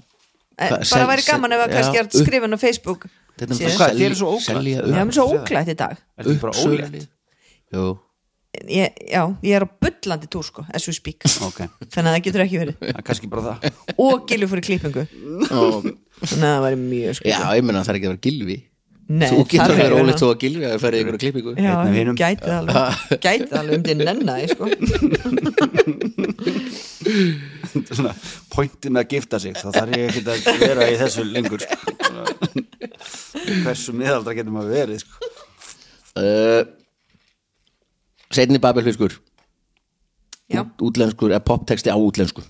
Speaker 4: Hvað,
Speaker 5: bara
Speaker 4: sel-
Speaker 5: væri gaman ef að
Speaker 4: sel-
Speaker 5: kannski
Speaker 4: já,
Speaker 5: er skrifin á Facebook
Speaker 4: þetta er
Speaker 5: síðu.
Speaker 4: náttúrulega
Speaker 6: Hvað,
Speaker 4: sel-
Speaker 6: þér er svo ókvæmt?
Speaker 4: selja
Speaker 5: já,
Speaker 4: upp
Speaker 5: mér er svo óglætt í dag
Speaker 6: er þetta bara
Speaker 4: uppsölu.
Speaker 6: ógleði
Speaker 4: Jú,
Speaker 5: ég, já, ég er á bullandi túr sko as we speak,
Speaker 6: ok
Speaker 5: þannig að það getur ekki verið
Speaker 6: það er kannski bara það
Speaker 5: og gilu fyrir klippingu þannig að það væri mjög sko
Speaker 4: já, ég menna það er ekki að vera gilvi
Speaker 5: Nei,
Speaker 4: Þú
Speaker 5: það
Speaker 4: getur að
Speaker 5: er
Speaker 4: vera
Speaker 5: ekki
Speaker 4: ólíkt
Speaker 5: verið.
Speaker 4: þó að gilvi að það ferði ykkur að klippingu
Speaker 5: Já,
Speaker 6: Einn af hinum.
Speaker 5: gæti það alveg gæti það alveg um til nenna því, sko.
Speaker 6: Þetta er svona pointin að gifta sig þá þarf ég ekki að vera í þessu lengur sko. Svona, hversu miðaldra getur maður verið sko.
Speaker 4: Seinni babelfiskur
Speaker 5: Já.
Speaker 4: Út- útlenskur, eða poptexti á útlensku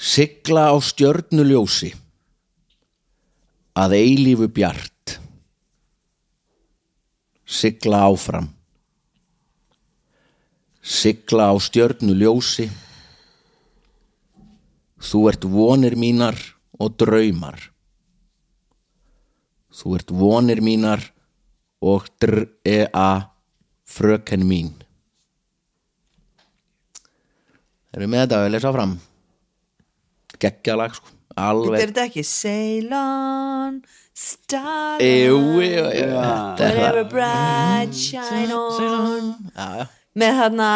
Speaker 4: sigla á stjörnuljósi að eilífu bjart sigla áfram sigla á stjörnuljósi þú ert vonir mínar og draumar þú ert vonir mínar og dr-e-a fröken mín Erum við með þetta að lesa fram Gekkja lag sko
Speaker 5: Þetta er
Speaker 4: Alveg
Speaker 5: þetta ekki Sail on,
Speaker 4: Jú, Mm. jú,
Speaker 5: starlight
Speaker 4: jú, þetta er það.
Speaker 5: Whatever bright shine on Með þarna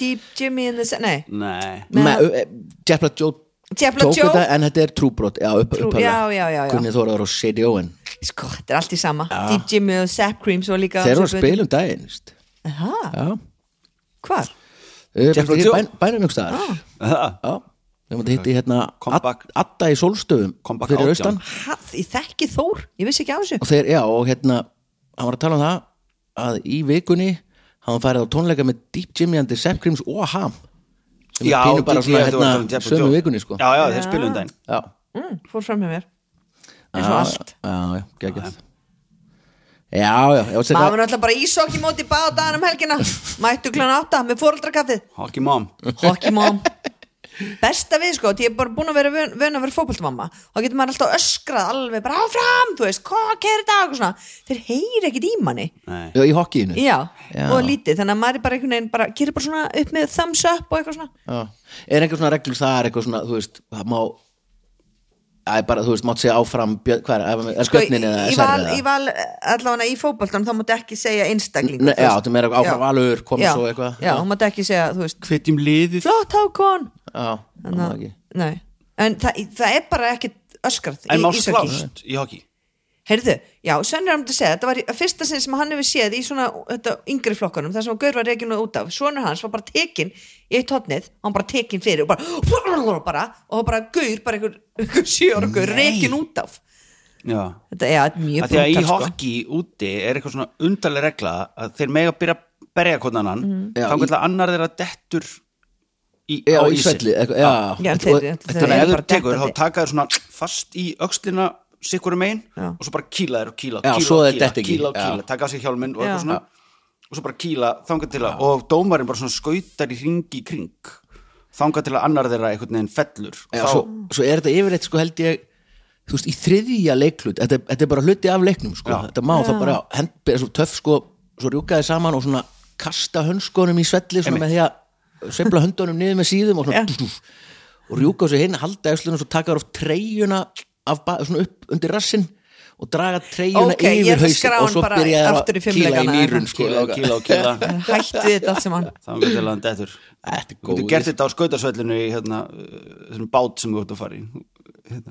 Speaker 5: Deep Jimmy in the Sun Nei,
Speaker 6: nei
Speaker 4: Me- ö- ö, Jepla Joe
Speaker 5: Jepla
Speaker 4: tók
Speaker 5: Joe.
Speaker 4: þetta en þetta er trúbrot Já, upp,
Speaker 5: Trú- já, já, já, já.
Speaker 4: Kunni Þóraður og Shady Owen
Speaker 5: sko, þetta er allt í sama Deep Jimmy og Sap Cream svo líka
Speaker 4: Þeir eru að
Speaker 5: Svo-
Speaker 4: spila um daginn veist.
Speaker 5: Er Aha,
Speaker 4: Já,
Speaker 5: hvar?
Speaker 6: Jack
Speaker 4: Jack
Speaker 6: Joe.
Speaker 4: Bæn, bænum ykkur staðar
Speaker 6: Ah. Það,
Speaker 4: Já, þegar maður hitti hérna
Speaker 6: Comeback.
Speaker 4: Ad- Adda í sólstöðum
Speaker 6: Comeback
Speaker 4: fyrir
Speaker 6: 18.
Speaker 4: austan
Speaker 5: Ha, ég þekki Þór, ég vissi ekki á þessu
Speaker 4: og þeir, já, og hérna hann var að tala um það að í vikunni hann færið á tónleika með Deep Jimmy and the Sepcrims og Ham sem
Speaker 6: já,
Speaker 4: er pínu bara
Speaker 6: ég-
Speaker 4: svona
Speaker 6: ég- þetta var um
Speaker 4: hérna
Speaker 6: Jeff og
Speaker 4: sömu
Speaker 6: Joe.
Speaker 4: vikunni, sko
Speaker 6: Já, já, þeir spilum daginn
Speaker 4: já.
Speaker 5: mm, Fór fram hjá mér Eins og allt
Speaker 4: já, já, geggjað Já, já, ég var að segja
Speaker 5: Maður er alltaf bara ísokki móti báða dagar um helgina Mættu klána átta með fóreldrakaffið
Speaker 6: Hockey mom
Speaker 5: Hockey mom Besta við sko, ég er bara búin að vera vön vön að vera fótboltamamma þá getur maður alltaf öskrað alveg bara áfram, þú veist, hvað kæri dag og svona þeir heyri ekkit í manni
Speaker 6: Nei.
Speaker 4: Já, í hokkíinu
Speaker 5: Já,
Speaker 4: Já.
Speaker 5: og lítið, þannig að maður er bara einhvern veginn bara, gerir bara svona upp með thumbs up og eitthvað svona
Speaker 4: Já. Er einhver svona reglur þar, eitthvað svona, þú veist, það má Það er bara, þú veist, mátt segja áfram björn, hvað er, er
Speaker 5: Sko,
Speaker 4: björnin eða
Speaker 5: í, í,
Speaker 4: serrið
Speaker 5: val,
Speaker 4: eða?
Speaker 5: í val, allavega í fótboltan þá máttu ekki segja einstaklingur
Speaker 4: Nei,
Speaker 5: þú
Speaker 4: já,
Speaker 5: veist.
Speaker 4: þú meira áfram
Speaker 5: Já.
Speaker 4: Valur, kom
Speaker 5: Já,
Speaker 4: svo eitthvað.
Speaker 5: Já,
Speaker 4: Já.
Speaker 5: þú máttu ekki segja, þú veist,
Speaker 6: Hvetjum liðið
Speaker 5: flott hákon
Speaker 4: Já, það má ekki
Speaker 5: Nei, en það, það er bara ekkit öskrað
Speaker 6: En má
Speaker 5: í íshokkí
Speaker 6: slást í hockey
Speaker 5: Heyrðu, já, Svenni er um að segja, þetta var í- að fyrsta sinn sem hann hefur séð í svona þetta, yngri flokkanum, það sem að Gaur var reikinu út af, sonur hans var bara tekin í eitt hotnið, hann bara tekin fyrir og bara, bara og bara Gaur, bara einhver, einhver sjóra Gaur, reikin út af
Speaker 6: Já
Speaker 5: Þetta já, þetta er mjög
Speaker 6: Af Því að í
Speaker 5: brútal, sko.
Speaker 6: hockey úti er eitthvað svona undarleg regla að þeir mega byrja að berja hvernig annan þá
Speaker 4: Mm. Já, í-
Speaker 6: getur annar þeirra dettur í,
Speaker 4: Já,
Speaker 6: á
Speaker 4: í
Speaker 6: ísinn.
Speaker 4: svelli, eitthvað, já
Speaker 5: Já,
Speaker 4: Sko,
Speaker 5: þeir- þeir-
Speaker 6: Þannig að ef
Speaker 5: eru
Speaker 6: þú
Speaker 5: bara
Speaker 6: tekur,
Speaker 5: dettandi.
Speaker 6: þá taka þér svona fast í öxlina sikkurum megin
Speaker 5: Já.
Speaker 6: og svo bara kýla þér og kýla,
Speaker 4: Já,
Speaker 6: kýla,
Speaker 4: svo
Speaker 6: og
Speaker 4: þeir
Speaker 6: kýla,
Speaker 4: detta ekki.
Speaker 6: kýla og
Speaker 4: Já.
Speaker 6: kýla taka á sig hjálminn og
Speaker 5: Já.
Speaker 6: eitthvað svona og svo bara kýla þangað til að og dómarinn bara svona skautar í ringi í kring þangað til að annar þeirra einhvern veginn fellur
Speaker 4: Já,
Speaker 6: þá,
Speaker 4: svo, svo er þetta yfirleitt, sko, held ég Þú veist, í þriðja leiklut Þetta, þetta er bara hluti af leiknum, sko
Speaker 6: Já.
Speaker 4: Þetta má það bara, hendi er svo töff, sko Svo rjúkaði saman og svona kasta hönskunum í svelli Svona með því að sveifla höndunum niður með síðum Og svona
Speaker 5: Já.
Speaker 4: dúf, Og rjúka á sig hinn, halda efslunum Svo taka þar of treyjuna af, ba- svona upp undir rassin Og draga treyjuna
Speaker 5: Ókei, ég
Speaker 4: yfir
Speaker 5: ætla
Speaker 4: hausinn
Speaker 5: að skrá
Speaker 4: Og
Speaker 5: hann
Speaker 4: svo
Speaker 5: bara
Speaker 4: byrja
Speaker 5: aftur í
Speaker 4: að kýla í
Speaker 5: fimleikana,
Speaker 4: nýrun,
Speaker 5: en-
Speaker 4: sko
Speaker 6: kýla og kýla og kýla
Speaker 5: Hættu þetta allt sem hann
Speaker 6: þangað til að hann dettur
Speaker 4: Þetta er
Speaker 6: Þú getur
Speaker 4: góð
Speaker 6: gert þetta á skautarsvellinu í hérna, uh, þessum bát sem þú ert að fara í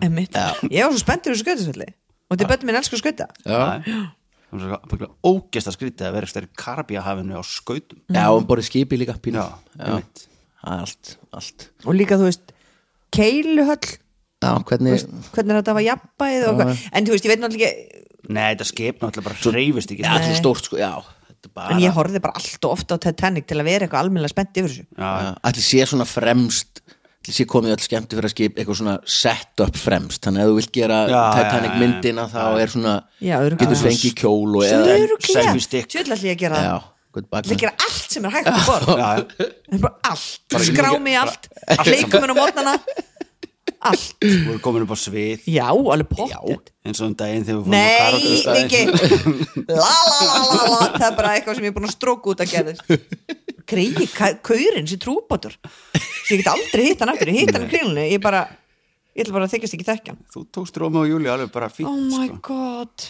Speaker 5: Einmitt. Ég var svo spenntur í skautasvelli og þetta er bönnum minn elsku skauta
Speaker 4: Já.
Speaker 6: Það er bara ógesta skrítið að vera eitthvað í Karabíahafinu á skautum
Speaker 4: Já, og um borðið skipi líka pínu
Speaker 6: Mm. Já, einmitt.
Speaker 4: Það er allt, allt
Speaker 5: og líka þú veist, keiluhöll
Speaker 4: Já, hvernig
Speaker 5: hvernig er þetta var jafnbæð og hvað en þú veist, ég veit náttúrulega ekki
Speaker 6: Nei, þetta skip náttúrulega bara hreyfist ekki
Speaker 4: Já, þetta er stórt sko, já Þetta er
Speaker 5: en
Speaker 4: bara
Speaker 5: ég horfði bara allt og ofta á Titanic til að vera eitthvað almennilega spennt yfir þessu
Speaker 6: Já,
Speaker 4: Ætli sé svona fremst Ætli sé komið öll skemmti fyrir að skip Eitthvað svona set-up fremst Þannig að ef þú vilt gera
Speaker 6: Já,
Speaker 4: Titanic
Speaker 6: já, já, já.
Speaker 4: myndina Þá er svona
Speaker 5: Já, örugglega.
Speaker 4: Getur fengið kjól og eða
Speaker 5: Örugglega.
Speaker 6: selfie stick.
Speaker 5: Djöfull ætla ég að gera
Speaker 4: Já,
Speaker 5: það
Speaker 4: hvað
Speaker 5: Ég ætla að
Speaker 4: bakna
Speaker 5: gera allt sem er hægt að borða
Speaker 6: já, já.
Speaker 5: bara allt, skrá mig í allt leikum hennar mótnana allt,
Speaker 6: voru komin upp á svið
Speaker 5: já, alveg pottet
Speaker 6: eins og um daginn þegar við
Speaker 5: Nei,
Speaker 6: fórum á
Speaker 5: Viki La la la la la Það er bara eitthvað sem ég er búin að stróka út að gerðist Krigi, kaurinn sem trúbátur Svo ég get aldrei hitt hann aftur Ég hitt hann í kringlunni Ég bara, ég ætla bara að þykjast ekki þekkja hann
Speaker 6: þú tókst Rómi og Júli alveg bara fínt
Speaker 5: Oh my
Speaker 6: sko.
Speaker 5: god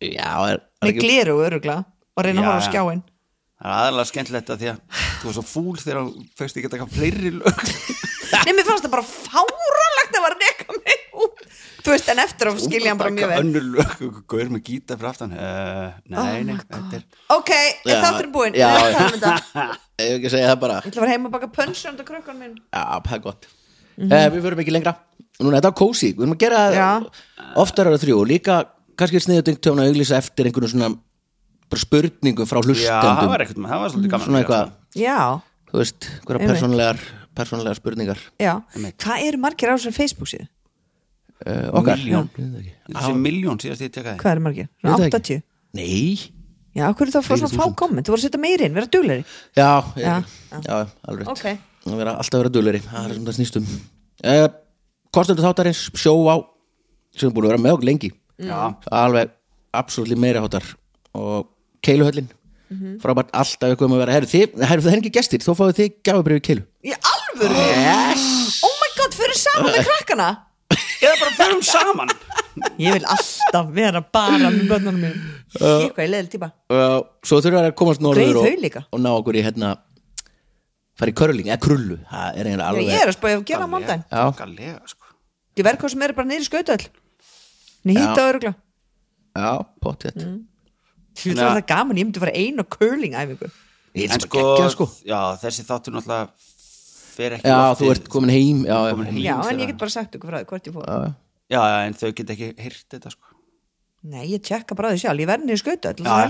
Speaker 4: Já, er, er
Speaker 5: Með
Speaker 4: ekki
Speaker 5: gleru örugla Og reyna að
Speaker 6: Já,
Speaker 5: horfa á
Speaker 6: já.
Speaker 5: skjáin
Speaker 6: það er aðalega skemmtilegt að því að þú var svo fúl þegar þú fegst ekki að taka fleiri lög
Speaker 5: Nei, mér fannst það bara fáralegt að var að reka mig út Þú veist, en eftir að skilja hann bara mjög vel Oh
Speaker 6: önnur lög, einhver gaur með gíta fyrir aftan uh, nei, nei, þetta er
Speaker 5: Ok, er
Speaker 4: Já.
Speaker 5: þáttur búinn?
Speaker 4: Já,
Speaker 5: Nei,
Speaker 4: já.
Speaker 5: það er þetta.
Speaker 4: Ef Ég ekki að segja það bara
Speaker 5: Ég ætla að fara heim og baka pönsur undir krökkunum minn
Speaker 4: Já, það er gott eh, Við förum ekki lengra Núna, þetta er kósi Við erum að gera
Speaker 5: Mhm. Já.
Speaker 4: oftar ára þrjú og Líka kannski sniðutengt tjóna auglýsa eftir einhvern svona bara spurningum frá
Speaker 6: já, það
Speaker 4: hlustendum
Speaker 6: var ekkert, það var svolítið gaman
Speaker 4: Mm, Svona
Speaker 6: að gera,
Speaker 4: eitthvað
Speaker 5: Já,
Speaker 4: þú veist, hverja
Speaker 5: Einmitt.
Speaker 4: persónlegar persónlegar spurningar
Speaker 5: já Hvað eru margir á þessum Facebook síðu?
Speaker 4: uh,
Speaker 6: sko.
Speaker 4: okkar
Speaker 6: miljón,
Speaker 4: Ég
Speaker 6: þessi miljón síðast ég tekaði
Speaker 5: Hvað eru margir?
Speaker 4: veit það
Speaker 5: 80?
Speaker 4: ekki. Nei,
Speaker 5: Já, af hverju þá fór svona fá
Speaker 4: 40.000?
Speaker 5: komment? Þú voru að setja meiri inn, vera duglegri
Speaker 4: já, ég,
Speaker 5: Já,
Speaker 4: já. já alveg rétt.
Speaker 5: Ok.
Speaker 4: Það vera alltaf að vera dulleri, það er sem það snýstum uh, Kostundu þáttarins, sjó á sem er búin að vera með okkur lengi
Speaker 6: Já.
Speaker 4: alveg absolutt meira hátar og keiluhöllin frábært alltaf eitthvað um að vera herru, þið, herru það er ekki gestir, þó fáið þið gjafabrifi keilu
Speaker 5: Í alvöru? Yes. Oh my god, fyrir saman með krakkana
Speaker 6: eða bara förum saman
Speaker 5: Ég vil alltaf vera bara með bönnunum mín Ég hvað, ég leiðil típa
Speaker 4: uh, svo þurfa að komast norður
Speaker 5: Greið
Speaker 4: og,
Speaker 5: þau líka.
Speaker 4: og ná okkur í hérna fara í körling, eða krullu það er eiginlega alveg
Speaker 5: Ég er að spája að gera á mándaginn
Speaker 4: Já.
Speaker 6: galega, sko
Speaker 5: Ég verð hvað sem eru bara niður í skautöll Nei, hýta á örugla
Speaker 4: já, potið
Speaker 5: Mm. Þú veist það er gaman, ég myndi fara ein og curling æfingu
Speaker 4: Ég
Speaker 6: en
Speaker 4: held sem
Speaker 6: sko,
Speaker 4: að gegja sko
Speaker 6: já, þessi þáttur náttúrulega fer ekki
Speaker 4: Já,
Speaker 6: loftið.
Speaker 4: þú ert komin heim Já,
Speaker 6: Komin heim.
Speaker 5: Já, en
Speaker 6: þeirra.
Speaker 5: ég get bara sagt ykkur frá því hvort ég fór
Speaker 6: já, já, en þau get ekki hýrt þetta sko
Speaker 5: Nei, ég tjekka bara á því sjálf, ég verði niður skauta til þess
Speaker 6: Já,
Speaker 5: að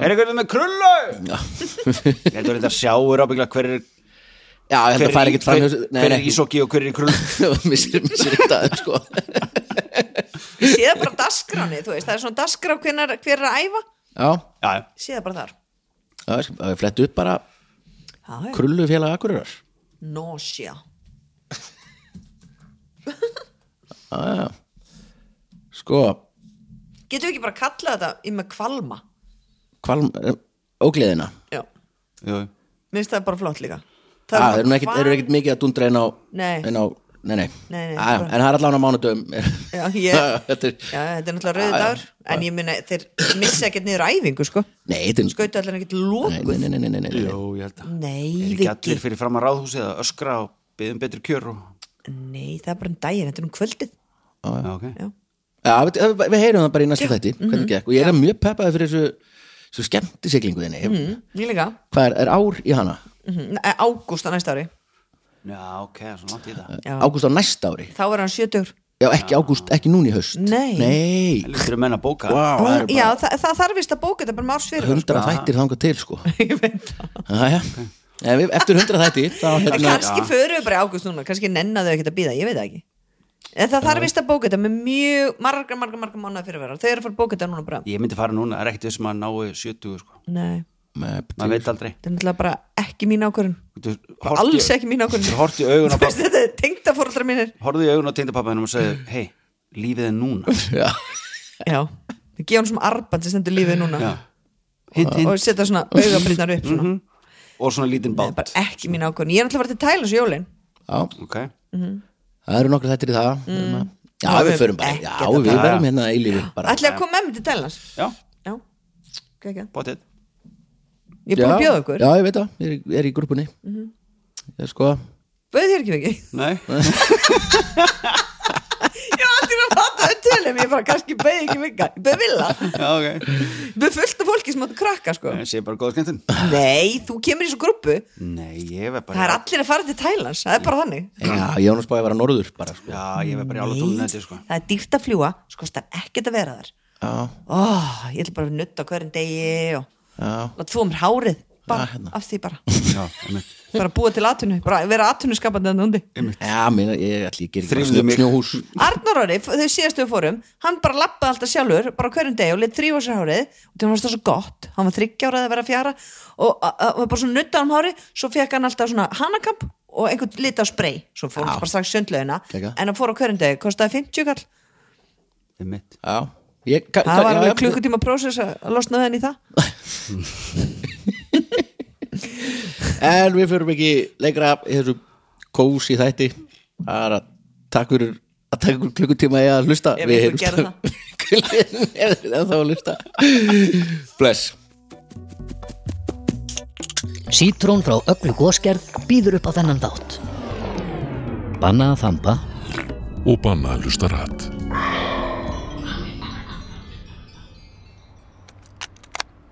Speaker 5: helgina
Speaker 6: er eitthvað með krullu ég heldur þetta sjáur ábyggla hver er
Speaker 4: Já, ég held
Speaker 6: hver
Speaker 4: að fara
Speaker 6: í-
Speaker 4: ekkert fram
Speaker 6: hver, hver er ísokki og hver er í krullu
Speaker 4: Missir, missir eitt aðeins sko
Speaker 5: Ég sé það bara á dasgráni, þú veist, það er svona dasgrá hver, hver er að æfa,
Speaker 4: Já,
Speaker 6: já, já.
Speaker 5: Ég sé það bara þar
Speaker 4: já, ég skal- ég flettu upp bara
Speaker 5: Já, já.
Speaker 4: krullu félag Akureyrar
Speaker 5: Nausea
Speaker 4: Sko,
Speaker 5: Getum við ekki bara kallað þetta í með kvalma
Speaker 4: kvalm, eh, ógleðina
Speaker 5: Já,
Speaker 6: Jú, jú.
Speaker 5: minnst það er bara flott líka
Speaker 4: Já,
Speaker 5: bara
Speaker 4: þeir Ah, eru nú ekkert-
Speaker 5: hval-
Speaker 4: þeir eru ekkert mikið að dundra inn á
Speaker 5: Nei.
Speaker 4: inn á, Nei, nei,
Speaker 5: Nei, sko. nei,
Speaker 4: Já, já,
Speaker 5: bara-
Speaker 4: En það er allan á mánudum
Speaker 5: Já, ég-
Speaker 4: Þetta er
Speaker 5: Já, þetta er náttúrulega rauði dagur En ég muni, þeir missa ekkert niður æfingu, sko
Speaker 4: Nei, þetta er
Speaker 5: Skauta allir ekkert
Speaker 4: Nei,
Speaker 5: lokuð
Speaker 4: nei, nei, nei, nei, nei, nei.
Speaker 6: Jú, ég held að
Speaker 5: Nei,
Speaker 6: er ekki
Speaker 5: Viki,
Speaker 6: allir fyrir fram að ráðhúsið að öskra og byggðum betri kjör og...
Speaker 5: nei, það er bara um daginn, þetta er um kvöldið
Speaker 6: já, okay.
Speaker 5: Já,
Speaker 4: Já, við, eh, við heyrum það bara í næsta þætti
Speaker 5: Mhm.
Speaker 4: Hvernig gekk Og ég er mjög peppaði fyrir þessu Svo skemmtisiglingu þinni
Speaker 5: mm, ég líka
Speaker 4: Hvað er, er ár í hana?
Speaker 5: Mhm, eh, Ágúst á næsta ári
Speaker 6: já, ok, svona átt í það
Speaker 5: Já.
Speaker 4: Ágúst á næsta ári
Speaker 5: Þá er hann 70
Speaker 4: Já, ekki ágúst, ekki núna í haust
Speaker 5: Nei.
Speaker 4: Nei
Speaker 6: Lítur menn að bóka
Speaker 4: Vá, það
Speaker 5: Hún,
Speaker 4: eru
Speaker 5: já,
Speaker 4: bara
Speaker 5: það, það þarf vist að bóka þetta bara með árs fyrir
Speaker 4: hundra þættir þangað til sko
Speaker 5: Ég veit það.
Speaker 4: Jæja. En við- Eftir hundra þættir þá
Speaker 5: En
Speaker 4: hérna
Speaker 5: kannski förum við bara í águst núna Kannski nenna þau ekkert að býða, ég veit það ekki En það þarf vist að bóka þetta með mjög margar, margar, margar mánuða fyrirvera Þau eru að fara að bóka þetta núna bara
Speaker 6: ég myndi fara núna, það er ekkert þessum að náu 70 sko.
Speaker 5: Nei,
Speaker 6: maður veit aldrei
Speaker 5: þetta er náttúrulega bara ekki mín ákvörun
Speaker 6: Þú
Speaker 5: Alls ekki mín ákvörun
Speaker 6: Þú horfði í augun á
Speaker 5: Þú veist,
Speaker 6: pappa
Speaker 5: Þetta er tengda fóröldra mínir
Speaker 6: Horfði í augun á tengdapappaðinum og segði Hei, lífið er núna
Speaker 4: Já,
Speaker 5: Já, það gefa hann svona arband sem stendur lífið núna
Speaker 6: Já. hint,
Speaker 5: Og
Speaker 6: hint,
Speaker 5: setja svona augabrýtnar upp
Speaker 4: Mm.
Speaker 5: svona.
Speaker 6: Og svona lítinn
Speaker 5: Það er Mhm.
Speaker 6: bát
Speaker 5: bara ekki mín ákvörun Ég er náttúrulega að fara til Thailands í jólin
Speaker 4: já
Speaker 6: Ok,
Speaker 4: það eru nokkra þættir í það mm. Já,
Speaker 5: Það
Speaker 4: við
Speaker 5: er
Speaker 4: förum bara
Speaker 5: ekkert
Speaker 4: Já,
Speaker 5: að
Speaker 4: við
Speaker 6: tala.
Speaker 4: verum hérna í lífi bara
Speaker 5: Ætlaði að koma með mér til Thailands
Speaker 6: já,
Speaker 5: Já, ekki
Speaker 6: bátið
Speaker 5: Ég er búin að bjóða Mhm. ykkur
Speaker 4: Já, ég veit það, ég er, ég er í grúpunni Ég er sko
Speaker 5: Bauð þér ekki ekki
Speaker 6: Nei,
Speaker 5: Ég var alltaf að fatta þau tölum Ég bara kannski bauð ekki vika Ég bauð villa
Speaker 6: já, ok
Speaker 5: Ég Bauð fullt af fólki sem áttu krakka sko
Speaker 6: Ég sé bara góða skemmtun
Speaker 5: Nei, þú kemur í svo grúppu
Speaker 6: Nei, ég verð
Speaker 5: Það er
Speaker 6: bara
Speaker 5: allir að fara til Thailands Það er bara þannig
Speaker 4: Já, Jónas bæði að vera norður bara sko
Speaker 6: Já, ég verð bara í ála
Speaker 5: Nei,
Speaker 6: tónum þetta sko
Speaker 5: Það er dýrt að fljúa Sko, það er ekkert að vera þar
Speaker 4: Já,
Speaker 5: oh, Ég ætla bara að nutta á hverjum degi og
Speaker 4: já
Speaker 5: og tvo mér hárið bara,
Speaker 4: Já, hérna.
Speaker 5: af því bara
Speaker 6: Já, einmitt.
Speaker 5: bara búa til atvinnu, bara vera atvinnuskapandi þannig hundi.
Speaker 4: Já, minna, ég ætli ekki að
Speaker 6: Þrífðu mig.
Speaker 4: gera snjóhús
Speaker 5: Arnar Orri, f- þau síðastu við fórum hann bara lappaði alltaf sjálfur, bara á hverjum degi og leitt þrýfa sér hárið og það var það svo gott hann var þryggja árað að vera fjara og a- a- var bara svona nuttað um hárið svo fekk hann alltaf svona hanakamp og einhvern lit á spray, svo fór hann bara strax sundlaugina
Speaker 4: Kekka.
Speaker 5: en hann fór á hverjum degi, kostaði 50 kall
Speaker 6: Einmitt.
Speaker 4: Já, ég ka-
Speaker 5: það var
Speaker 4: já, já,
Speaker 5: alveg klukkutíma prósess að að losna við henni í það
Speaker 4: En við förum ekki lengra í þessu kós í þætti bara takk fyrir að taka ykkur klukkutíma í að hlusta
Speaker 5: Ef
Speaker 4: Við
Speaker 5: einhver
Speaker 4: heyrumst
Speaker 5: gerði það.
Speaker 4: Ef þið ennþá að hlusta Bless
Speaker 2: Sítrón frá öllu góskerð býður upp á þennan þátt. Banna að þamba
Speaker 3: og banna að hlusta rætt.